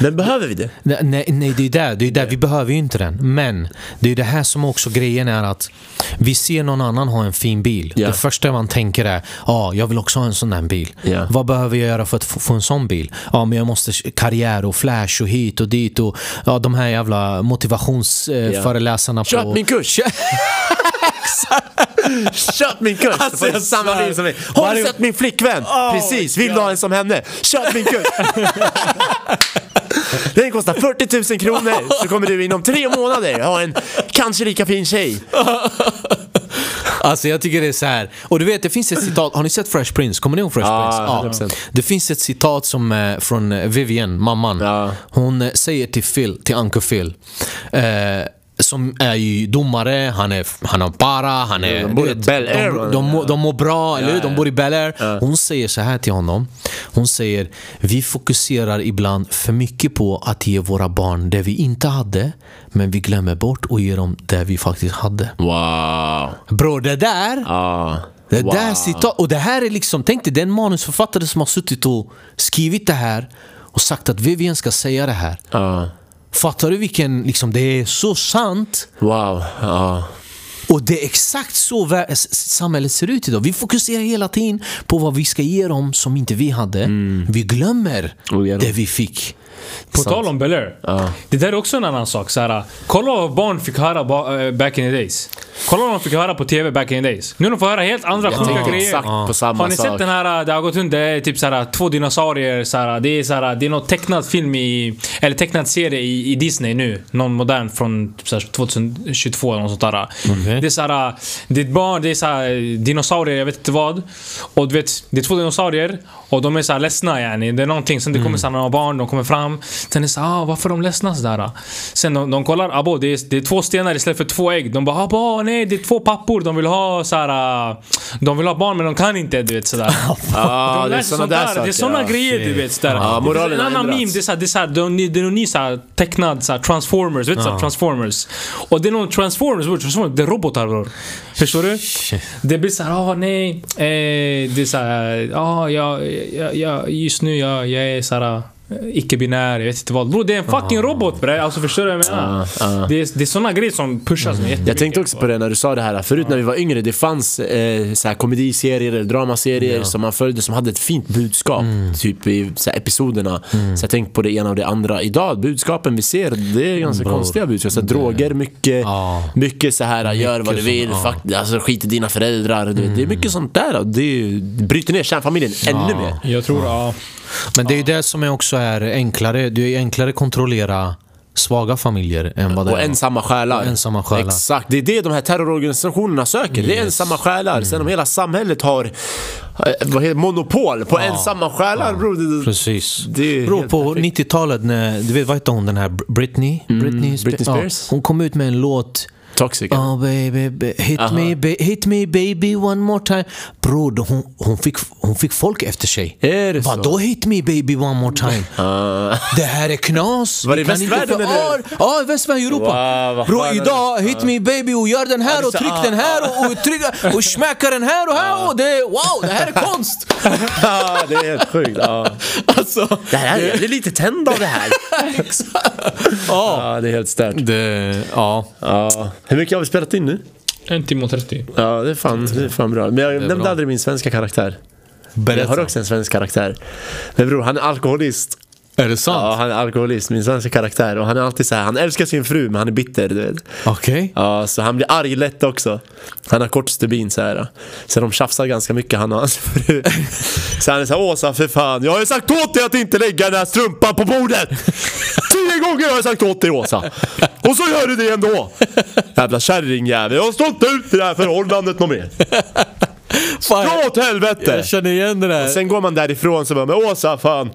Men behöver vi det?
Nej, nej, nej det är där, det är där. Vi behöver ju inte den. Men det är det här som också grejen är att vi ser någon annan ha en fin bil.
Ja.
Det första man tänker är, ja, jag vill också ha en sån där bil. Vad behöver jag göra för att få få en sån bil? Ja, men jag måste karriär och flash och hit och dit och ja, de här jävla
Ja.
motivationsföreläsarna
Köp
på...
min kurs! Köp min kurs!
Alltså,
Alltså,
jag
samma
svär.
liv som mig. Har du
Varje-
sett min flickvän?
Oh,
Precis, vill du ha en som henne? Köp min kurs! Den kostar 40 000 kronor så kommer du inom tre månader ha en kanske lika fin tjej.
Alltså jag tycker det är så här. Och du vet, det finns ett citat. Har ni sett Fresh Prince? Kommer ni ihåg Fresh
Ja,
Prince?
100%.
Det finns ett citat som, eh, från eh, Vivian, mamman. Hon eh, säger till Phil, till Uncle Phil. Eh, som är ju domare, han, är, han har para, han är...
de bor
du
i Bel Air.
Eh, De, de, mår- de mår bra, eller hur?
ja,
De
ja.
bor i Bel Air. Hon säger så här till honom. Hon säger, vi fokuserar ibland för mycket på att ge våra barn det vi inte hade, men vi glömmer bort att ge dem det vi faktiskt hade.
Wow. Ah.
Bror, det där. Det
Wow.
där citat. Och det här är liksom, tänk dig, det är en manusförfattare som har suttit och skrivit det här och sagt att Vivian ska säga det här.
Ah.
Fattar du vilken, liksom, det är så sant.
Wow. Ah.
Och det är exakt så vä- s- s- samhället ser ut idag. Vi fokuserar hela tiden på vad vi ska ge dem som inte vi hade.
Mm.
Vi glömmer det vi fick.
På tal om Bel Air. Det där är också en annan sak. Så här, äh, kolla vad barn fick höra ba- eh, back in the days. Kolla vad de fick höra på TV back in the days. Nu de får höra helt andra
Jag
sjuka
tänker
grejer.
exakt på samma
Har ni
sak.
sett den här, eh, det har gått runt, det är typ så här, två dinosaurier. Så här, äh, det, är så här, det är någon tecknad film i, eller tecknad serie i, i Disney nu. Någon modern från typ så här, 2022 eller något sånt där. Det är så här, äh, det är ett barn, det är så här, äh, dinosaurier, jag vet inte vad. Och du vet, det är två dinosaurier och de är så här ledsna yani. Det är någonting, sen det kommer så här, några barn, de kommer fram. Sen är det så här, ah, varför är de ledsna sådär? Sen de, de kollar, abo det är, det är två stenar istället för två ägg. De bara, abo nej det är två pappor, de vill ha så här, äh, De vill ha barn men de kan inte, du vet sådär.
Ah,
De
det är
lär sig
såna
sånt
där
där. Det är
saker, alltså.
såna
ja.
grejer du
Shit.
vet. Sådär.
Ja, moralen
det är
har
en annan
ändrats.
meme, det är, såhär, det är, såhär, det är någon ny- det är någon ny såhär, tecknad såhär, transformers, vet du?
Ja.
såhär, transformers. Och det är någon transformers, bror, transformers, det är robotar bror. Förstår du? Det blir såhär, ah nej. Eh, det är såhär, ah, jag, jag, jag, just nu jag, jag är såhär icke-binär, jag vet inte vad. Bro, det är en fucking robot bre. Alltså förstår du vad jag menar?
Ah, ah.
Det, är, det är såna grejer som pushas mig
Jag tänkte också på det när du sa det här. Förut när vi var yngre, det fanns eh, så här komediserier eller dramaserier
Ja. Mm.
som man följde som hade ett fint budskap. Typ i så här, episoderna. Så jag tänkte på det ena och det andra. Idag, budskapen vi ser, det är ganska
Bror.
konstiga budskap. Så här, droger, mycket, mycket så här, gör vad du
Mycket
vill,
som- ja. Mm.
fuck, alltså, skit i dina föräldrar. Du vet, det är mycket sånt där. och Det, är ju- det bryter ner kärnfamiljen ännu
Ja.
mer.
Jag tror, ja.
Men det är ju det som är också är enklare. Det är ju enklare att kontrollera svaga familjer än vad det
Och
är.
ensamma själar.
Och ensamma själar.
Exakt, det är det de här terrororganisationerna söker. Det är
Yes.
ensamma själar. Sen om hela samhället har eh, vad heter, det, monopol på ensamma själar bror. Det,
Precis.
det är
Bro,
helt-
på 90-talet när, du vet vad hette hon den här Br- Britney? Britney, Spe-
Mm, Britney Spears?
Ja, hon kom ut med en låt.
Toxic.
Oh baby, ba- hit,
Aha.
me, ba- hit me baby one more time. Bro, då hon, hon, fick, hon fick folk efter sig.
Är det så?
Vadå hit me baby one more time?
Ah.
Det här är knas.
Var det
Vi
i
kan inte
västvärlden
för-
eller?
Ja, Ja, i västvärlden, Europa.
Wow, vad
Bro,
fan är
idag,
det?
hit
Ja.
me baby och gör den
Ja,
här
det
och
är så-
tryck den här och, och tryck och smacka den här och här och det, wow, det här är konst.
Ja, det är helt sjukt. Ja.
Alltså,
Det här, jag blir lite tänd av det här. Ja, det är helt stört.
ja.
Ja. Hur mycket har vi spelat in nu?
En timme och 30.
Ja, det är fan, det är fan bra. Men jag nämnde
bra.
aldrig min svenska karaktär. Jag har
Berätta.
också en svensk karaktär. Men bror, han är alkoholist.
Är det sant?
Ja, han är alkoholist, min svenska karaktär. Och han är alltid så här, han älskar sin fru men han är bitter, du vet.
Okej.
Ja, så han blir arg lätt också. Han har kort stubin så här. Så de tjafsar ganska mycket han och hans fru. Så han är såhär, Åsa för fan, jag har ju sagt åt dig att inte lägga den här strumpan på bordet! Tio gånger har jag sagt åt dig Åsa! Och så gör du det ändå! Jävla kärringjävel, jag har stått ut i det här förhållandet något mer!
Fan,
Dra åt helvete!
jag känner igen det där.
Sen går man därifrån så bara, men Åsa fan!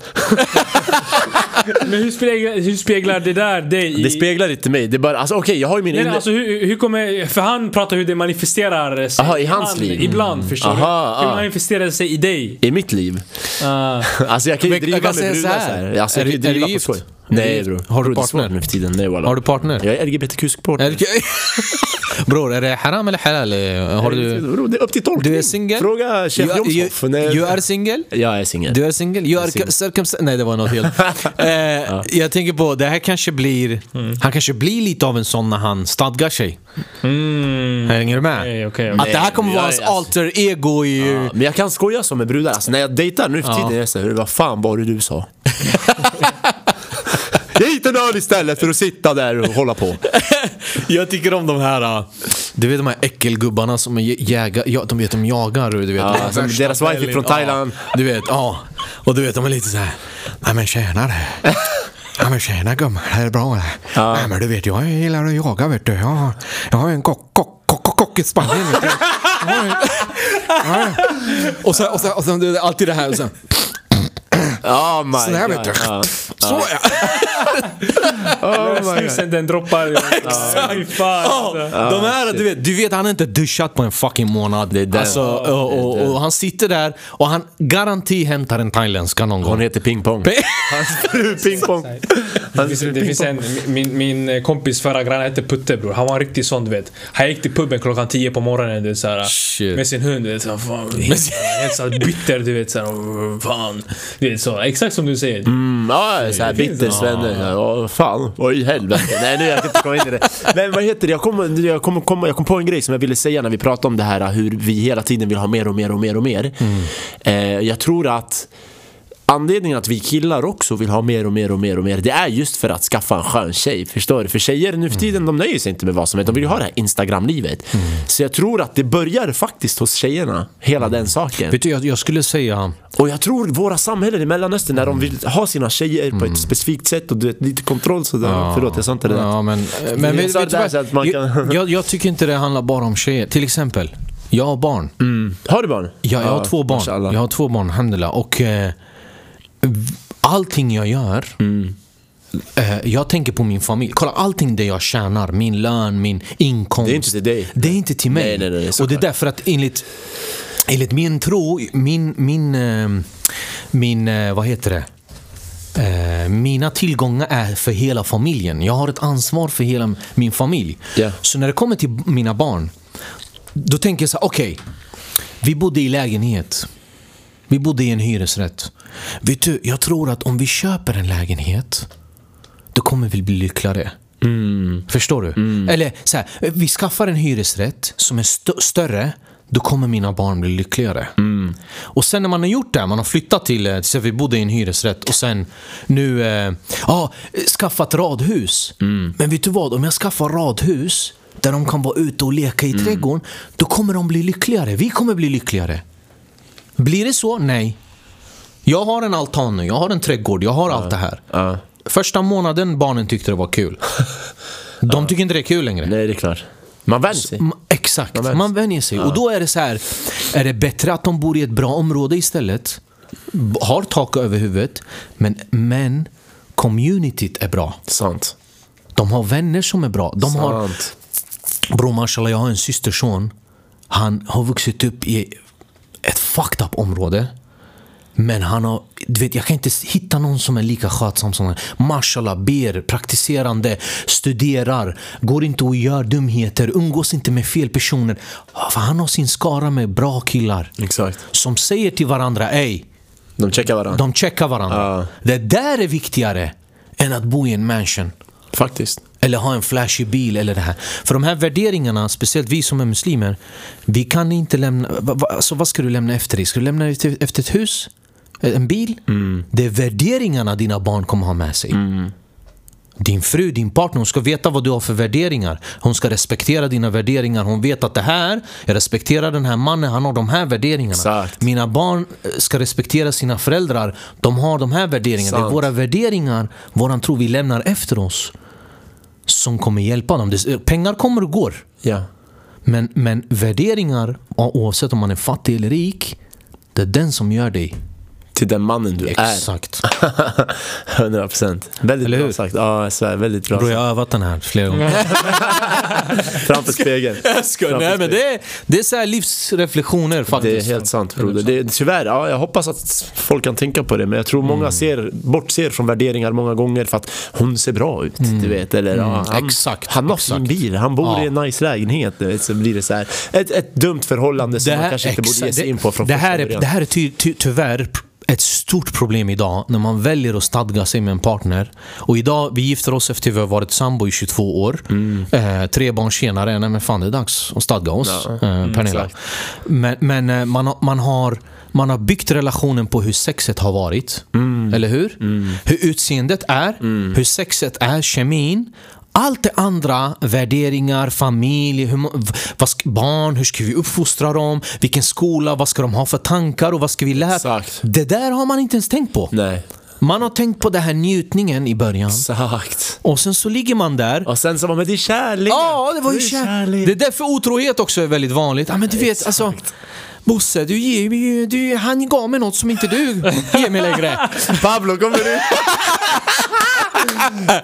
Men hur speglar, hur speglar det där dig?
Det
I,
speglar inte mig, det är bara, alltså okej jag har ju min
nej,
inre...
nej, alltså, hur, hur kommer, för han pratar hur det manifesterar sig.
Aha, i hans
ibland,
liv. Mm.
Ibland, förstår
Aha,
du? Hur
ah.
manifesterar det sig i dig?
I mitt liv?
Ah.
Alltså jag kan ju
Men
driva
jag
med
kan säga
brudar
så
såhär.
här.
Alltså, jag
Är
kan
du-
ju
är du
driva på
gift?
skoj.
Är du
Nej
gift?
bror.
Har du
Bror, det är svårt
partner?
nu för tiden? Nej walla.
Har du partner?
Jag är LGBTQ-supporter.
Är det- Bror, är det haram eller halal? Har du...
Bror, det är upp till tolkning.
Du är singel?
Fråga chef
You are- you-
Jomshof. Nej.
You are single?
Jag är singel.
Du är singel? You are
singel.
circumcised? Nej, det var något helt. eh, Jag tänker på, det här kanske blir... Han kanske blir lite av en sån när han stadgar sig. Hänger du med?
Okej, okej,
Att
okej.
det här kommer vara hans
jag-
alter ego i...
Ja, Men jag kan skoja så med brudar. Alltså när jag dejtar nu för
Ja.
tiden, jag säger vad fan var det du sa? Jag hittar en öl istället för att sitta där och hålla på.
Jag tycker om de här... äh, Du vet de här äckelgubbarna som är jä- jägar, ja, de, vet, de jagar. Du vet,
Ja, som
Värsta
deras wife
välling,
från Thailand.
Ja, du vet, ja. Och du vet, de är lite så här... Nej men tjenare. Ja men tjena gumman, det är bra eller? Nej men du vet, jag gillar att jaga vet du. Jag har, jag har en kock, kock, kock, kock, kock i Spanien vet du. Jag har en- ja, ja. Och sen, och sen, och sen du vet, alltid det här. Och sen,
Oh my
sån här vet
god.
du.
Ja.
Så ja.
Oh my god.
Snusen den droppar. Exakt! Fy
Ah.
fan.
Ja,
alltså.
de här, du vet, du vet, han har inte duschat på en fucking månad.
det.
Alltså, och, och, och han sitter där och han garanti hämtar en thailändska någon
Hon
gång.
heter Ping Pong. Hans fru Ping Pong.
Det finns, det finns en, min, min eh, kompis förra granne hette Putte bror. Han var en riktig sån du vet. Han gick till puben klockan 10 på morgonen du vet, såhär,
Shit.
med sin hund. Du vet, såhär, fan, helt, helt såhär bitter du vet. Såhär, "Åh, fan. Du vet, så, exakt som du säger.
Mm, ja, såhär bittersvenne. Ja, vad fan. Vad i helvete. Nej, nu jag kan inte komma in i det. Men vad heter det? Jag kom, jag, kom, kom, jag kom på en grej som jag ville säga när vi pratade om det här hur vi hela tiden vill ha mer och mer och mer och mer. Eh, jag tror att Anledningen att vi killar också vill ha mer och mer och mer och mer Det är just för att skaffa en skön tjej, förstår du? För tjejer nu för tiden de nöjer sig inte med vad som helst De vill ju ha det här Instagram-livet Så jag tror att det börjar faktiskt hos tjejerna, hela den saken
Vet du, jag, jag skulle säga...
och jag tror våra samhällen i Mellanöstern när de vill ha sina tjejer på
Mm.
ett specifikt sätt och du vet, lite kontroll sådär. Förlåt, jag sa inte det där.
Ja, men,
Jag
men vet,
sa
vet
det
du
där så att man
vad?
kan-
Jag, jag, jag tycker inte det handlar bara om tjejer. Till exempel, jag har barn.
Har du barn?
Jag, jag har två barn.
mashallah.
Jag har två barn, handla. Och eh, v- allting jag gör,
Mm.
eh, jag tänker på min familj. Kolla, allting det jag tjänar, min lön, min inkomst.
Det är inte till dig.
Det är inte till mig.
Nej, nej, nej,
och det är
såklart.
därför att enligt, enligt min tro, min, min, eh, min eh, vad heter det? Eh, mina tillgångar är för hela familjen. Jag har ett ansvar för hela min familj.
Ja.
Så när det kommer till mina barn, då tänker jag så här, okej. vi bodde i lägenhet. Vi bodde i en hyresrätt. Vet du, jag tror att om vi köper en lägenhet, då kommer vi bli lyckligare. Förstår du? Eller så här, vi skaffar en hyresrätt som är stö- större, då kommer mina barn bli lyckligare. Och sen när man har gjort det, man har flyttat till, eh, till exempel vi bodde i en hyresrätt och sen nu, eh, ja, skaffat radhus. Men vet du vad, om jag skaffar radhus där de kan vara ute och leka i trädgården, då kommer de bli lyckligare. Vi kommer bli lyckligare. Blir det så? Nej. Jag har en altan nu, jag har en trädgård, jag har allt det här. Första månaden barnen tyckte det var kul. De tycker inte det är kul längre.
Nej, det är klart. Man vänjer
Mm.
sig.
Exakt, man vänjer, sig. Och då är det så här, är det bättre att de bor i ett bra område istället? B- Har tak över huvudet, men, men communityt är bra.
Sant.
De har vänner som är bra. De har, Bror mashallah, jag har en systerson. Han har vuxit upp i ett fucked up område. Men han har, du vet jag kan inte hitta någon som är lika skötsam som han. Mashallah, ber, praktiserande, studerar, går inte och gör dumheter, umgås inte med fel personer. För han har sin skara med bra killar.
Exakt.
Som säger till varandra, ey.
De checkar varandra.
De checkar varandra. Det där är viktigare än att bo i en mansion.
Faktiskt.
Eller ha en flashig bil eller det här. För de här värderingarna, speciellt vi som är muslimer, vi kan inte lämna... Va, va, alltså vad ska du lämna efter dig? Ska du lämna efter, efter ett hus? Eh, En bil? Det är värderingarna dina barn kommer ha med sig. Din fru, din partner, hon ska veta vad du har för värderingar. Hon ska respektera dina värderingar. Hon vet att det här, jag respekterar den här mannen, han har de här värderingarna. Mina barn eh, ska respektera sina föräldrar, de har de här värderingarna. Det är
Sant.
våra värderingar, våran tro vi lämnar efter oss som kommer hjälpa dem. Det- Pengar kommer och går.
Ja.
Men, men värderingar, o- oavsett om man är fattig eller rik, det är den som gör dig.
Till den mannen du är.
Exakt.
100 procent. Väldigt bra sagt. Ja, jag svär. Väldigt bra
Bror, jag
sagt.
har övat den här flera gånger.
Framför spegeln.
Jag skojar. Nej, men det är, det är så här livsreflektioner faktiskt.
Det är helt sant broder. Det, tyvärr, ja, jag hoppas att folk kan tänka på det men jag tror
Mm.
många ser, bortser från värderingar många gånger för att hon ser bra ut. Du vet, eller,
Mm,
ja, han,
exakt,
han har sin bil, han bor
Ja.
i en nice lägenhet. Du vet, så blir det så här, ett, ett dumt förhållande som man kanske inte borde ge
exakt.
sig in på från
det
första
här är,
början.
det här är ty, ty, tyvärr ett stort problem idag när man väljer att stadga sig med en partner. Och idag, vi gifter oss efter vi har varit sambo i 22 år.
Mm.
Eh, tre barn senare, nej men fan det är dags att stadga oss,
Ja.
eh,
Mm,
Pernilla.
exakt.
men men eh, man, har- man, har, man har byggt relationen på hur sexet har varit.
Mm.
Eller hur? Hur utseendet är, hur sexet är, kemin. Allt det andra, värderingar, familj, hur, må- v- vad ska, barn, hur ska vi uppfostra dem, vilken skola, vad ska de ha för tankar och vad ska vi lära? Det där har man inte ens tänkt på.
Nej.
Man har tänkt på den här njutningen i början.
Exakt.
Och sen så ligger man där.
Och sen så var men det är kärlek.
Ja, det var ju
Det är
kärlek. Det är därför otrohet också är väldigt vanligt. Ja, men du vet, alltså, Bosse, du, ger mig ju- du, han gav mig något som inte du ger mig längre.
Pablo kommer ut.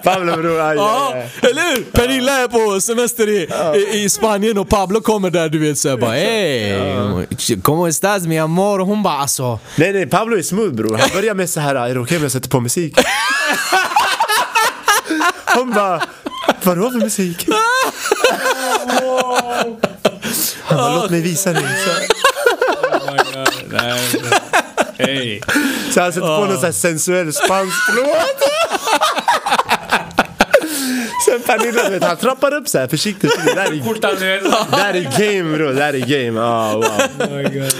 Pablo bror, aj, aj, aj.
Eller hur? Pernilla är på semester i, i, i Spanien och Pablo kommer där du vet såhär bara Ey, como estas mi amor? Och hon bara alltså
Nej nej, Pablo är smooth bror. Han börjar med så här, är det okej om jag sätter på musik? Hon bara, vadå för musik? Han bara, låt mig visa dig. Så,
Hey.
så han sätter på någon så här sensuell spansk låt. Sen Pernilla, du vet, han trappar upp så här försiktigt. Det där är Där är game bro, där är game. Ah,
Oh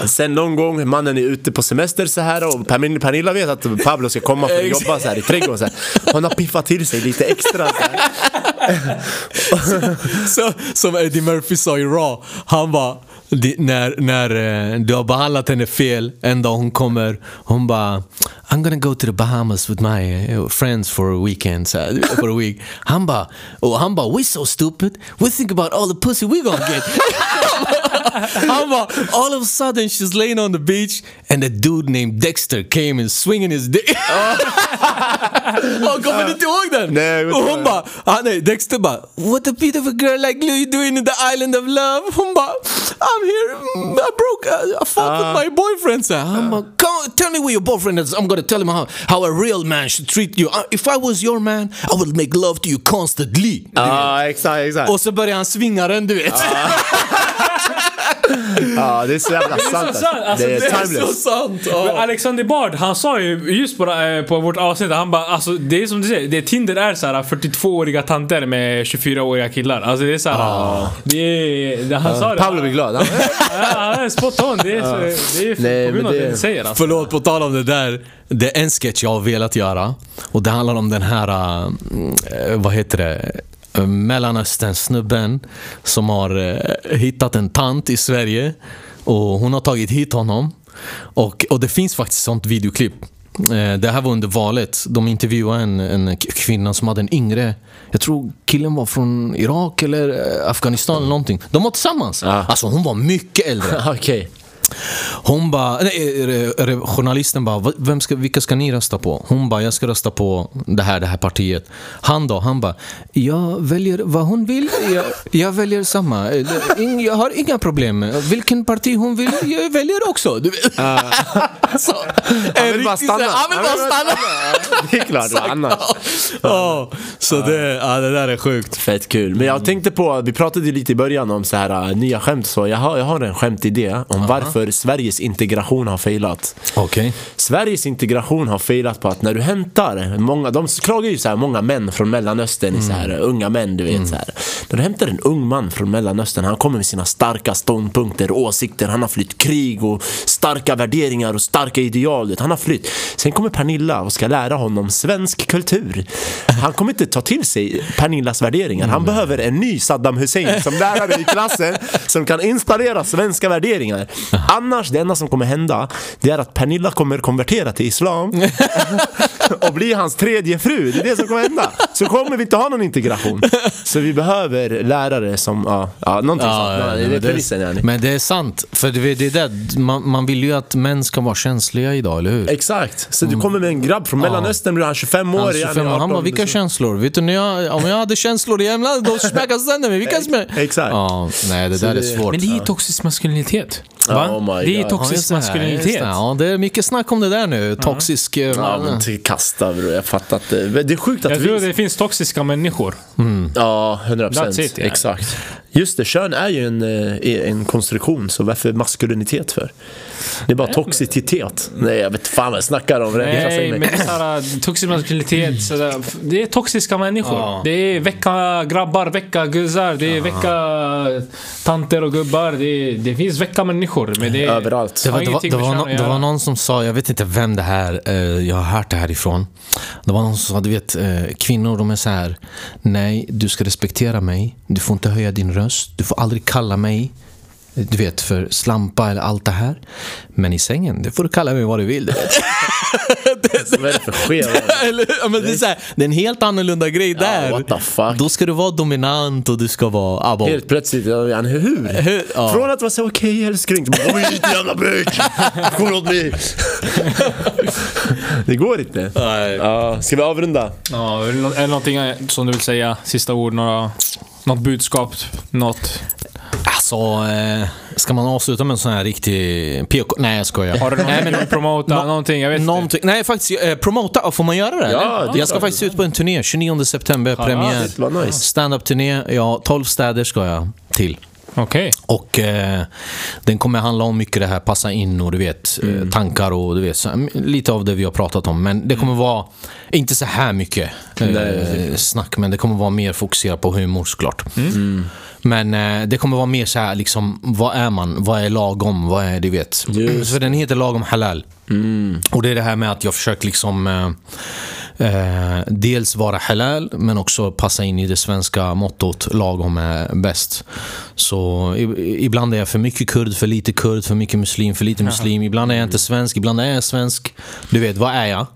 wow. Sen någon gång, mannen är ute på semester så här och Pernilla, Pernilla vet att Pablo ska komma för att jobba så här i trädgården. Så här. Hon har piffat till sig lite extra. Så här.
så, Som Eddie Murphy sa i Raw Han bara "Di- när, när eh, du har behandlat henne fel en dag hon kommer Hon bara I'm gonna go to the Bahamas with my eh, friends for a weekend så här, du vet, for a week Han bara och han bara We're so stupid We think about all the pussy we gonna get Han bara, all of a sudden she's laying on the beach and a dude named Dexter came and swinging his dick. oh, kommer du inte ihåg den?
Nej, jag vet
Och
inte.
hon bara, ah, nej, Dexter bara, what a beautiful girl like you doing in the island of love. Hon bara, I'm here, mm, I broke, I, I fought with my boyfriend. Så här, han bara, come on, tell me where your boyfriend is. I'm gonna tell him how, how a real man should treat you. I- If I was your man, I would make love to you
Ah.
constantly. Oh,
Ja, exakt, exakt.
Och så börjar han svinga den, du vet.
Ja, det är så jävla
Det är
sant.
så sant! Alltså,
det är timeless.
sant!
Oh.
Men Alexander Bard, han sa ju just på, eh, på vårt avsnitt, han bara alltså det är som du säger, det, Tinder är så här 42-åriga tanter med 24-åriga killar. Alltså det är så här, det är, det, han
Ja,
sa det.
Pablo blir glad.
Ja, han är spot on. Det är, så, det är på grund av det du säger alltså.
Förlåt, på tal om det där. Det är en sketch jag har velat göra. Och det handlar om den här, äh, mm, vad heter det? Äh, Mellanöstern-snubben som har äh, hittat en tant i Sverige. Och hon har tagit hit honom. Och, och det finns faktiskt sånt videoklipp. Eh, Det här var under valet. De intervjuade en, en k- kvinna som hade en yngre, jag tror killen var från Irak eller eh, Afghanistan eller någonting. De var tillsammans. Alltså hon var mycket äldre.
Okej.
Hon bara, nej, eh, re- journalisten bara, "Va- vem ska, vilka ska ni rösta på? Hon bara, jag ska rösta på det här, det här partiet. Han då, han bara, jag väljer vad hon vill, jag, jag väljer samma. Eh, det- ing- Jag har inga problem med vilken parti hon vill, jag väljer också. Du vet. Alltså, en
Ah. vill bara
riktig så här-
stanna.
Han vill bara stanna.
Det är klart, vad annars?
Ja, så det, ja, det där är sjukt.
Fett kul. Men jag tänkte på, vi pratade ju lite i början om så här äh, nya skämt och så. Jag har, jag har en skämtidé om varför Sveriges integration har failat.
Okej.
Sveriges integration har failat på att när du hämtar, många, de klagar ju så här, många män från Mellanöstern, är så här, unga män du vet så här. När du hämtar en ung man från Mellanöstern, han kommer med sina starka ståndpunkter och åsikter, han har flytt krig och starka värderingar och starka ideal, du vet, han har flytt. Sen kommer Pernilla och ska lära honom svensk kultur. Han kommer inte ta till sig Pernillas värderingar, han behöver en ny Saddam Hussein som lärare i klassen som kan installera svenska värderingar. Annars, det enda som kommer hända, det är att Pernilla kommer konvertera till islam och bli hans tredje fru. Det är det som kommer hända. Så kommer vi inte ha någon integration. Så vi behöver lärare som, ja, ja någonting sånt. Ja, det är
men
premissen yani.
Men det är sant. För det, det är det, man, man vill ju att män ska vara känsliga idag, eller hur?
Exakt. Så du kommer med en grabb från Mellanöstern, blir Mm. han 25 år
Han, liksom.
igen,
25, han bara,
18,
vilka känslor? Vet du, när jag, om jag hade känslor i hemlandet, då smackas sönder mig. Vilka smäck?
Exakt.
Ja, nej, det där är
det-
svårt.
Men det är ju toxisk maskulinitet.
Ja,
Va?
oh my
det är
God.
Ja, just
toxisk
det, just
maskulinitet.
det. Ja, det är mycket snack om det där nu. Toxisk... eh,
Ja men till kasta bror, jag fattar att det, men det är sjukt att
Jag tror
vi...
det finns toxiska människor.
Ja, 100
That's it,
procent.
yeah.
Exakt. Just det, kön är ju en, eh, en konstruktion, så varför maskulinitet för? Det är bara toxicitet. Nej, jag vet fan vad jag snackar om. Rädda sig
Nej, Eh, men
mig.
det är såhär, toxisk maskulinitet. Sådär, f- det är toxiska människor.
Ja.
Det är vecka grabbar, vecka guzzar, det är vecka tanter och gubbar. Det, är, det finns vecka människor. Men det är,
Överallt.
Det var,
har
det, var,
ingenting
det,
med
var
kön
nå-
att
det
göra.
var någon som sa, jag vet inte vem det här, eh, jag har hört det här ifrån. Det var någon som sa, du vet eh, kvinnor de är så här, nej du ska respektera mig, du får inte höja din röst, du får aldrig kalla mig eh, du vet för slampa eller allt det här. Men i sängen, det får du kalla mig vad du vill. du vet."
Vad är det för skev?
eller, ja, men det, är så här, det är en helt annorlunda grej där.
what the fuck?
Då ska du vara dominant och du ska vara... Ah, bara-
Helt plötsligt, ja, han, hur?
Hur? Ja.
Från att vara så okej älskling, till bara, "Oj, ditt jävla bitch! Kom åt mig! Det går inte. Ja, ska vi avrunda?
Ja, är det nå- är det någonting som du vill säga? Sista ord? Några, något budskap? Något?
Alltså, eh, ska man avsluta med en sån här riktig PK? Nej, jag skojar.
Har du någonting du vill promota? någonting? Jag vet inte.
Någonting. Nej, faktiskt. Eh, promota. Får man göra det?
Ja,
eller?
det är
jag ska
klart.
faktiskt ut på en turné. 29 september, premiär.
Vad nice.
Stand-up-turné. Ja, 12 städer ska jag till.
Okej.
Och eh, den kommer handla om mycket det här passa in och du vet eh,
Mm.
tankar och du vet så, mm, lite av det vi har pratat om. Men det kommer
Mm.
vara inte så här mycket eh, snack, men det kommer vara mer fokuserat på humor såklart.
Mm.
Men eh, det kommer vara mer så här liksom, vad är man? Vad är lagom? Vad är, du vet. För den heter lagom halal.
Mm.
Och det är det här med att jag försöker liksom eh, eh, dels vara halal men också passa in i det svenska mottot lagom är bäst. Så i, i- ibland är jag för mycket kurd, för lite kurd, för mycket muslim, för lite muslim. Ibland är jag inte svensk, ibland är jag svensk. Du vet, vad är jag?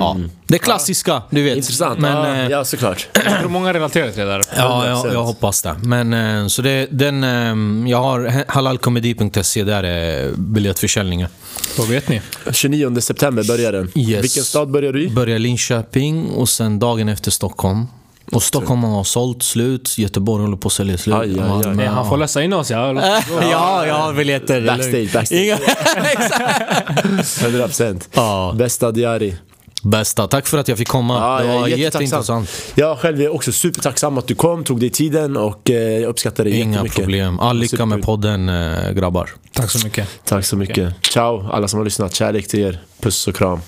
Ja. Det klassiska, du vet.
Mm. Intressant.
Men,
ja,
eh,
ja, såklart.
Jag tror många relaterar till det där.
Ja, jag, jag hoppas det. Men eh, så det, den, eh, jag har halalkomedi.se, där är biljettförsäljningen.
Då vet ni.
29 september börjar den.
Yes.
Vilken stad börjar du i?
Börjar Linköping och sen dagen efter Stockholm. Och Stockholm har sålt slut, Göteborg håller på att sälja slut.
Aj, aj, aj.
Malmö-
Nej, han får läsa in oss. Ja.
Eh. Ja, jag har biljetter. det är
Backstage,
lugnt.
backstage.
Inga- Exakt.
100 procent.
Ja.
Bästa diari.
Bästa, tack för att jag fick komma.
Ja,
det
jag
var
är jättetacksam.
jätteintressant.
Jag själv är också supertacksam att du kom, tog dig tiden och eh, jag uppskattar det
Inga
jättemycket.
problem. All lycka med podden eh, grabbar.
Tack så mycket.
Tack så mycket. Ciao alla som har lyssnat. Kärlek till er. Puss och kram.